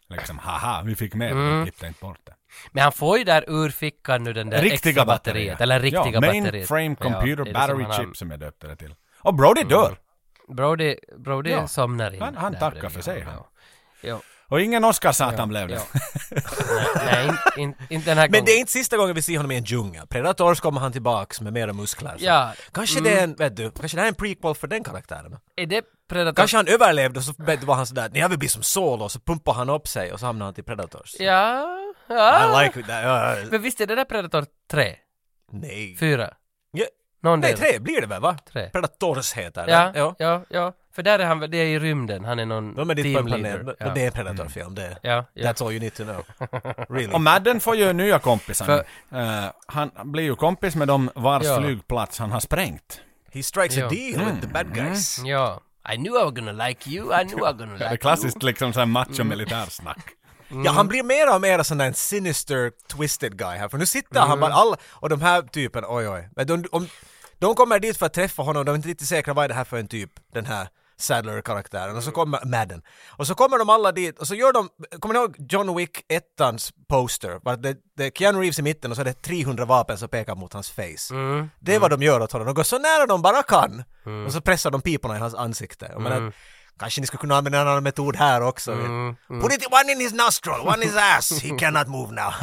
Liksom haha, vi fick med
Mm.
det, vi klippte inte bort det.
Men han får ju där ur fickan nu den där
Riktiga
extra
batterier.
batteriet, eller riktiga
ja,
batteriet.
Mainframe
det är
computer
det som
battery
han har- Mm.
chip som jag döpte det till. Och Brody dör!
Brody, Brody
Ja,
somnar in.
han- han
där
tackar
bredvid
för sig,
honom,
han.
Ja. Jo,
Och ingen Oscarsatan blev det.
ja. Nej, inte in, in den här gången.
Men det är inte sista gången vi ser honom i en djungel. Predators kommer han tillbaks med mera muskler. Så.
Ja.
Kanske det
Mm.
är en, vet du, kanske det här är en prequel för den karaktären.
Är det Predator?
Kanske han överlevde och så vet du, var han sådär, nej jag vill bli som Solo, så pumpar han upp sig och så hamnar han till Predators.
Ja, ja.
I like that. ja, ja.
Men visst är det där Predator 3?
nej.
Fyra?
Ja.
Någon
Nej,
del.
tre blir det väl va?
Tre.
Predators heter det.
Ja,
ja.
ja, ja, För där är han, det är i rymden, han är någon
De är dit på en planet,
teamleader.
men
Ja.
det är en Predator-film det.
Ja, ja.
That's all you need to know. Really.
Och Madden får ju nya kompisar nu.
För-
Eh, han blir ju kompis med dem vars
Ja.
flygplats han har sprängt.
He strikes a
Ja.
deal with the bad guys.
ja. I knew I was gonna like you, I knew I was gonna
Det är
like
klassiskt liksom såhär
Mm.
macho militärsnack.
Ja, han blir mer och mer sån där sinister, twisted guy här. För nu sitter han bara alla, och de här typen, oj oj. Men de, om, de kommer dit för att träffa honom, de är inte riktigt säkra vad är det här för en typ, den här Sadler-karaktären. Och så kommer Madden. Och så kommer de alla dit och så gör de, kommer ni ihåg John Wick 1-ans poster? Var det, det är Keanu Reeves i mitten och så är det 300 vapen som pekar mot hans face. Det är vad de gör åt honom. De går så nära de bara kan. Och så pressar de piporna i hans ansikte. Jag menar, Kanske ni skulle kunna använda en annan metod här också.
Mm,
Put it one in his nostril, one in his ass. He cannot move now.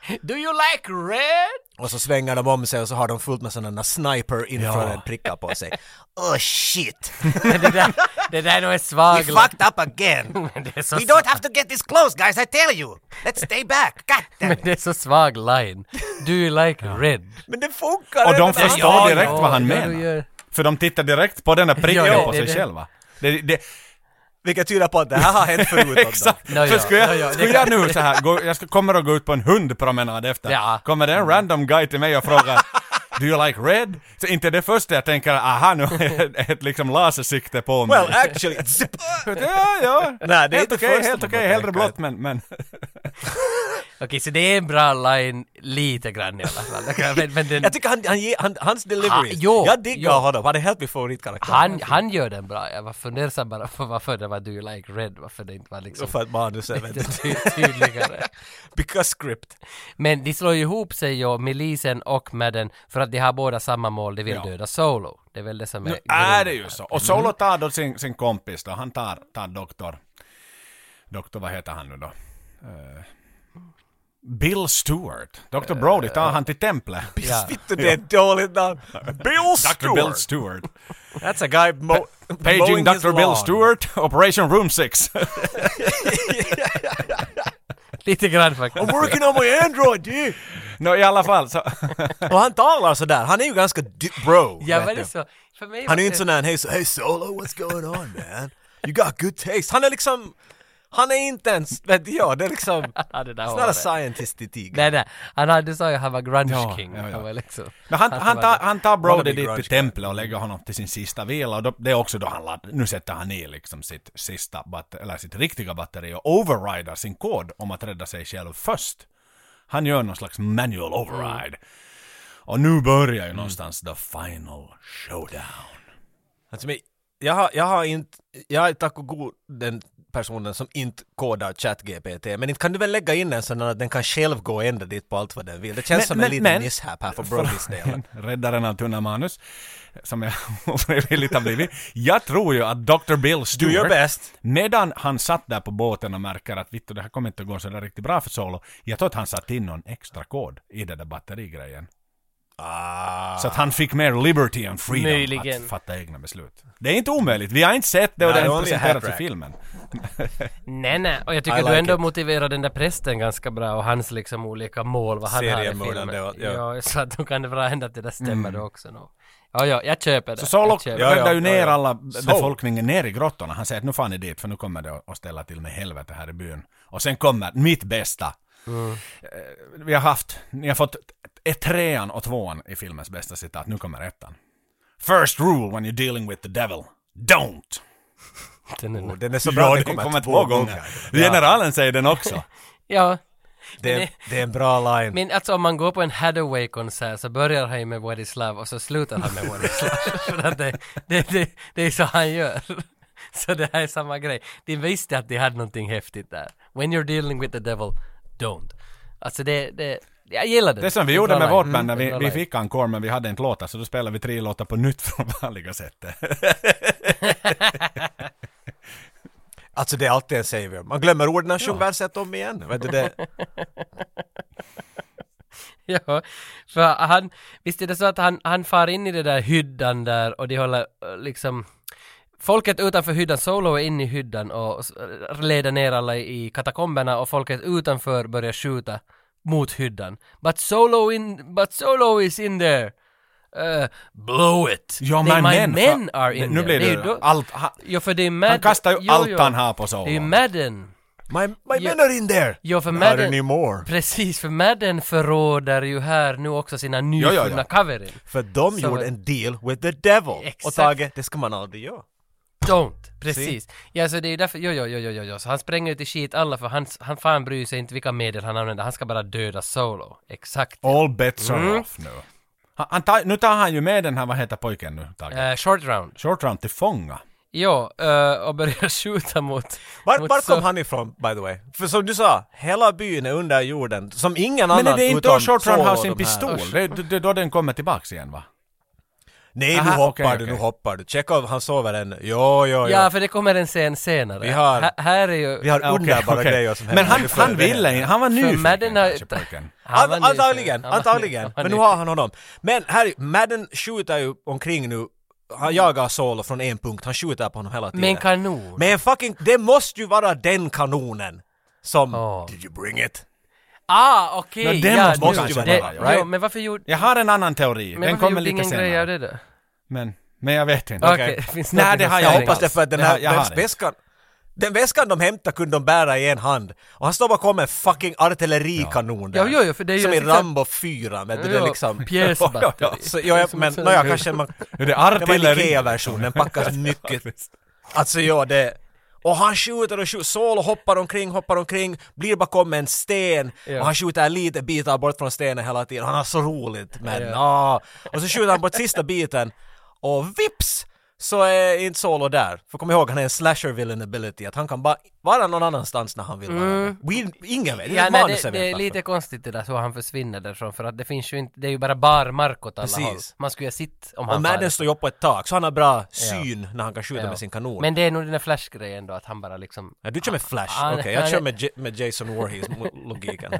you. Do you like red?
och så svänger de om sig och så har de fullt med sådana sniper infrared prickar på sig. Oh shit!
det, där, det där är nog en
We
svag låt.
fucked up again.
Men det är så
We don't have to get this close, guys, I tell you. Let's stay back. God damn
Men
it.
det är så svag line. Do you like red?
Men det funkar!
Och de
ändå.
förstår
Ja,
direkt
ja,
vad han
ja,
menar.
du gör-
För de tittar direkt på den där pricken
Ja, ja,
på
det-
sig
det-
själva. Det, det,
Vilket tyder på att det här har hänt förut. åt dem.
exakt!
Ja, ja,
För skulle jag,
ja, ja, det
skulle jag nu så här, gå, jag ska, kommer att gå ut på en hundpromenad efter,
Ja. Mm.
kommer det en random guy till mig och frågar Do you like red? Så inte det första jag tänker, aha nu är det ett liksom lasersikte på mig.
Well actually... zip.
ja, ja.
Nej, det är
helt
inte
okej,
första
helt
man
okej,
tänker.
hellre blått men, men
Okej, så det är en bra line lite grann i alla fall. Okej, Men, men den,
Jag tycker han, han, ger- han, hans delivery,
Ha- jo,
jag diggar
jo.
honom, han är helt min favoritkaraktär.
han, han gör den bra. Jag var fundersam bara på varför det var Do you like red, varför det inte var liksom
För att manuset, vet du.
ty- tydligare.
Because script.
Men de slår ju ihop sig ju, milisen och Madden, för att de har båda samma mål, de vill
Ja.
döda Solo. Det är väl det som är...
nu är det
grunden.
ju så. Och Solo tar då sin, sin kompis då, han tar, tar doktor, doktor vad heter han nu då? Eh, Bill Stewart. Dr. Brody tar han till templet.
Ja.
Vittu, det är ett dåligt namn. Bill
Dr. Bill
Stewart!
Stewart.
That's a guy mo-
Paging
mowing his
Dr. Bill
lawn.
Stewart, Operation Room 6.
Lite grann faktiskt.
I'm working on my Android, yeah.
Nå i alla fall så...
Och han talar sådär, han är ju ganska d- bro.
Ja,
vet
men det
du.
är så. För mig
Han är
var
ju
det-
inte sån där hej, so- hey Solo, what's going on man? You got good taste. Han är liksom, han är inte ens, vet jag, det är liksom,
Ja, det där
it's
var
not a
det.
scientist i tig.
Nej, nej. Han hade, du sa ju att han var grunge
Ja,
king.
ja, ja.
Han var liksom...
Men han, han, tar, han tar Brody
Wannabe
dit
grunge
till
guy.
templet och lägger honom till sin sista vila och då, det är också då han laddar, nu sätter han i liksom sitt sista batteri, eller sitt riktiga batteri och overrider sin kod om att rädda sig själv först. Han gör någon slags manual override. Och nu börjar ju någonstans the final showdown.
Alltså, men jag, har, jag har inte, jag är tack och god den personen som inte kodar ChatGPT, men inte kan du väl lägga in en sån där att den kan själv gå och ändra dit på allt vad den vill? Det känns
Men-
som
men-
en liten
men-
mishap här för Brodys del.
Räddaren av tunna manus, som jag ofrivilligt har blivit. Jag tror ju att Dr. Bill Stewart...
gör bäst.
Medan han satt där på båten och märker att vittu, det här kommer inte att gå så där riktigt bra för Solo. Jag tror att han satte in någon extra kod i den där batterigrejen.
Ah.
Så att han fick mer liberty and freedom
Möjligen.
att fatta egna beslut. Det är inte omöjligt. Vi har inte sett det och
Nej,
det
det
har
var
inte
en
presenterats i
hatrack.
filmen.
Nej, nej. Och jag tycker
I
du
like
ändå
it.
motiverar den där prästen ganska bra och hans liksom olika mål, vad han har i
Seriemördaren,
filmen.
det var-
ja.
ja.
så att då kan det bra hända att det där stämmer då också. No. Ja, ja, jag köper det.
Så Solo
jag köper det.
Ja,
räddar ju
ja, ja,
ner
ja.
alla
Så.
befolkningen ner i grottorna. Han säger att nu fan ni dit för nu kommer det att ställa till med helvete här i byn. Och sen kommer mitt bästa. Eh, Vi har haft, ni har fått ett trean och tvåan i filmens bästa citat. Nu kommer ettan. First rule when you're dealing with the devil. Don't!
Den är-
oh, Den är så bra att den
den
kommer
kommer
två, gånger.
Generalen säger den också.
Ja,
Det, är, det är en bra line.
men alltså om man går på en Hathaway-konsert så börjar han ju med What is love och så slutar han med What is love. För att det, det, det, det är så han gör. Så det här är samma grej. De visste att de hade någonting häftigt där. When you're dealing with the devil, don't. Alltså det, det jag gillar det.
Det som vi
är
gjorde
bra
med
line.
vårt band, när
Mm, det är
vi,
bra
vi
line.
fick encore men vi hade inte låtar, så då spelade vi tre låtar på nytt från vanliga sättet.
Alltså det är alltid en savior. Man glömmer orden och sjunger verset om igen. Vet du det?
Ja, för han, visst är det så att han, han far in i den där hyddan där och de håller eh, liksom Folket utanför hyddan, Solo är inne i hyddan och s- eh, leder ner alla i katakomberna och folket utanför börjar skjuta mot hyddan. But Solo in, but Solo is in there! Eh, blow it!
Ja,
They-
men
my
men,
men
fa-
are in
Nu
there.
blir det,
är ju då-
allt, han,
Ja, för det är Madden.
han kastar ju
Jo,
allt
jo.
han har på Solo.
Det är ju Madden.
My, my
Ja.
men are in there!
Ja, för
Not
Madden...
anymore.
Precis, för Madden förråder ju här nu också sina nyfunna
ja, ja.
coverin.
För de
Så-
gjorde en deal with the devil. Och
Exakt.
Tage, det ska man aldrig göra.
Don't! Precis. Ja, så det är ju därför, jo, jo, jo, jo, jo, jo. Så han spränger ut i skit alla för han, han fan bryr sig inte vilka medel han använder, han ska bara döda Solo. Exakt.
All bets are
Mm.
off nu. Han, han tar, nu tar han ju med den här, vad heter pojken nu, Tage?
Eh, short round.
Short round till fånga.
Ja, eh, och börjar skjuta mot...
Var,
mot
var
Solo.
kom han ifrån, by the way? För som du sa, hela byn är under jorden. Som ingen
Men är
annan
det inte
utom
då Short round
Saul
har
och
sin
de här.
pistol? Det är d- d- då den kommer tillbaks igen va?
Nej,
Aha,
nu hoppar
okej,
du,
okej.
nu hoppar du. Chekhov, han sover än. Jo, jo, jo.
Ja, för det kommer en scen senare.
Vi har-
Här- här är ju...
Vi har
Ja, okej,
underbara
okej.
grejer som
Men han,
nu förr i
han ville
världen.
inte, han var
för
nyfiken
Madden har...
kanske pojken.
Han var
Ant- antagligen,
nyfiken. Han var ny-
antagligen.
han
Men
var
nu
nyfiken.
har han honom. Men här, Madden skjuter ju omkring nu. Han jagar Solo från en punkt, han skjuter på honom hela tiden.
Med en kanon.
Men fucking, det måste ju vara den kanonen som...
Ja.
Did you bring it?
Ah, okej!
Men den
ja,
måste
nu-
kanske
det-
vara, right?
Jo, men varför gjorde...
Jag har en annan teori,
Men
den
varför
kommer
gjorde
lite
ingen grej av
senare.
det då?
Men, men jag vet inte.
Okej, finns det
Nej,
någonting
det
som
har jag
Jag
säger
inte
hoppas det för att den
Jag
här
har- jag har
den
det.
väskan... Den väskan de hämtade kunde de bära i en hand. Och han står bakom en fucking artillerikanon där.
Ja, jo, jo, för det är ju
Som
en
i
sån här-
Rambo 4, men det är
Ja,
liksom...
Pjäsbatteri.
Så, ja, ja, men nåja, kanske man...
Är det
Det var en
artilleri?
IKEA-version, den packas mycket. Alltså ja, det... Och han skjuter och skjuter, Solo hoppar omkring, hoppar omkring, blir bakom en sten
Ja.
och han skjuter lite bitar bort från stenen hela tiden. Han har så roligt men
Ja.
ah. Och så skjuter han bort sista biten och vips! så är inte Solo där. För kom ihåg, han är en slasher villain ability, att han kan bara vara någon annanstans när han vill vara det. We, ingen vet,
Mm. Ja,
ja,
nej,
manuset vet
det,
alltså.
det är
varför.
lite konstigt det där så han försvinner därifrån för att det finns ju inte, det är ju bara barmark åt alla
Precis.
håll. Man skulle ju ha sitt om
Och
han
Madden
faller.
står ju upp på ett tak, så han har bra syn när han kan skjuta
Ja.
med sin kanon.
Men det är nog den där flash-grejen då att han bara liksom...
Ja, du kör med Flash,
Ah,
okej. jag
nej,
kör
nej.
med, J- med Jason Voorhees mo- logiken.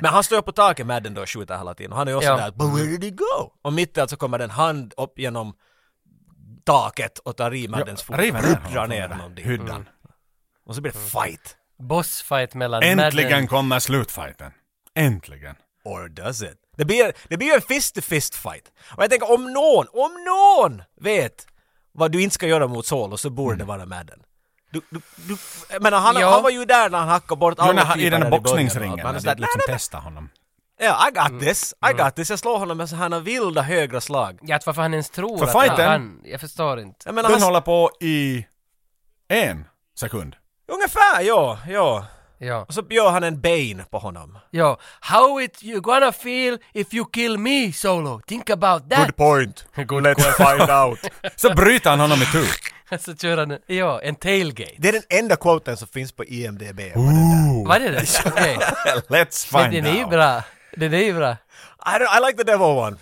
Men han står på taket med den då och skjuter hela tiden. Och han är ju också
Ja.
där, but where did he go? Och mitt i allt så kommer den hand upp genom taket och tar i Maddens fot.
river ner honom
Drar
från
ner
den
honom dit. Mm.
hyddan.
Och så blir det fight.
Bossfight mellan
Äntligen
Madden...
kommer slutfighten. Äntligen.
Or does it? Det blir, det blir ju en fist-to-fist fight. Och jag tänker om någon, om någon vet vad du inte ska göra mot Solo så borde
Mm.
det vara Madden. Du, du, du, jag menar, han,
Ja.
han var ju där när han hackade bort
Jo,
alla
när han- I
typer
den
där
här
i början och
boxningsringen.
allt.
När
Man
de
är sådär,
liksom Mm. testar honom.
Ja, I got this, I got this. Jag slår honom med sådana vilda högra slag.
Ja, att varför han ens tror
För
att
fighten-
han kan. Jag förstår inte.
Jag menar,
Den
han,
håller på i en sekund.
ungefär, ja, ja.
Ja.
Och så gör han en Bane på honom.
Ja. How it you gonna feel if you kill me solo? Think about that!
Äh. point. Let's find out.
Så bryter han honom itu.
Så kör han, ja, en tailgate.
Det är den enda quoten som finns på IMDB.
Vad är det? där? Okej.
Let's
Men
find
den är ju
out.
bra. Den är ju bra.
I, don't, I like the devil one.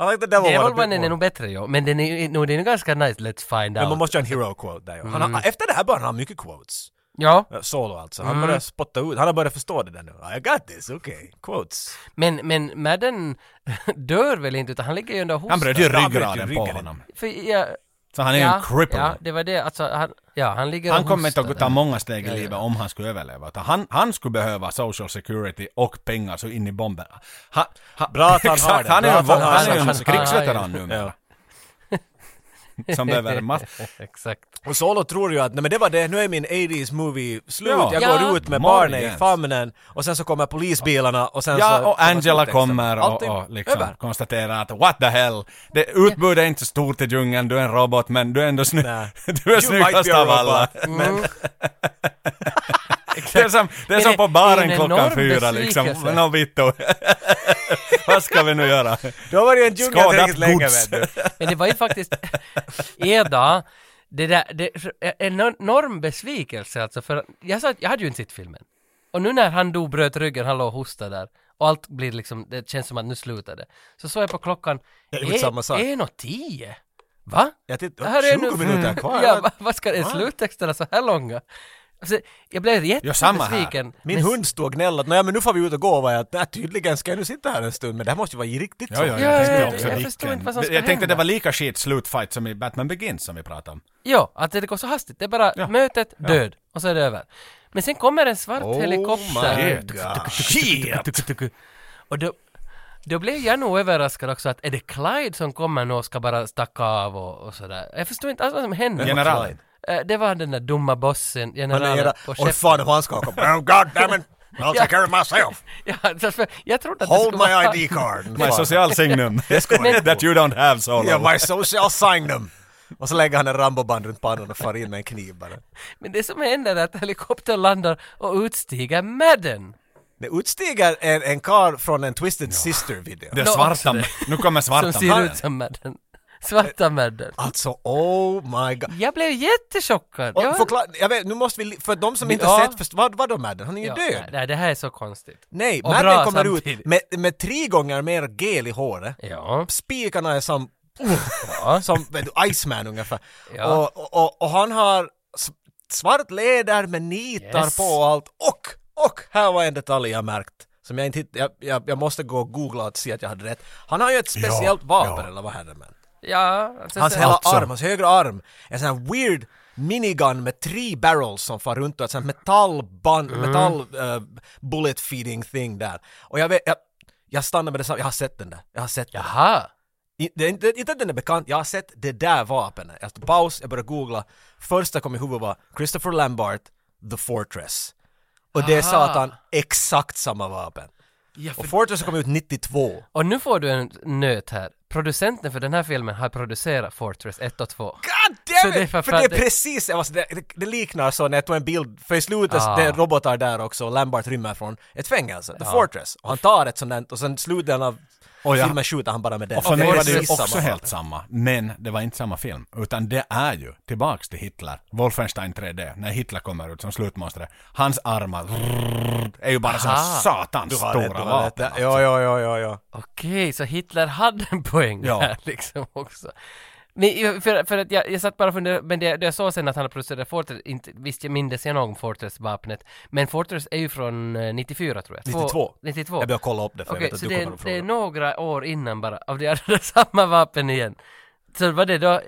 I like the devil one. a
Devil
bit
Mannen är
more.
nog bättre ja, men den är ju nog, den är ganska nice, let's find
Men man
out.
måste ha en hero quote där ju. han
Mm.
har, Efter det här börjar han ha mycket quotes.
Ja,
Eh, Solo alltså.
Mm.
Han börjar spotta ut, han har börjat förstå det där nu. I got this, okej. Quotes.
men, men Madden dör väl inte utan han ligger ju under hostan.
Han bröt ju
bröt ju
ryggraden på
ryggen.
honom.
För, ja,
Så han är ju
ja,
en cripple.
ja, det var det, alltså han, ja, han ligger
Han
och
kommer inte
hostar
att
där.
ta många steg i livet om han skulle överleva. Utan Han, han skulle behöva social security och pengar så in i bomberna. Han, han,
Bra att han har
exakt,
det.
Han är
Bra att han
ju
har
han är ju
social
en
security.
krigsveteran numera. Som behöver massor.
Exakt.
Och Solo tror ju att nej men det var det, nu är min 80s movie slut,
Ja.
jag
Ja.
går ut med
Morgon
barnen i
igen.
famnen och sen så kommer polisbilarna och sen så...
Ja, och Angela kommer och,
Allting
och liksom
över.
konstaterar att what the hell, det, utbudet är inte så stort i djungeln, du är en robot men du är ändå snygg.
Nej.
Du är snyggast av alla.
Mm.
Det är som, det är
Men
som
det-
på
det är
baren
en
klockan
enorm
fyra liksom.
besvikelse.
Nå Vittu, vad ska vi nu göra?
Du har varit i en djungel
Skadat
tillräckligt länge
gods.
vet du.
Men det var ju faktiskt, Eda, det där, det, en enorm besvikelse alltså för jag sa att jag hade ju inte sett filmen. Och nu när han dog, bröt ryggen, han låg och hostade där och allt blir liksom, det känns som att nu slutar det. Så såg jag på klockan,
är ju samma sak.
en och tio. Va?
Jag tittar,
Det här är
20
nu-
minuter kvar.
Ja, va, vad ska det, sluttexterna så här långa? Alltså, jag blev
Ja, samma här.
jättebesviken.
Min
Men-
hund stod och gnällde att "Nåja, men nu får vi ut och gå och jag att "Nej, tydligen ska jag nu sitta här en stund men det här måste ju vara riktigt så.
Ja,
tänkte
ja,
också
jag
vilken.
förstår inte vad som ska
Jag tänkte
hända.
det var lika skit slutfight som i Batman Begins som vi pratade om.
Ja, att det går så hastigt. Det är bara mötet, död och så är det över. Men sen kommer en svart helikopter.
Oh Shit!
Och då, då blev jag nog överraskad också att är det Clyde som kommer nu och ska bara stacka av och, och sådär. Jag förstår inte alls vad som händer.
Generalen.
Eh, Det var den där dumma bossen,
Han är
generalen
era...
och
Och
chefen.
fan vad han skakar på. Oh god damn it! I'll take care of myself!
Ja, alltså, för jag trodde att det
Hold
skulle
my
vara...
ID card!
My social signum.
Men-
That you don't have solo.
Yeah, my social signum! Och så lägger han en Rambo-band runt pannan och far in med en kniv bara.
Men det som händer är att helikoptern landar och utstiger Madden.
Det utstiger en, en karl från en Twisted Sister-video.
Det är
Nå,
svarta.
också det.
Nu kommer svarta
Som ser ut som Madden. Svarta Madden.
Alltså, oh my god.
Jag blev jättechockad.
Och
Jag-
förklara, jag vet, nu måste vi, li- för de som inte
Ja.
har sett, först, vad, vad då Madden? Han är ju
Ja,
död!
nej, Nej, det här är så konstigt.
Nej,
Och bra
Madden kommer
samtidigt.
ut med, med tre gånger mer gel i håret.
Ja.
Spikarna är som,
Ja.
som vet du, Iceman ungefär.
Ja.
Och, och- och, och han har s- svart läder med nitar
Yes.
på och allt. Och, och här var en detalj jag märkt. Som jag inte hitt, jag, jag, jag måste gå och googla och se att jag hade rätt. Han har ju ett speciellt vapen eller vad är det men?
Ja, alltså,
Hans
så-
hela
Alltså.
arm, hans högra arm, är en sån här weird minigun med tre barrels som far runt och ett sånt metallband,
Mm.
metall eh, bullet feeding thing där. Och jag vet, jag, jag stannar med detsamma, jag har sett den där, jag har sett den.
Jaha.
I- det är Inte, inte att den är bekant, jag har sett det där vapnet. Jag tog paus, jag började googla. Första kom i huvudet var Christopher Lambert, The Fortress. Och det är
Aha.
satan exakt samma vapen.
Ja, för...
Och Fortress kom ut 92.
Och nu får du en nöt här. Producenten för den här filmen har producerat Fortress 1 och 2.
God damn
Så
it!
det är
för,
för
det
fan-
är precis, alltså, det, det, det liknar så när jag tog en bild, för i slutet,
Ah.
det är robotar där också, och Lambert rymmer från ett fängelse, The Fortress. Och han tar ett sånt där, och sen slutet av
Och jag-
Filmen skjuter han bara med den.
Och för mig
Det är
var det ju
precis
också
samma
helt
sak.
samma, men det var inte samma film. Utan det är ju, tillbaks till Hitler, Wolfenstein 3D, när Hitler kommer ut som slutmonster. Hans armar vrrrr, är ju bara som satans
Du har rätt, du
stora
har rätt.
vapen. alltså.
Ja, ja, ja, ja, ja.
Okej, så Hitler hade en poäng
Ja.
där liksom också. Men för, för att jag, jag satt bara och funderade, men det, det jag såg sen att han har producerat Fortress, inte, visst jag mindes jag någon Fortress-vapnet, men Fortress är ju från eh, 94 tror jag. Två-
92.
92.
Jag börjar kolla upp det för
Okej,
jag vet
så
att du
det,
kommer att
det är
fråga.
några år innan bara, av det hade samma vapen igen. Så var det då,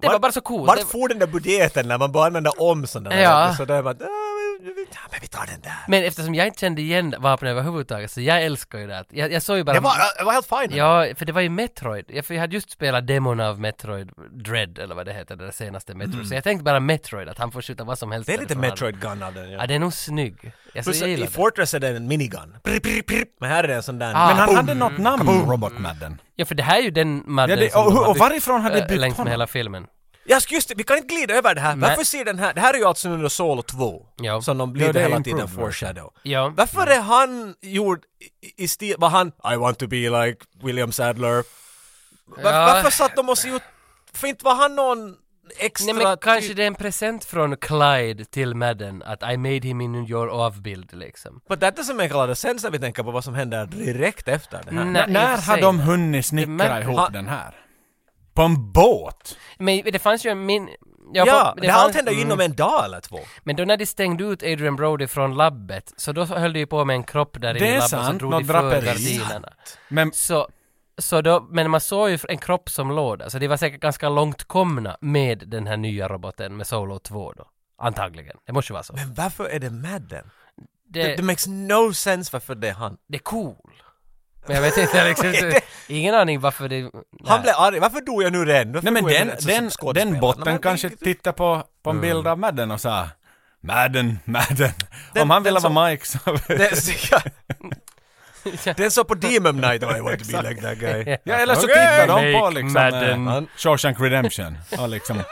det var bara så coolt.
Vart
Det-
får den där budgeten när man bara använder om sådana där?
Ja.
Så där bara, "Ah, men vi- ja, men vi tar den där.
Men eftersom jag inte kände igen vapnen överhuvudtaget, så jag älskar ju det. här. Jag, jag såg ju bara...
Det var, det var helt fine.
Ja, för det var ju Metroid. Jag, för jag hade just spelat demon av Metroid Dread, eller vad det heter, det senaste Metroid. Så jag tänkte bara Metroid, att han får skjuta vad som helst.
Mm. Det är lite
därifrån.
Metroid Gun av den.
Ja,
Ja.
den är nog snygg. Jag, så,
Plus,
jag
I
gillar det.
Fortress är det en minigun. Prr, prr, prr. Men här är det en sån där...
Ah.
Men han hade något namn, Robot Madden.
Ja, för det här är ju den madden
Ja, det,
som de har
och, och
byggt,
varifrån hade
äh,
de byggt
Längs med
honom?
hela filmen.
Ja, ska just det, vi kan inte glida över det här.
Nej.
Varför ser den här, det här är ju alltså under Solo 2,
Ja.
som de
Ja,
blir
det är
hela tiden
improved
foreshadow.
Ja.
Varför är han gjord i- i stil, var han I want to be like William Sadler? Var,
Ja.
Varför satt de och se ut, för inte var han någon extra...
Nej men kanske
typ-
det är en present från Clyde till Madden, att I made him in your avbild liksom.
But that doesn't make a lot of sense när vi tänker på vad som händer direkt efter det här.
Nej, i
N-
och
när
för
har
sig.
de hunnit snickra
märker-
ihop
Ha-
den här? På en båt?
Men det fanns ju en min...
Ja,
jag får-
det, här allt
fanns-
händer ju
Mm.
inom en dag eller två.
Men då när de stängde ut Adrian Brody från labbet, så då höll de ju på med en kropp där
Det
inne
är
i labbet,
sant,
så drog
något
de för
draperi.
gardinerna.
Men
Så, så då, men man såg ju en kropp som låg där, så de var säkert ganska långt komna med den här nya roboten med Solo 2 då. Antagligen. Det måste ju vara så.
Men varför är det Madden? Det,
Det,
det makes no sense varför det är han.
det är cool. Men jag vet inte, liksom, inte- ingen aning varför det...
Han
Nej.
blev arg, varför dog jag nu redan? Varför
Nej men
dog jag
den,
nu redan som
den,
skådespelare?
den
Nej,
botten
men
kanske
det-
tittar på, på en bild av Madden och sa Madden, Madden. Om han ville
den
vara Mike så...
Den, ja. den sa på Demon Night I want to be like that guy.
Ja eller så
Okej.
tittar de
Make
på liksom
Madden.
eh, Shawshank Redemption och liksom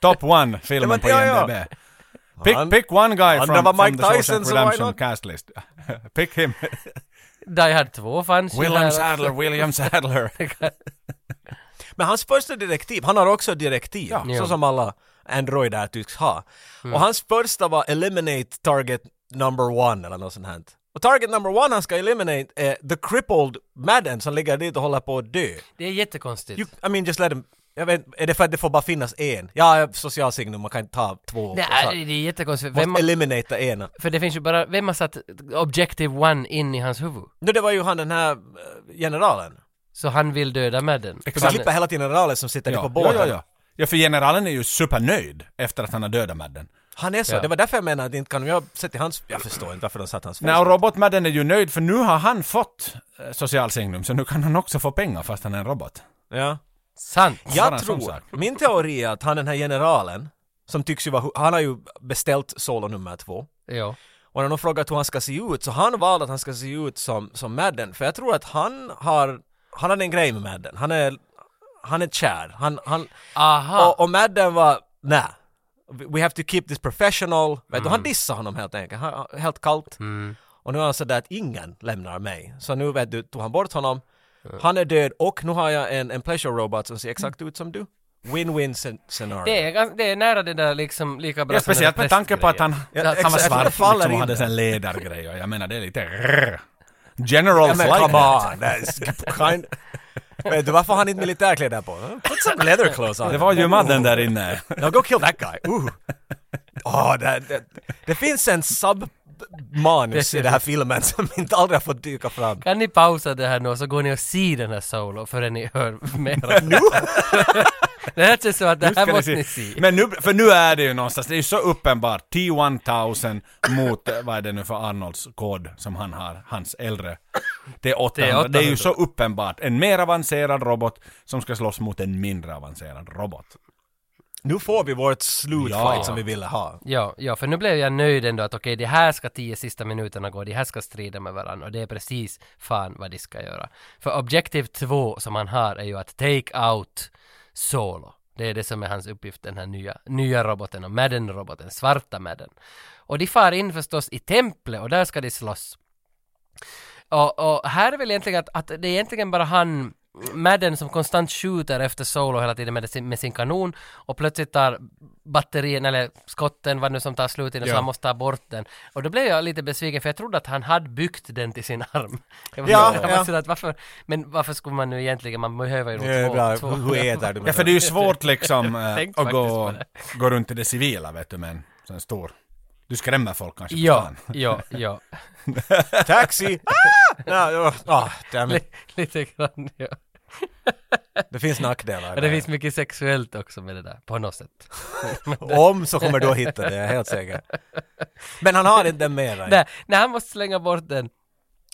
Top One
Ja,
filmen
men-
på
ja, ja.
IMDB. Pick,
Han-
pick one guy
han
from,
där var
from
Mike
the
Tyson,
Shawshank
så why
Redemption
not?
cast list. pick him.
Die Hard 2 fanns ju här
William
också.
Sadler, William Sadler.
Men hans första direktiv, han har också direktiv, så
Ja. Mm.
som alla Androider tycks ha. Och hans första var Eliminate Target Number One eller något sånt här. Och target number one han ska eliminate är the crippled Madden som ligger dit och håller på att dö.
Det är jättekonstigt.
You, I mean just let him... Jag vet, är det för att det får bara finnas en? Ja, socialsignum, man kan inte ta två.
det, är,
Alltså-
det är jättekonstigt. Vem,
Måste eliminata ena.
för det finns ju bara... Vem har satt Objective One in i hans huvud?
Nu det var ju han den här eh, generalen.
Så han vill döda Madden.
För
Han-
vi klipper hela tiden generaler som sitter ja. på
Ja,
båten.
ja, ja, ja. ja, för generalen är ju supernöjd efter att han har dödat Madden.
Han är så,
Ja.
det var därför jag menar att inte kan jag sätta hans... Jag förstår inte varför de satte hans
Nej,
face.
och robotmadden är ju nöjd för nu har han fått eh, social signum så nu kan han också få pengar fast han är en robot.
Ja.
Sant!
Bara
Jag
en sån
tror,
sak.
min teori är att han den här generalen, som tycks ju vara, hu- han har ju beställt solo nummer två.
Ja.
Och när de frågat hur han ska se ut, så han valde att han ska se ut som, som Madden. För jag tror att han har, han hade en grej med Madden. Han är, han är kär. Han, han,
Aha!
Och, och Madden var, nej. We have to keep this professional. Vet du, han dissade honom helt enkelt, han, helt kallt. Och nu är han sådär att ingen lämnar mig. Så nu vet du, tog han bort honom. Han är död och nu har jag en, en pleasure robot som ser exakt ut som du. Win-win scen- scenario.
det, är, gans- det är nära det där liksom lika bra
Ja,
som den
speciellt
där
med tanke på att han,
Ja,
att han var
exakt.
svart
Det faller
liksom, och
in
hade
där.
en ledargrej och jag menar det är lite rrr. General
Ja, men
Alltså,
come
like that.
on! that's Kind... vet du varför har han inte militärkläder på? Put some leather clothes on
Det var ju madden där inne.
Now go kill that guy! Ooh. Oh, det, det, det finns en submanus i den här filmen som inte aldrig har fått dyka fram.
Kan ni pausa det här nu och så går ni och ser den här solo förrän ni hör mer? nu? det här känns som att det
Nu
här
ska
måste
ni
ni
se.
se.
Men nu, för nu är det ju någonstans, det är ju så uppenbart. T-1000 mot, eh, vad är det nu för Arnolds kod som han har, hans äldre. Det är 800. Det är,
800.
ju så uppenbart. En mer avancerad robot som ska slåss mot en mindre avancerad robot.
Nu får vi vårt slutfight
Ja.
som vi ville ha.
Ja, ja, för nu blev jag nöjd ändå att okej, de här ska tio sista minuterna gå, de här ska strida med varandra och det är precis fan vad de ska göra. För objektiv två som han har är ju att take out Solo. Det är det som är hans uppgift, den här nya, nya roboten och Madden-roboten, svarta Madden. Och de far in förstås i templet och där ska de slåss. Och, och här är väl egentligen att, att det är egentligen bara han Madden som konstant skjuter efter Solo hela tiden med sin, med sin kanon och plötsligt tar batterin eller skotten vad nu som tar slut innan så
Ja.
han måste ta bort den. Och då blev jag lite besviken för jag trodde att han hade byggt den till sin arm. Jag var,
Ja,
jag var
ja.
sådär att varför, men varför skulle man nu egentligen, man behöver ju nog
Det är
två.
bra.
två.
Hur äter du
Ja,
med
för det är ju svårt liksom eh,
Tänk
att
faktiskt
gå,
på det.
gå runt i det civila, vet du, men sen stor. Du skrämmer folk kanske på
Ja,
stan.
ja, ja.
den? Taxi! Ah! Ja, ja, ah, damn it.
Li- lite grann, ja.
det finns nackdelar.
Men
där.
det finns mycket sexuellt också med det där, på något sätt.
Om så kommer du att hitta det, jag är helt säker. Men han har inte den mera.
Nej, nej, han måste slänga bort den.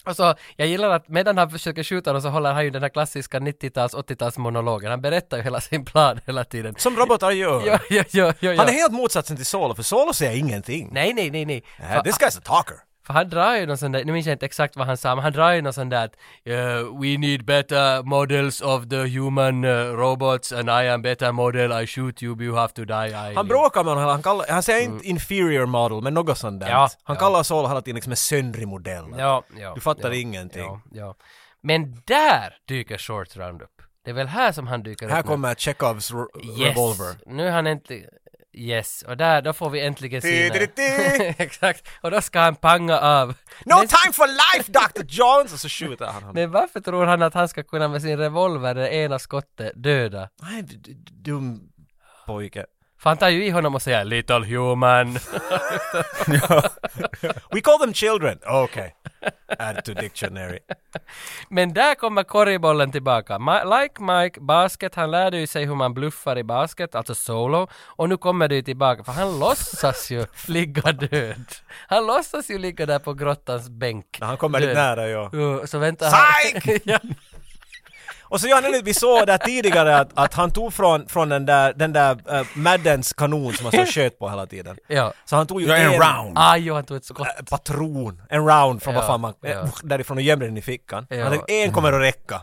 Och så, jag gillar att medan han försöker skjuta den så håller han ju den här klassiska 90-tals, 80-tals monologen. Han berättar ju hela sin plan hela tiden.
Som robotar gör.
Ja, ja, ja, ja, ja.
Han är helt motsatsen till Solo, för Solo säger ingenting.
Nej, nej, nej, nej.
Nej, This guy's a talker.
För han drar ju någon sån där, nu minns jag inte exakt vad han sa, men han drar ju någon sån där att "Eh, We need better models of the human eh, robots and I am better model, I shoot you, you have to die, I
Han bråkar med honom, han, kallar, han säger inte inferior model, men något sånt där.
Mm. Ja,
han
ja.
kallar Solo hela tiden liksom en söndrig modell.
Ja, ja,
Du fattar
ja,
ingenting.
Ja, ja. Men där dyker Short Round upp. Det är väl här som han dyker
Här
upp. nu.
kommer Chekhovs re-
yes.
revolver.
Nu är han äntligen... Yes, och där, då får vi äntligen se
Tidididi.
Exakt, och då ska han panga av.
No
men,
time for life Dr. Jones! Och så skjuter han honom.
men varför tror han att han ska kunna med sin revolver, det ena skottet, döda?
Nej, du- du- dum pojke.
För han tar ju i honom och säger ”Little human”.
We call them children. Okay. Add to dictionary.
Men där kommer korgbollen tillbaka. Ma- like Mike Basket, han lärde ju sig hur man bluffar i basket, alltså solo. Och nu kommer det ju tillbaka, för han låtsas ju ligga död. Han låtsas ju ligga där på grottans bänk.
När han kommer dit
död.
nära, ja.
Jo, så väntar han.
Psych!
ja.
Och så Johan, Elliot, vi såg där tidigare att, att han tog från, från den där, den där eh, Maddens kanon som han så sköt på hela tiden.
ja.
Så han tog ju
Jag är en round.
Ah, jo, han tog ett skott.
eh, patron, en round från
Ja,
vad fan man,
ja.
eh, därifrån och gömde den i fickan.
Ja.
Han tänkte, en kommer att räcka.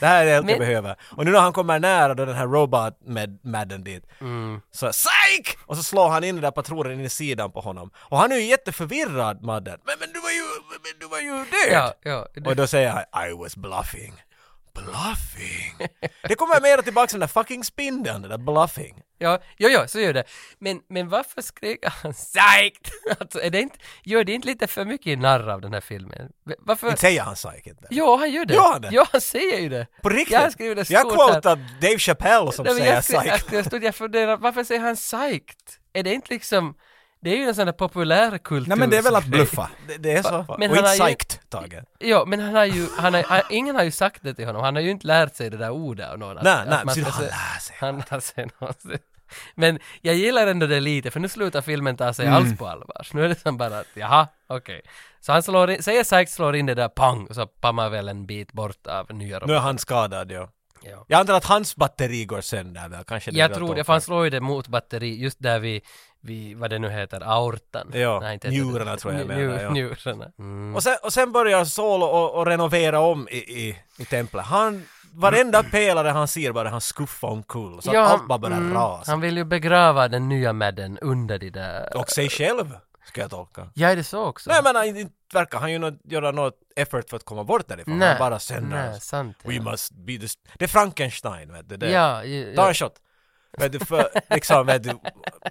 Det här är allt
Men-
jag behöver. Och nu när han kommer nära då den här robot med Madden dit,
Mm.
så psyk! Och så slår han in den där patronen in i sidan på honom. Och han är ju jätteförvirrad, Madden. Men, men du var ju, men du var ju död!
Ja, ja.
Och då säger han I was bluffing. Bluffing? Det kommer mer tillbaka till den där fucking spindeln, den där bluffing.
Ja, jo, jo, så gör det. Men, men varför skrek han psykt? Alltså, är det inte, gör det inte lite för mycket narr av den här filmen? Varför?
Inte säger han psyk inte.
Jo, han gör det.
Gör han det?
Ja, han säger ju det.
På riktigt?
Jag skriver det
Jag
stort här.
quotar Dave Chappelle som
Nej, men
säger
jag,
psyk.
skri- jag, jag, stod, jag funderar, varför säger han psykt? Är det inte liksom, det är ju en sån där populärkultur.
Nej men det är väl att
som-
bluffa.
Det, det är så.
Men
och
han
inte
har ju-
psykt, Tage.
Ja, men han har ju, han har, han, ingen har ju sagt det till honom, han har ju inte lärt sig det där ordet av någon. att-
Nej,
att
nej,
man
så
ska
han
se-
lär sig.
Han lär sig någonsin. Men jag gillar ändå det lite, för nu slutar filmen ta
Mm.
sig alls på allvar. Nu är det som bara att, jaha, okej. Så han slår in, säger Sykes slår in det där pang, och så pammar väl en bit bort av nya
Nu är
robotar.
han skadad ja.
Ja.
Jag antar att hans batteri går sönder väl, kanske det är
Jag
det
tror
att
det, för han slår ju det mot batteri just där vi, vi vad det nu heter, aortan.
Ja,
heter det.
njurarna tror jag
Nju-
menar,
nju-
ja.
Njurarna. Mm.
Och sen, och sen börjar Solo och, och renovera om i, i, i templet. Han, varenda pelare han ser bara han skuffar omkull. Så
Mm. Ja,
att allt bara börjar
mm,
rasa.
Han vill ju begrava den nya Madden under de där...
Och sig själv, ska jag tolka.
Ja, är det så också?
Nej jag menar, inte inte verkar han ju nå- göra något effort för att komma bort därifrån.
Nej,
Han bara sänder
nej,
oss.
sant.
We
ja.
must be the... st- Det är Frankenstein, vet du. Det.
Ja, ju-
Ta
ja.
en shot. Vet du, för liksom, vet du,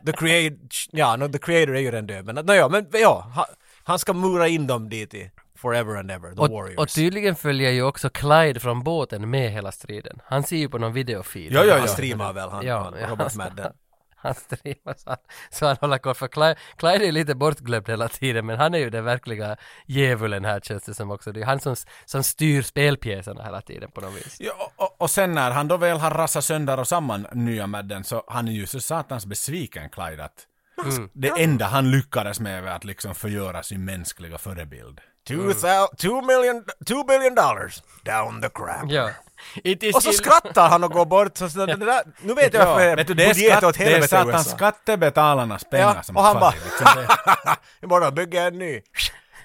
the creator, ja, no, the creator är ju den död, men nåja, men ja, han, han ska mura in dem dit i forever and ever, the
Och,
warriors.
och tydligen följer ju också Clyde från båten med hela striden. Han ser ju på någon videofil.
Ja, ja,
Han
ja.
streamar väl, han,
Ja,
han
ja.
Robert Madden.
Han streamar så han, så han håller koll. För Clyde, Clyde är lite bortglömd hela tiden men han är ju den verkliga djävulen här känns det som också. Det är han som, som styr spelpjäserna hela tiden på något vis.
Ja, och, och sen när han då väl har rassat sönder och samman nya Madden så han är ju så satans besviken Clyde att
Mm.
det enda han lyckades med var att liksom förgöra sin mänskliga förebild.
Two, thou- two million, two billion dollars down the crap.
Ja. It is
Och så
ill-
skrattar han och går bort. Så, så, det där, nu vet jag varför
vet du, det är,
budget
skatt,
åt
det är
helvete i
satans
USA.
skattebetalarnas pengar
Ja,
som
och han bara
fattig, liksom. Det-
Jag bara bygger en ny.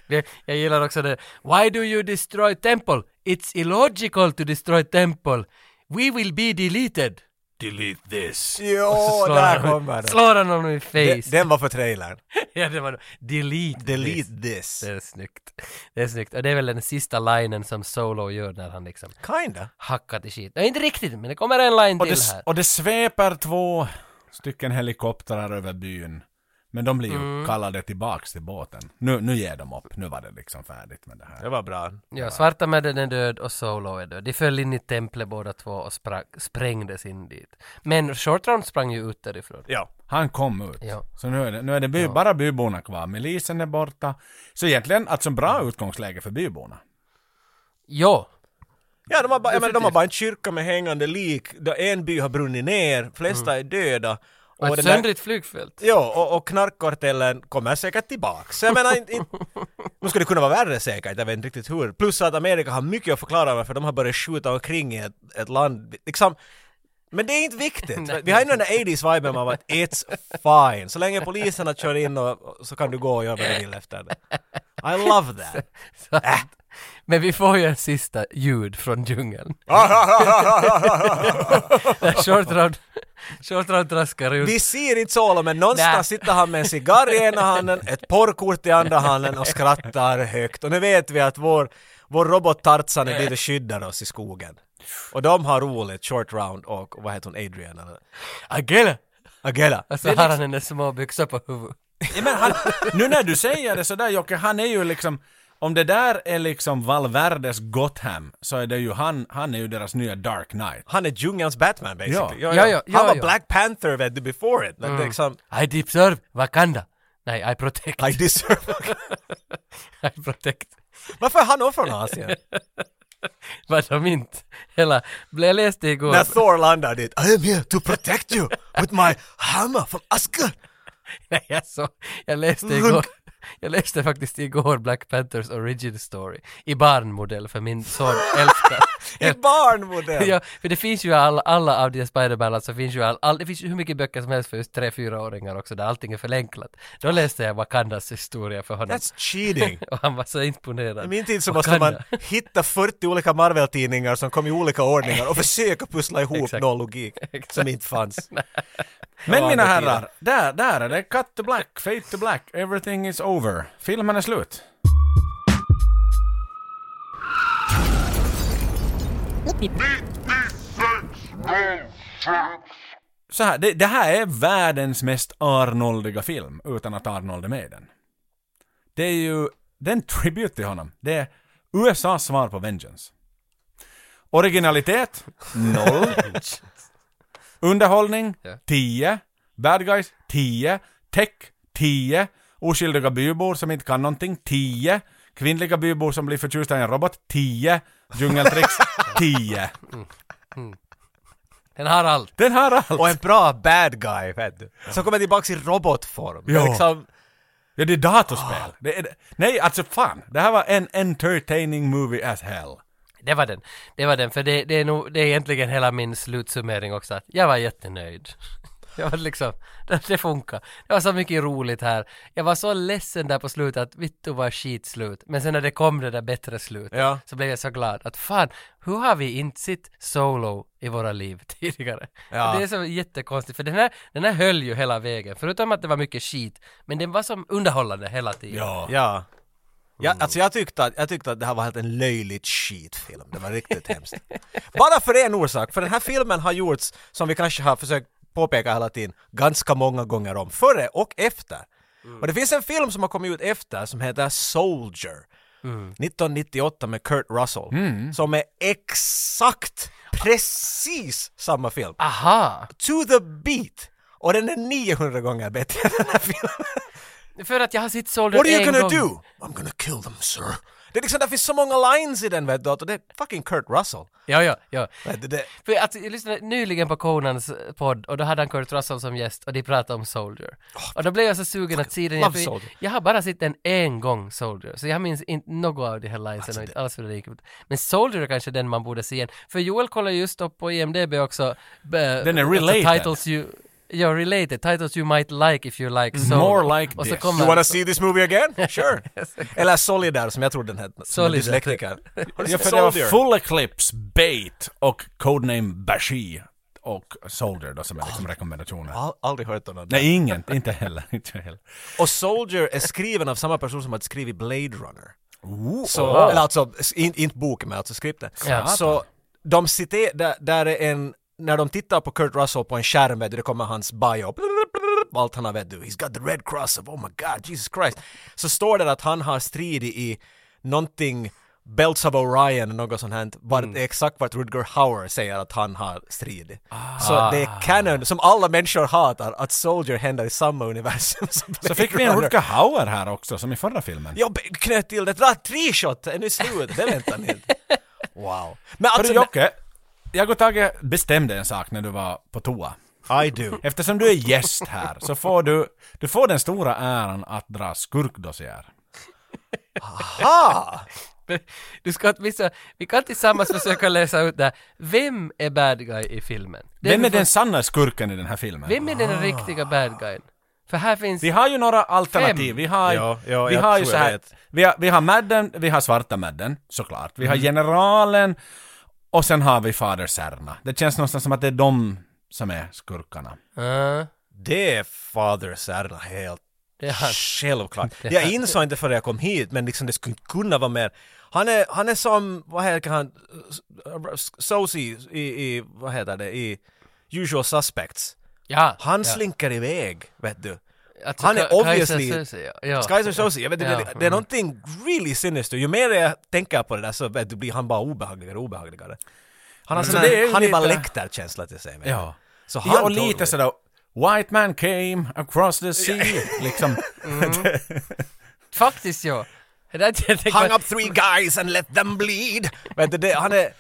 Det- Jag gillar också det. Why do you destroy temple? It's illogical to destroy temple. We will be deleted.
delete this.
Jo, där kommer den.
Slår han honom i
Den-
face.
Den var för trailern.
ja, det var nog- Delete. this.
Delete this.
Det är snyggt. Det är snyggt. Och det är väl den sista linen som Solo gör när han liksom
Kinda.
hackar till skit. Nej, inte riktigt, men det kommer en line
Och
till
det,
här.
och det sveper två stycken helikoptrar över byn. Men de blir ju
Mm.
kallade tillbaks till båten. Nu, nu ger de upp. Nu var det liksom färdigt med det här.
Det var bra.
Ja, Svarta Madden är död och Solo är död. De föll in i templet båda två och sprang, sprängdes in dit. Men Short Round sprang ju ut därifrån.
Ja.
Han kom ut.
Ja.
Så nu är det, nu är det by, bara byborna kvar. Milisen är borta. Så egentligen, alltså en bra utgångsläge för byborna.
Jo,
Ja, de har, bara, jag menar, de har bara en kyrka med hängande lik. där En by har brunnit ner,
Mm.
flesta är döda.
och ett
den där-
söndrigt flygfält.
Ja, och, och knarkkartellen kommer säkert tillbaka. Så jag menar, inte, inte, nu skulle det kunna vara värre säkert, jag vet inte riktigt hur. Plus att Amerika har mycket att förklara varför de har börjat skjuta omkring i ett, ett land. Liksom, men det är inte viktigt. Vi har ju den där 80s-viben av att it's fine. Så länge poliserna kör in och, och så kan du gå och göra vad du vill efter det. I love that.
Så att- Men vi får ju en sista ljud från djungeln. Där Short Round, Short Round traskar ut.
Vi ser inte Solo, men någonstans
Nej.
sitter han med en cigarr i ena handen, ett porrkort i andra handen och skrattar högt. Och nu vet vi att vår, vår robot Tarzan är dit och skyddar oss i skogen. Och de har roligt, Short Round och vad heter hon, Adrian eller?
Agela!
Agela.
Och så har han hennes små byxor på huvudet.
Ja, men han, nu när du säger det sådär Jocke, han är ju liksom... Om det där är liksom Valverdes Gotham så är det ju han, han är ju deras nya Dark Knight.
Han är djungelns Batman basically.
Ja,
Ja.
ja, ja,
han var
ja.
Black Panther vet du before it. Mm. Liksom,
I deep serve, Wakanda! Nej, I protect.
I deserve.
I protect.
Varför är han nog från Asien?
Vad de inte. Hela, jag läste igår.
När Thor landar dit, I am here to protect you with my hammer from Asgard.
Nej, alltså, jag läste igår. Jag läste faktiskt igår Black Panthers origin story i barnmodell för min son älskar.
I barnmodell!
ja, för det finns ju alla, alla av de Spider-Man, alltså finns ju all, all, det finns ju hur mycket böcker som helst för just 3-4-åringar också där allting är förenklat. Då läste jag Wakandas historia för honom.
That's cheating.
Och han var så imponerad.
I min tid så måste man hitta 40 olika Marvel-tidningar som kom i olika ordningar och försöka pussla ihop
Exakt.
någon logik som inte fanns.
Men mina
andra
herrar, där, där är det Cut to Black, Fate to Black, Everything is over. Filmen är slut. Så här, det, det här är världens mest Arnoldiga film, utan att Arnold är med i den. Det är ju, det är en tribute till honom. Det är USAs svar på Vengeance. Originalitet, noll. Underhållning, 10. Bad guys, 10. Tech, 10. Oskyldiga bybor som inte kan någonting, 10. Kvinnliga bybor som blir förtjusta i en robot, 10. Djungeltricks, 10.
Den har allt.
Den har allt!
Och en bra bad guy, vet du. Som kommer tillbaka i robotform.
Ja.
Liksom,
Ja, det är datorspel. Det är, det- nej, alltså fan. Det här var en entertaining movie as hell.
Det var den. Det var den, för det, det, är, nog, det är egentligen hela min slutsummering också. Att jag var jättenöjd. Jag var liksom, det, det funkar. Det var så mycket roligt här. Jag var så ledsen där på slutet att vittu var skitslut. Men sen när det kom det där bättre slutet
Ja.
så blev jag så glad att fan, hur har vi inte sett Solo i våra liv tidigare?
Ja.
Det är så jättekonstigt, för den här, den här höll ju hela vägen. Förutom att det var mycket skit, men den var som underhållande hela tiden.
Ja.
ja. Ja, alltså jag tyckte, att, jag tyckte att det här var helt en löjligt skitfilm. Det var riktigt hemskt. Bara för en orsak, för den här filmen har gjorts, som vi kanske har försökt påpeka hela tiden, ganska många gånger om. Före och efter. Och det finns en film som har kommit ut efter som heter Soldier. 1998 med Kurt Russell. Som är exakt precis samma film.
Aha!
To the beat! Och den är 900 gånger bättre än den här filmen.
För att jag har sett Solo
What are you
en
gonna
gång.
do? I'm gonna kill them sir. Det är liksom, det finns så många lines i den vet du, och det är fucking Kurt Russell.
Ja, ja, ja.
Vet du, det,
För att jag lyssnade nyligen på Conans podd och då hade han Kurt Russell som gäst och de pratade om Soldier. och då blev jag så sugen att se den igen,
love
för
Soldier.
Jag har bara sett den en gång, Soldier, så jag minns inte något av de här linesen
Alltså,
och inte alls hur det gick ut. Men Soldier är kanske den man borde se igen. För Joel kollar just upp på IMDB också. Den
är related.
Titles you, ja, related. Titles you might like if you like Solo.
More like
och så
this.
kommer-
You wanna see this movie again? Sure! Eller Solidar som jag trodde den hette.
Solidar.
Solidar.
Ja, för det var Full Eclipse, Bait och Codename Bashir. och Soldier då som är liksom rekommendationer.
Al- aldrig hört om något.
Nej, ingen. Inte heller. Inte heller.
Och Soldier är skriven av samma person som hade skrivit Blade Runner.
Ooh,
Så, eller alltså, s- in, inte boken men alltså skriptet.
Ja.
Så de citerar, där, där är en, när de tittar på Kurt Russell på en skärm, vet du, det kommer hans bio, och allt han har vet du, he's got the red cross of, oh my god, Jesus Christ. Så står det att han har stridit i någonting Belts of Orion, något sånt här, vart, det är exakt vart Rutger Hauer säger att han har stridit. Så det är canon, som alla människor hatar, att Soldier händer i samma universum som
Så
Blade
fick vi en
Runner.
Rutger Hauer här också, som i förra filmen.
Jag b- knöt till det, dra tre shot, är nu slut, det väntar ni inte. Wow. Men
Hörru
alltså...
Jocke, jag och Tage bestämde en sak när du var på toa.
I do.
Eftersom du är gäst här så får du, du får den stora äran att dra skurkdossier.
Ha!
Du ska åtminstone, vi kan tillsammans försöka läsa ut det här. Vem är bad guy i filmen? Det
Vem
vi
är den
får-
sanna skurken i den här filmen?
vem är den riktiga bad guyen? För här finns...
Vi har ju några alternativ. Vi har,
Ja, ja,
vi
jag
har ju
tror
så
jag
här,
vet.
vi har, vi har Madden, vi har svarta Madden, såklart. Vi
Mm.
har generalen och sen har vi Fader Serna. Det känns någonstans som att det är de som är skurkarna.
Ja,
Det är Father Serna helt
det är han.
självklart.
Det är
Jag
han.
insåg inte förrän jag kom hit, men liksom det skulle inte kunna vara mer. Han är, han är som, vad heter han, Sosi i, i, vad heter det, i Usual Suspects.
Ja.
Han
ja.
slinker iväg, vet du.
Alltså,
han är
Ka- Kaiser
obviously-
Söze, ja. Ja.
Skyzer Sosi, jag vet inte,
Ja,
det, det är
mm.
någonting really sinister. Ju mer jag tänker på det där så vet du, blir han bara obehagligare och obehagligare. Han har
Så
sån
Mm. det är
här
ju
Hannibal
lite-
Lecter-känsla till sig. vet du.
Ja.
Så
ja, och
tål
lite
det.
sådär White man came across the sea, liksom.
Faktiskt ja. Det där jag tänker
Hung
på-
up three guys and let them bleed. Vet du, det, han är...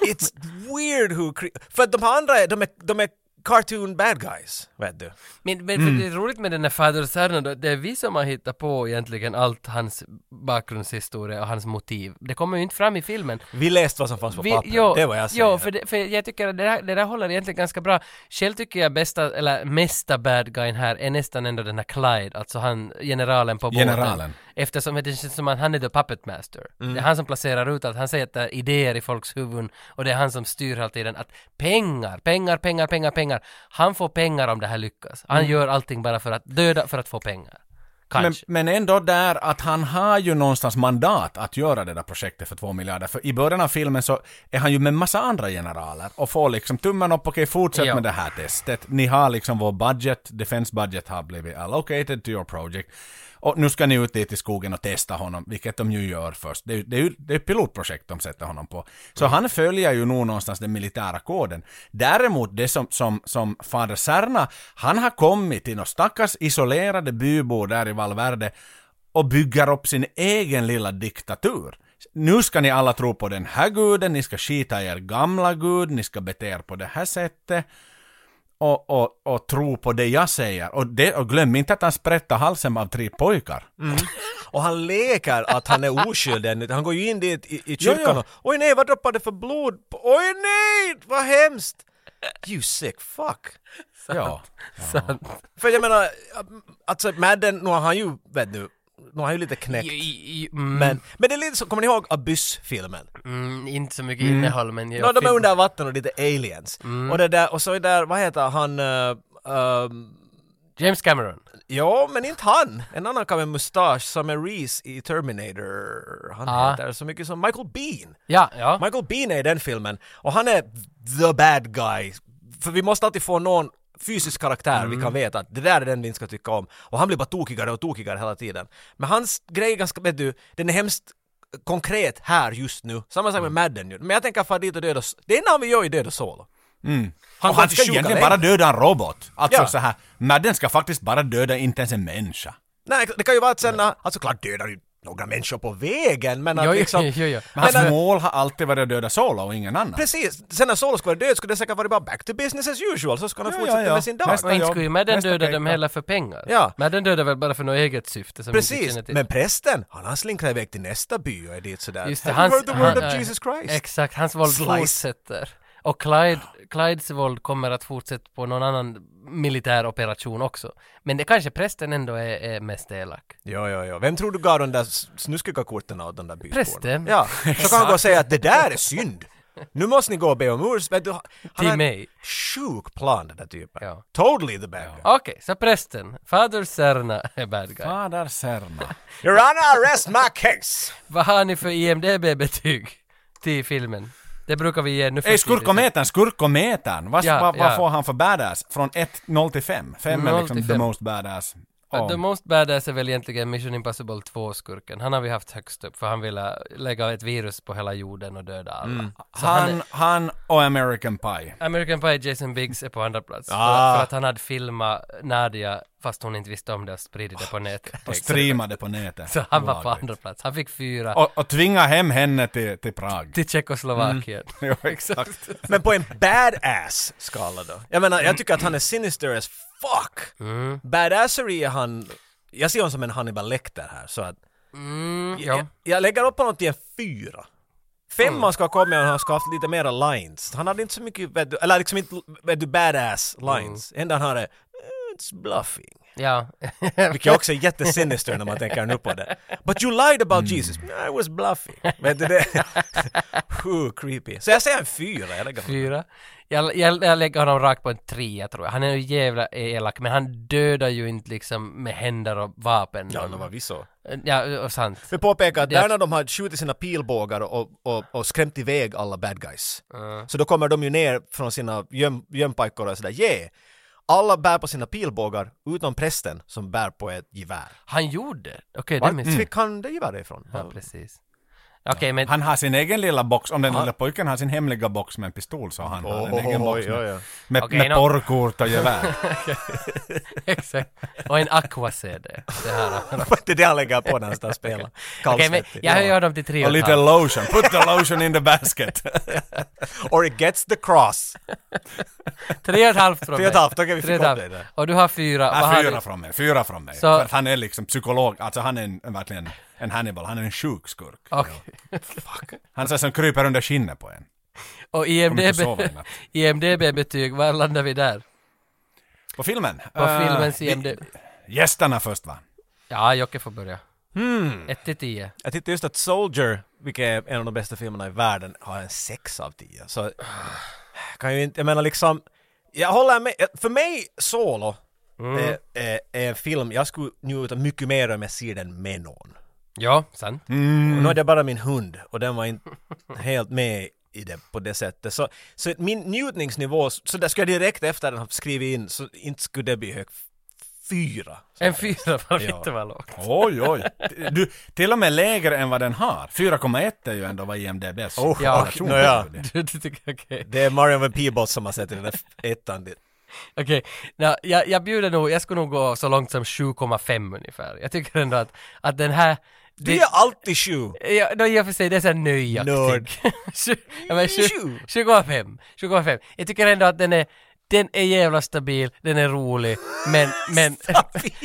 It's weird who... Cre- för att de här andra, är- de är, de är cartoon bad guys. Vet du.
Men, men för det är roligt med den här Fader Serna då, det är vi som har hittat på egentligen allt hans bakgrundshistoria och hans motiv. Det kommer ju inte fram i filmen.
Vi läste vad som fanns på
Vi-
pappret.
jo,
det är vad jag säger.
Jo, för, det, för jag tycker att det där, det där håller egentligen ganska bra. Själv tycker jag bästa, eller mesta bad guyen här är nästan ändå den här Clyde, alltså han, generalen på båten.
Generalen.
Eftersom det känns som att han är the puppet master.
Mm.
Det är han som placerar ut allt, han sätter idéer i folks huvuden och det är han som styr hela tiden att pengar, pengar, pengar, pengar, pengar. Han får pengar om det här lyckas. Han
Mm.
gör allting bara för att döda för att få pengar.
Men,
Kanske.
men ändå där att han har ju någonstans mandat att göra det där projektet för två miljarder. För i början av filmen så är han ju med massa andra generaler och får liksom tummen upp, okej fortsätt
Ja.
med det här testet. Ni har liksom vår budget, defense budget har blivit allocated to your project. Och nu ska ni ut dit i skogen och testa honom, vilket de ju gör först. Det är ju det är ju- det är ett pilotprojekt de sätter honom på. Så han följer ju nog någonstans den militära koden. Däremot det som, som, som fader Serna, han har kommit till någon stackars isolerade bybo där i Valverde och bygger upp sin egen lilla diktatur. Nu ska ni alla tro på den här guden, ni ska skita i er gamla gud, ni ska bete er på det här sättet och, och, och tro på det jag säger. Och, det, och glöm inte att han sprättar halsen av tre pojkar.
Mm.
Och han leker att han är oskyldig ännu. Han går ju in dit i, i kyrkan
Ja, ja.
och oj nej, vad droppar det för blod? på- Oj nej, vad hemskt! You sick fuck.
Ja.
Sant.
För jag menar, alltså Madden, nu har han ju, vet du, nu har han ju lite knäckt.
I- i- i- mm,
Men, men det är lite så, kommer ni ihåg Abyss-filmen?
mm, inte så mycket innehåll men... jag-
Ja, de är under vatten och lite aliens.
Mm.
Och, det där, och så är där, vad heter han? eh, ehm,
James Cameron.
ja, men inte han! En annan kan med mustasch som är Reese i Terminator. Han
Ah.
heter så mycket som Michael Bean.
Ja, ja.
Michael Bean är i den filmen och han är the bad guy. För vi måste alltid få någon fysisk karaktär vi
Mm.
kan veta att det där är den vi inte ska tycka om. Och han blir bara tokigare och tokigare hela tiden. Men hans grej är ganska, vet du, den är hemskt konkret här just nu. Samma
Mm.
sak med Madden ju. Men jag tänker fara dit och döda, S- det enda han vill göra är döda Solo.
Han,
Han
Mm. och
kommer
han
till
ska
sjuka
egentligen
längre.
bara döda en robot. Alltså
Ja.
så här, Madden ska faktiskt bara döda inte ens en människa.
Nej, det kan ju vara att sen, alltså klart dödar ju några människor på vägen men att
Jo, jo,
liksom...
jo, jo.
Men hans
Men, äh,
mål har alltid varit att döda Solo och ingen annan.
Precis, sen när Solo skulle vara död skulle det säkert vara bara back to business as usual så ska han
Ja,
fortsätta
ja, ja.
med sin dag.
Nästa
Och inte
jobb,
skulle ju Madden
nästa
döda
peka.
dem heller för pengar.
Ja.
Madden dödar väl bara för något eget syfte som vi inte
Precis,
känner till.
men prästen, han har slinkrat iväg till nästa by och är dit sådär.
Just det,
Have you
hans,
heard the word of
ja,
Jesus Christ?
Exakt, hans våld
Slice.
fortsätter. Och Clyde, Clydes våld kommer att fortsätta på någon annan militär operation också. Men det kanske prästen ändå är, är mest elak.
ja, ja, ja. Vem tror du gav de där s- snuskiga korten av den där bykorna?
Prästen.
Ja, så kan han gå och säga att det där är synd. Nu måste ni gå och be om ursäkt. Han
Till
har en
mig.
Sjuk plan den där typen.
Ja.
Totally the bad guy.
Okej, så prästen, fader Serna är bad guy.
Fader Serna.
Your honor, arrest my case!
Vad har ni för IMDB-betyg till filmen? Det brukar vi ge nu för tiden.
Ej, skurkometern, skurkometern! Vad
Ja,
vad- vad
ja.
får han för badass? Från 1, 0 till 5. 5 är
0
liksom
till
the
fem.
most badass.
Ja, The
Om.
Most Badass är väl egentligen Mission Impossible 2-skurken. Han har vi haft högst upp för han ville lägga ett virus på hela jorden och döda alla. Så han,
Mm. Han, han och American Pie.
American Pie Jason Biggs är på andra plats.
Ah.
För, för att han hade filmat Nadia fast hon inte visste om det och spridit det på nätet.
Och streamade på nätet.
Så han var på
Olagligt.
andra plats. Han fick fyra
Och, och tvinga hem henne till, till Prag.
till Tjeckoslovakien.
Jo, Mm. exakt.
Men på en badass-skala då? Jag menar, jag tycker att han är sinister as fuck! Badassery är han... Jag ser honom som en Hannibal Lecter här, så att...
Ja.
Jag, jag lägger upp honom till en fyra. Femman ska komma om han ska ha haft lite mera lines. Han hade inte så mycket, vet du, eller liksom inte, vet du, badass lines. Enda han har är "Eh, It's bluffing.
ja.
Vilket också är jättesinister när man tänker nu på det. But you lied about Jesus. "No, I was bluffing. Vet du det? Ooh, creepy. Så jag säger en fyra. Jag lägger honom.
Fyra. Jag, jag, jag lägger honom rakt på en trea tror jag. Han är ju jävla elak men han dödar ju inte liksom med händer och vapen.
Ja, det var vi så.
ja och sant.
Vi påpekar att
Det är-
där när de har skjutit sina pilbågar och, och, och skrämt iväg alla bad guys, så då kommer de ju ner från sina göm, gömpajkor och sådär yeah! Alla bär på sina pilbågar, utom prästen som bär på ett gevär.
Han gjorde? Okej,
Var
det minns jag.
fick han det geväret ifrån?
Mm. Ja, precis. Okej, men...
Mm. Han har sin egen lilla box, om den lilla pojken har sin hemliga box med en pistol så han har en
Oj,
egen box
oj, oj, oj.
med, med,
Okej,
med
nå-
porrkort och gevär.
Exakt. Och en aqua-CD. Det här. Okej,
det är det han lägger på när han står och spelar.
men
Kallsvettig.
jag höjer
ja.
honom till tre
och
och ett
lite
halvt.
lotion. Put the lotion in the basket.
Or it gets the cross.
Tre och ett halvt från
Tre och ett
mig.
halvt, okej, vi fick
Tre och
upp
ett
det
halvt.
där.
Och du har fyra. Vad
Ah,
har
fyra
du?
från mig, fyra från mig.
Så-
För att han är liksom psykolog, alltså han är en, en verkligen en Hannibal, han är en sjuk skurk.
Okej.
Han så som kryper under skinnet på en.
Och
Kommer inte
IMDB,
sova i natt.
IMDB-betyg, var landar vi där?
På filmen?
På
Eh,
filmens
vi-
IMDB?
Gästerna först va?
Ja, Jocke får börja.
Hmm.
Ett till tio.
Jag tittade just att Soldier, vilket är en av de bästa filmerna i världen, har en 6 av 10. Så kan ju inte, jag menar liksom, jag håller med, för mig Solo är, är, är en film jag skulle njuta mycket mer om jag ser den med någon.
Ja, sant.
Mm.
Och nu hade jag bara min hund och den var inte helt med i det på det sättet. Så, så min njutningsnivå, så där skulle jag direkt efter den ha skrivit in, så inte skulle det bli hög fyra.
En fyra var
Ja.
inte vad lågt.
Oj oj. Du, till och med lägre än vad den har. 4,1 är ju ändå vad IMDB är.
Oh,
Ja.
och, nåja.
Du, du tycker okej.
Det är Marion van Peebles som har sett den där f- ettan. dit.
Okej, Nå, jag, jag bjuder nog, jag skulle nog gå så långt som 7,5 ungefär. Jag tycker ändå att, att den här...
Du är alltid sju!
Ja, då i och för sig, det är såhär nöjaktig.
Nörd.
Tju- ja, men tju-
Tju.
25, 25. Jag tycker ändå att den är, den är jävla stabil, den är rolig, men, men,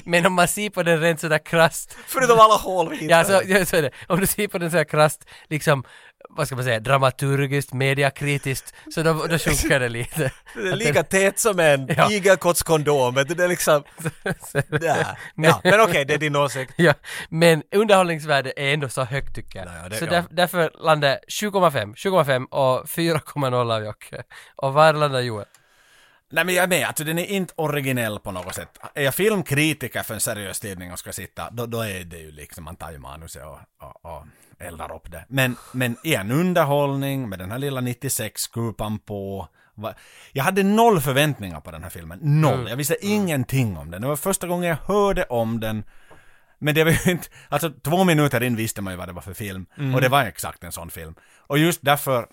men om man ser på den rent sådär krasst,
Förutom alla hål vi
ja
hittade.
så, ja, så är det. Om du ser på den sådär krasst, liksom, vad ska man säga, dramaturgiskt, mediakritiskt, så då, då sjunker det lite.
det är lika tät som en
Ja.
igelkottskondom, men det är liksom... Ja, ja. men okej, det är din åsikt.
Ja, men underhållningsvärdet är ändå så högt tycker jag.
Nej, ja, det-
så
ja.
där, därför landar 20,5, 20,5 och 4,0 av Jocke. Och var landar Joel?
Nej men jag är med, alltså den är inte originell på något sätt. Är jag filmkritiker för en seriös tidning och ska sitta, då, då är det ju liksom, man tar ju manuset och, och, och eldar upp det. Men, men igen, underhållning med den här lilla 96-kupan på. Va- Jag hade noll förväntningar på den här filmen, noll. Jag visste ingenting om den. Det var första gången jag hörde om den. Men det var ju inte, alltså två minuter in visste man ju vad det var för film. Och det var exakt en sån film. Och just därför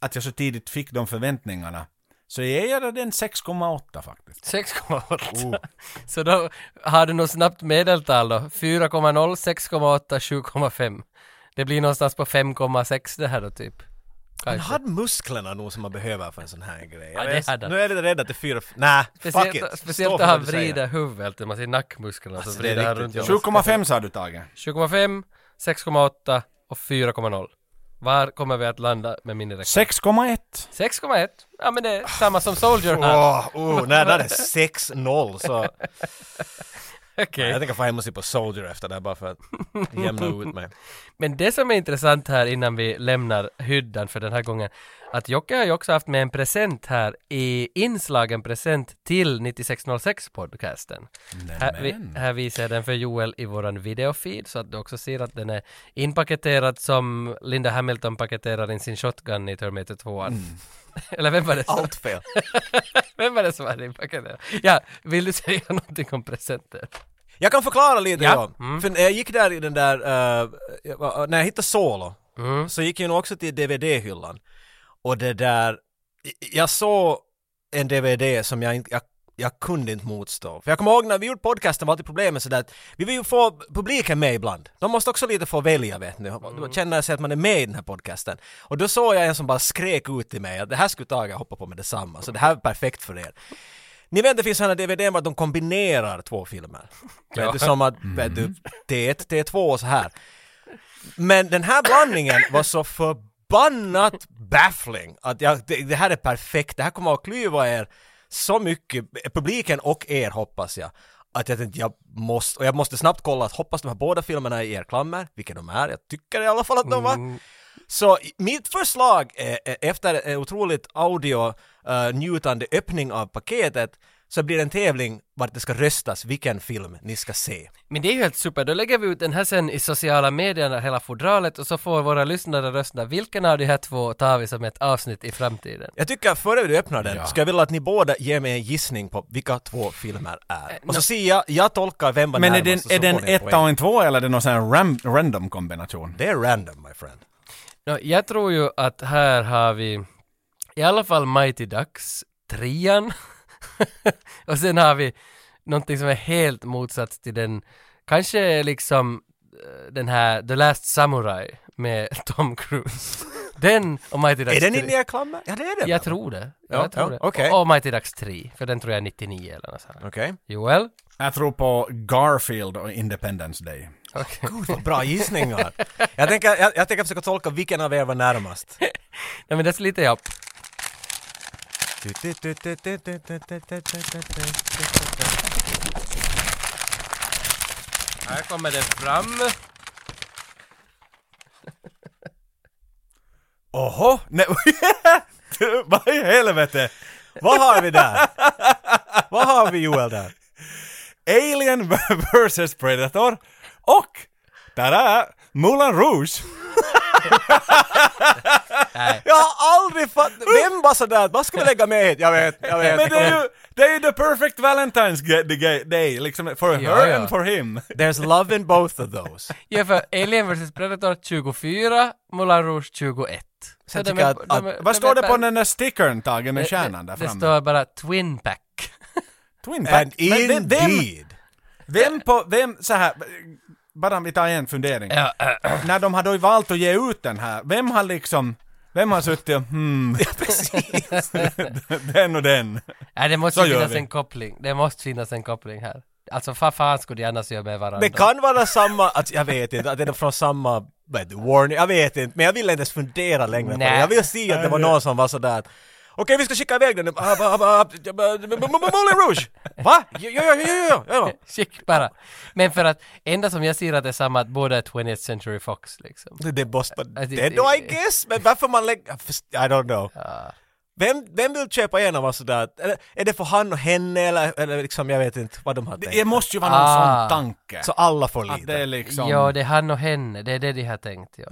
att jag så tidigt fick de förväntningarna så jag ger den 6,8 faktiskt.
6,8.
Oh.
Så då har du något snabbt medeltal då. 4,0, 6,8, 7,5. Det blir någonstans på 5,6 det här då typ.
Han
Kanske.
hade musklerna nog som man behöver för en sån här grej.
Ja, det
Jag är-
hade han.
nu är jag lite rädd att det är fyra... Nej, fuck it!
Speciellt, speciellt
Stå
då
för
han
vad du säger.
vrider huvudet, man ser nackmusklerna så
Alltså, det är
vrider han runt.
riktigt,
i
ja.
7,5 sa du Tage.
20,5, 6,8 och 4,0. Var kommer vi att landa med min räkning?
6,1.
6,1. Ja men det är samma som Soldier här.
Åh, oh, nej, där är 6-0 så...
Okej.
Jag tänker få hem och se på Soldier efter det här bara för att jämna ut mig.
Men det som är intressant här innan vi lämnar hyddan för den här gången, att Jocke har ju också haft med en present här i inslagen present till 9606-podcasten. Här, vi, här visar jag den för Joel i våran videofeed så att du också ser att den är inpaketerad som Linda Hamilton paketerar in sin shotgun i Terminator 2. Eller vem var det som,
Allt fel.
vem var det som hade inpaketerat? Ja, vill du säga någonting om presenten?
Jag kan förklara lite
Ja. Mm.
ja. För när jag gick där i den där, eh, jag var- när jag hittade Solo,
Mm.
så gick jag nog också till DVD-hyllan. Och det där, jag- jag såg en DVD som jag inte, jag, jag kunde inte motstå. För jag kommer ihåg när vi gjorde podcasten var alltid problemet sådär att vi vill ju få publiken med ibland. De måste också lite få välja vet ni, känna sig att man är med i den här podcasten. Och då såg jag en som bara skrek ut till mig att det här skulle Tage hoppa på med detsamma, så det här är perfekt för er. Ni vet det finns sådana DVD var att de kombinerar två filmer. Vet du, som att vet du, T1, T2 och så här. Men den här blandningen var så förbannat baffling att jag, det, det här är perfekt, det här kommer att klyva er så mycket, publiken och er hoppas jag. Att jag tänkte, jag måste, och jag måste snabbt kolla att hoppas de här båda filmerna är i er klammer, vilka de är, jag tycker i alla fall att de var. Så i- mitt förslag, är, är- efter en otroligt audio eh, njutande öppning av paketet, så blir det en tävling vart det ska röstas vilken film ni ska se.
Men det är ju helt super, då lägger vi ut den här sen i sociala medier, hela fodralet, och så får våra lyssnare rösta vilken av de här två tar vi som ett avsnitt i framtiden.
Jag tycker att före du öppnar den, ska jag vilja att ni båda ger mig en gissning på vilka två filmer är. Och så ser jag, jag tolkar vem var
Men är
närmast
den,
och så
är den
får ni en
etta
poäng.
och en tvåa eller är det någon sån här ram, random kombination?
Det är random my friend.
Nå, jag tror ju att här har vi i alla fall Mighty Ducks, trean, och sen har vi någonting som är helt motsatt till den, kanske liksom eh, den här The Last Samurai med Tom Cruise. Den och Mighty Ducks
Är den
tre-
inne i er klammer? Ja det är den.
Jag tror det.
Ja,
jag tror
ja,
det.
okej.
Och, och Mighty Ducks 3, för den tror jag är 99 eller något sånt.
Okej.
Joel?
Jag tror på Garfield och Independence Day.
Gud vad bra gissningar. jag, tänker, jag, jag tänker försöka tolka vilken av er var närmast.
Nej men det sliter jag upp. Här kommer den fram.
Oho! Nej, vad i helvete!
vad har vi där? vad har vi Joel där?
Alien vs Predator och tada, Moulin Rouge!
Jag har aldrig fattat, vem var sådär, vad ska vi lägga med? Jag vet, jag vet.
Men det är ju, det är ju the perfect Valentine's ga- the ga- day, liksom, for
Ja,
her
ja.
and for him.
There's love in both of those.
Ja, för Alien vs Predator 24, Moulin Rouge 21. Så
Sen
de
tycker
är-
jag att-
de är-
att-
de är
Vad står det på
per-
den där stickern, Tage, med
Det-
stjärnan där
det- Det
framme?
står bara Twin Pack.
Twin
And
Pack. Men vem- vem,
indeed.
vem på, vem, så här, bara vi tar en fundering.
ja, äh,
När de har då valt att ge ut den här, vem har liksom, vem har suttit och hmm, den och den?
nej, det måste
Så
ju
gör
finnas
vi.
en koppling. Det måste finnas en koppling här. Alltså vad fan skulle de annars göra med varandra?
Det kan vara samma, att jag vet inte, att det är från samma vad heter det, warning, jag vet inte, men jag vill inte ens fundera längre på
Nej.
det. Jag vill se att det var någon som var sådär att, Okej, vi ska skicka iväg den. Ah, ah, ah, ah, Moulin Rouge! Va? Jo, jo, jo, jo, jo, jo.
Skick bara. Men för att, enda som jag ser att det är samma att båda är 20th Century Fox liksom.
Det är Boston
Alltså,
Dead
det-
då, I guess? Men varför man lägger... I don't know. Vem, vem vill köpa en av oss sådär? att- Eller, är det för han och henne eller, eller liksom, jag vet inte vad de har
Det
tänkt.
måste ju vara någon
Ah.
sån tanke.
Så alla får
att det
lite.
är liksom...
Ja, det är han och henne, det är det de har tänkt ja.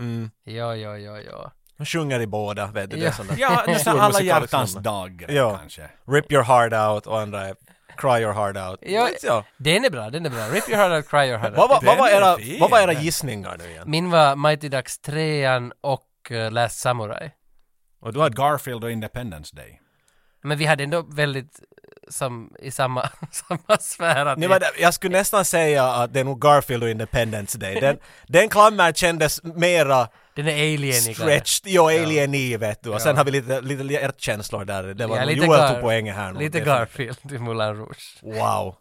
Ja, ja, ja, ja.
De sjunger i båda, vet du. Det
Ja.
är sånt där.
Ja, nästan
Stor
alla
musikalisk
hjärtans
nummer.
dag
Ja.
kanske.
Rip your heart out och andra är Cry your heart out.
Ja,
Vet jag.
Den är bra, den är bra. Rip your heart out, cry your heart
Vad
out.
var, vad, var
Den är
era,
fin.
vad var era gissningar nu igen?
Min var Mighty Ducks 3 och eh, Last Samurai.
Och du har Garfield och Independence Day.
Men vi hade ändå väldigt eh, som, i samma, samma sfär att
Nu
vi-
var det, jag skulle nästan säga att det är nog Garfield och Independence Day. Den, den klammer kändes mera
den är alienig.
stretched, jo alien i vet du. Och sen har vi lite, lite hjärtkänslor där. Det var nog
lite
Joel
Gar-
tog poängen här. nog.
Lite
Det-
Garfield i Moulin Rouge.
Wow.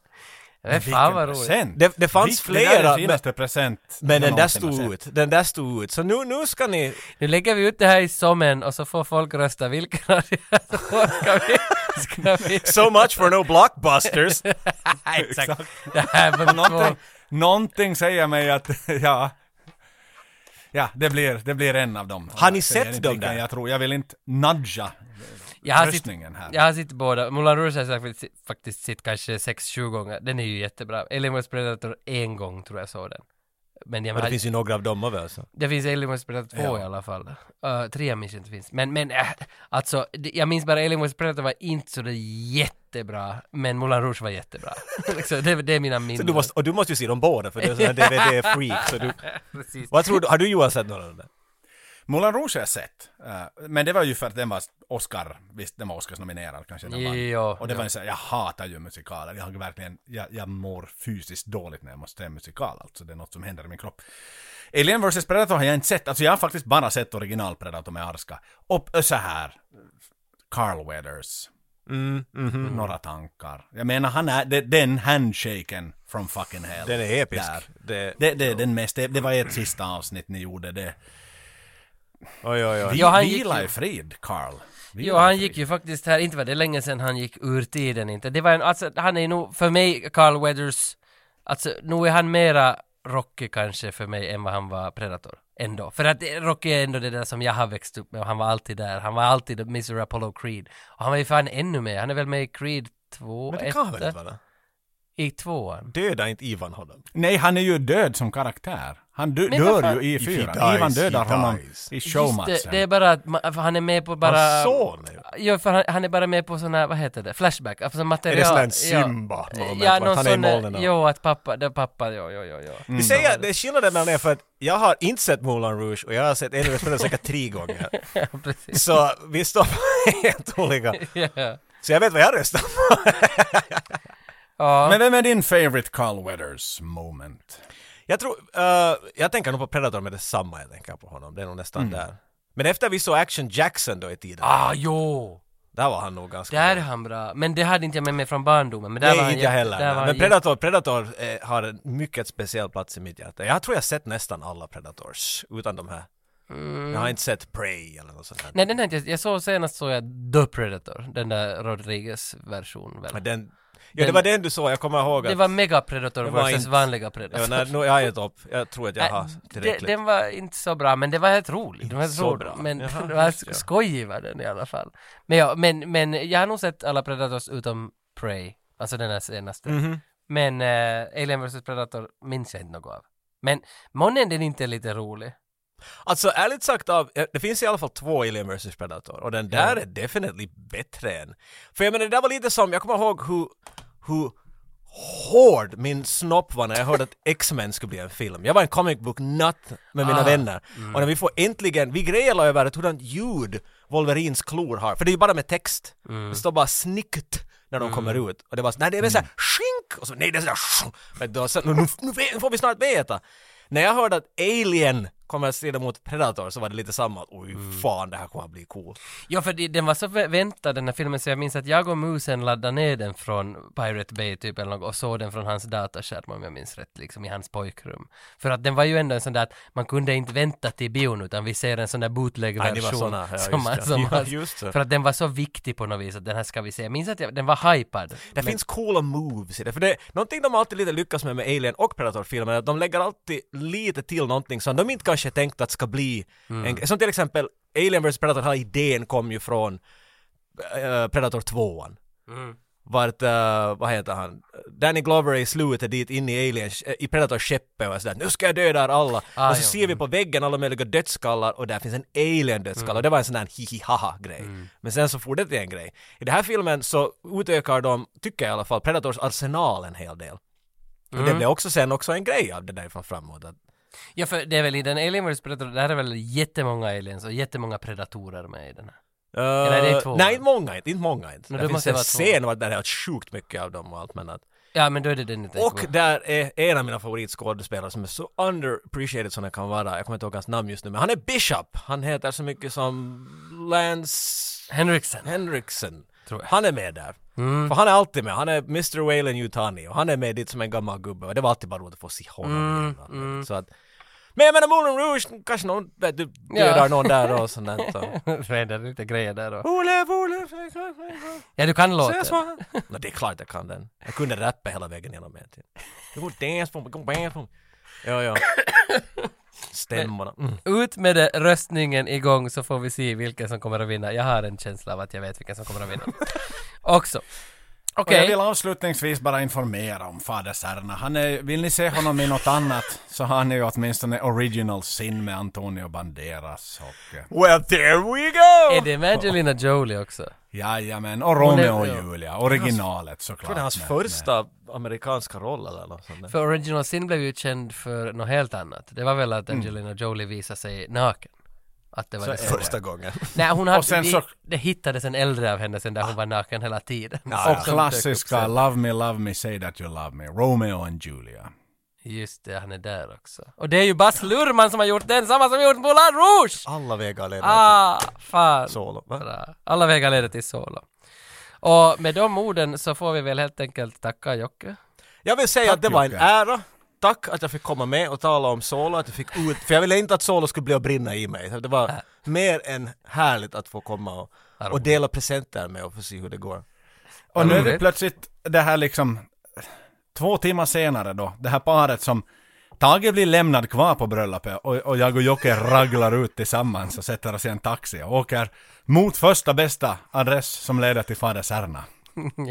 Äh, fan vad roligt.
present!
Det- det fanns
Vilken- Det där är
flera,
den finaste present
Men den där
jag någonsin har
stod
sett.
ut, den där stod ut. Så nu, nu ska ni...
Nu lägger vi ut det här i sommen och så får folk rösta vilken av de här som ska vi... Ska vi...
So much for no blockbusters!
Exakt. Det här var två...
Någonting, någonting säger mig att, ja... Ja, det blir, det blir en av dem.
Har ni
Jag säger
sett
inte
dem
vilken
där?
Jag tror, jag vill inte nudga
Jag har sitt,
röstningen här.
jag har sitt båda. Moulin Rouge har jag faktiskt, faktiskt sitt kanske 6-7 gånger. Den är ju jättebra. Alien vs Predator en gång tror jag såg den. Men jag
Men det
har-
finns ju några av dem av alltså.
Det finns Alien vs Predator 2 i alla fall. Uh, 3 minns jag inte finns. Men, men äh, alltså, det- jag minns bara Alien vs Predator var inte så det jättebra, men Moulin Rouge var jättebra. liksom, det, det är mina minnen.
Så du måste, och du måste ju se dem båda för du är sån här DVD-freak. Så du,
Precis.
vad tror du, har du Johan sett någon av dem?
Moulin Rouge har jag sett. eh, Men det var ju för att den var Oscar, visst den var Oscarsnominerad kanske den vann.
Jo,
Och det
jo.
var ju så här, jag hatar ju musikaler. Jag har verkligen, jag, jag mår fysiskt dåligt när jag måste se en musikal. Alltså det är något som händer i min kropp. Alien vs Predator har jag inte sett. Alltså jag har faktiskt bara sett original Predator med Arska. Och ö, så här, Carl Weathers.
Mm, mhm.
Några tankar. Jag menar han är, det, den handshaken from fucking hell.
Den är episk.
Där.
Det,
Det, det är den mest, det, det var ert sista avsnitt ni gjorde det.
oj, oj, oj.
Vi,
Ja, han gick
vila
ju-
i frid, Carl. Vila
Jo, han
i
gick
frid.
ju faktiskt här, inte var det länge sedan han gick ur tiden inte. Det var en, alltså, han är nog, för mig, Carl Weathers, alltså, nog är han mera Rocky kanske för mig än vad han var Predator. Ändå. För att eh, Rocky är ändå det där som jag har växt upp med och han var alltid där. Han var alltid Mr Apollo Creed. Och han var ju fan ännu med. Han är väl med i Creed 2,
Men det kan väl inte vara?
I tvåan.
Döda inte Ivan honom.
Nej, han är ju död som karaktär. Han dö-
Men
dör
varför-
ju i
he
fyran.
dies,
Ivan
he
dödar honom
dies.
i
Just
showmatchen.
det, det är bara att man, för han är med på bara... Mm.
Hans son är ju-
Ja, för han, han är bara med på såna, vad heter det, flashback, alltså
Är
material.
det sån här
ja.
Simba? moment,
Ja,
vart
någon
han är i
sån,
molnen och- Mm.
jo att pappa, det är pappa, jo, jo, jo, jo.
Vi säger, det är skillnaden mellan er för att jag har inte sett Moulin Rouge och jag har sett Elvis Presley säkert tre gånger.
Precis.
Så vi står på helt olika.
Ja.
Så jag vet vad jag röstar på.
Ja.
Men vem är din favorite Carl Weathers moment?
Jag tror, eh, jag tänker nog på Predator med detsamma jag tänker på honom. Det är nog nästan där. Men efter vi såg Action Jackson då i tiden,
Mm. Ah, jo!
där var han nog ganska
Där är han bra. Men det hade inte jag med mig från barndomen. Men där
Nej,
var han
inte jag
jätte-
heller.
Där var
men
han
Predator, Predator eh, har en mycket speciell plats i mitt hjärta. Jag tror jag sett nästan alla Predators, utan de här. Jag har inte sett Prey eller något sånt här.
Mm. Nej, den här, inte jag, jag såg senast såg jag The Predator, den där Rodriguez version väl.
Men den, ja, det
Den-
var den du såg, jag kommer ihåg att...
Det var Mega Predator
Det var
versus
inte-
vanliga
ja,
Predator.
nej, nu, jag har gett upp. Jag tror att jag
Äh,
har
det,
tillräckligt.
den var inte så bra, men det var helt rolig. Den var
Inte
helt
så
rolig.
bra.
Men
Jaha,
det var
just det.
skojig var den i alla fall. Men, ja, men, men jag har nog sett alla Predators utom Prey, alltså den här senaste.
Mhm.
Men eh, Alien vs Predator minns jag inte något av. Men månne den inte är lite rolig.
Alltså ärligt sagt, av, det finns i alla fall två Alien vs Predator och den där är definitivt bättre än. För jag menar det där var lite som, jag kommer ihåg hur, hur hård min snopp var när jag hörde att X-Men skulle bli en film. Jag var en comic book nut med mina vänner. Och när vi får äntligen, vi grälade över att hurdant ljud Wolverines klor har, för det är ju bara med text. Det står bara snicket när de kommer ut. Och det var så, nej det är väl såhär skink! Och så, nej det är sådär shunk. Men då, så, nu, nu, nu vet- nu får vi snart veta. När jag hörde att Alien kommer att strida mot Predator så var det lite samma, oj fan det här kommer att bli coolt.
Ja, för det, den var så vä- väntad den här filmen så jag minns att jag och musen laddade ner den från Pirate Bay typ eller något och såg den från hans dataskärm om jag minns rätt, liksom i hans pojkrum. För att den var ju ändå en sån där att man kunde inte vänta till bion utan vi ser en sån där
Nej, det var
bootleg-version.
såna, ja,
som
just
man-
det.
som
Ja,
man-
just det.
För att den var så viktig på något vis att den här ska vi se. Jag minns att jag, den var hypad.
Det finns coola moves i det, för det någonting de alltid lite lyckas med med Alien och Predator-filmerna är att de lägger alltid lite till någonting som de inte kanske tänkt att ska bli. En, som till exempel Alien vs Predator, här idén kom ju från eh, Predator 2 Vart, eh, vad heter han, Danny Glover är i slutet dit inne i Alien, eh, i Predators skeppe och sådär, nu ska jag döda er alla.
Ah,
och så
ja.
ser vi på väggen alla möjliga dödskallar och där finns en alien-dödskalle
Mm.
och det var en sån där hihihaha-grej. Men sen så fortsatte det en grej. I den här filmen så utökar de, tycker jag i alla fall, Predators arsenal en hel del. Och
Mm.
det blev också sen också en grej av det därifrån framåt. Att
Ja, för det är väl i den Alien vs Predator, där är väl jättemånga aliens och jättemånga predatorer med i den här.
Uh,
Eller det är två.
nej, inte många inte. Inte många inte.
Men
det
det
finns
måste
en
vara två.
scen var det är helt sjukt mycket av dem och allt men att...
Ja, men då är det den jag tänker
Och
på.
där är en av mina favoritskådespelare som är så underappreciated som den kan vara. Jag kommer inte ihåg hans namn just nu men han är Bishop. Han heter så mycket som Lance
Henriksen.
Henriksen.
Tror jag. Mm.
Han är med där. För han är alltid med. Han är Mr. Whalen Yutani och han är med dit som en gammal gubbe. Och det var alltid bara roligt att få se honom
Mm,
igen. Så att, men jag menar Moulin Rouge, kanske någon vet du, dödar
Ja.
någon där och sånt där. Så.
det är lite grejer där då.
Ole, Ole,
Ja, du kan låten.
ses man. Nå det är klart jag kan den. Jag kunde rappa hela vägen genom en tid. Det går dance på mig, går dance på mig. Ja, ja. Stämmorna. Mm.
Ut med det, röstningen igång så får vi se vilken som kommer att vinna. Jag har en känsla av att jag vet vilken som kommer att vinna. Också.
Och jag
Okej.
vill avslutningsvis bara informera om Fader Serna. Han är, vill ni se honom i något annat så har ni ju åtminstone Original Sin med Antonio Banderas och... eh,
Well, there we go!
Är det med Angelina Jolie också?
Jajamän, och Romeo och
ja.
Julia. Originalet såklart.
Det är hans
med-
första amerikanska roll eller något sånt där.
För Original Sin blev ju känd för något helt annat. Det var väl att
Mm.
Angelina Jolie visade sig naken. Att det var det som-
Första gången.
Nej, hon hade,
Och sen
det,
så- Ah.
det hittades en äldre av henne sen där hon var naken hela tiden.
Och
Som dök
klassiska
upp sen.
Love Me, Love Me, Say That You Love Me. Romeo and Julia.
Just det, han är där också. Och det är ju Bas Luhrmann som har gjort den, samma som gjort Moulin Rouge!
Alla vägar leder
Ah, fan.
till solo. Va?
Bra. Alla vägar leder till Solo. Och med de orden så får vi väl helt enkelt tacka Jocke.
Jag vill säga
Tack,
att det var en
Jocke.
ära. Tack att jag fick komma med och tala om Solo, att jag fick ut, för jag ville inte att Solo skulle bli att brinna i mig. Det var mer än härligt att få komma och, och dela presenter med och få se hur det går.
Och nu är det
Roligt.
plötsligt det här liksom, två timmar senare då, det här paret som Tage blir lämnad kvar på bröllopet och, och jag och Jocke raglar ut tillsammans och sätter oss i en taxi och åker mot första bästa adress som leder till Fader Särna.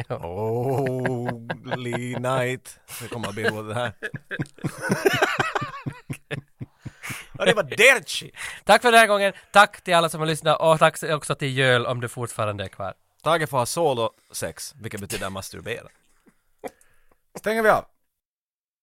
ja.
Holy night. Det kommer att bli roligt det här. och det var Derci!
Tack för den här gången, tack till alla som har lyssnat och tack också till Jöl om du fortfarande är kvar.
Tage får ha solo sex, vilket betyder masturbera.
Stänger vi av.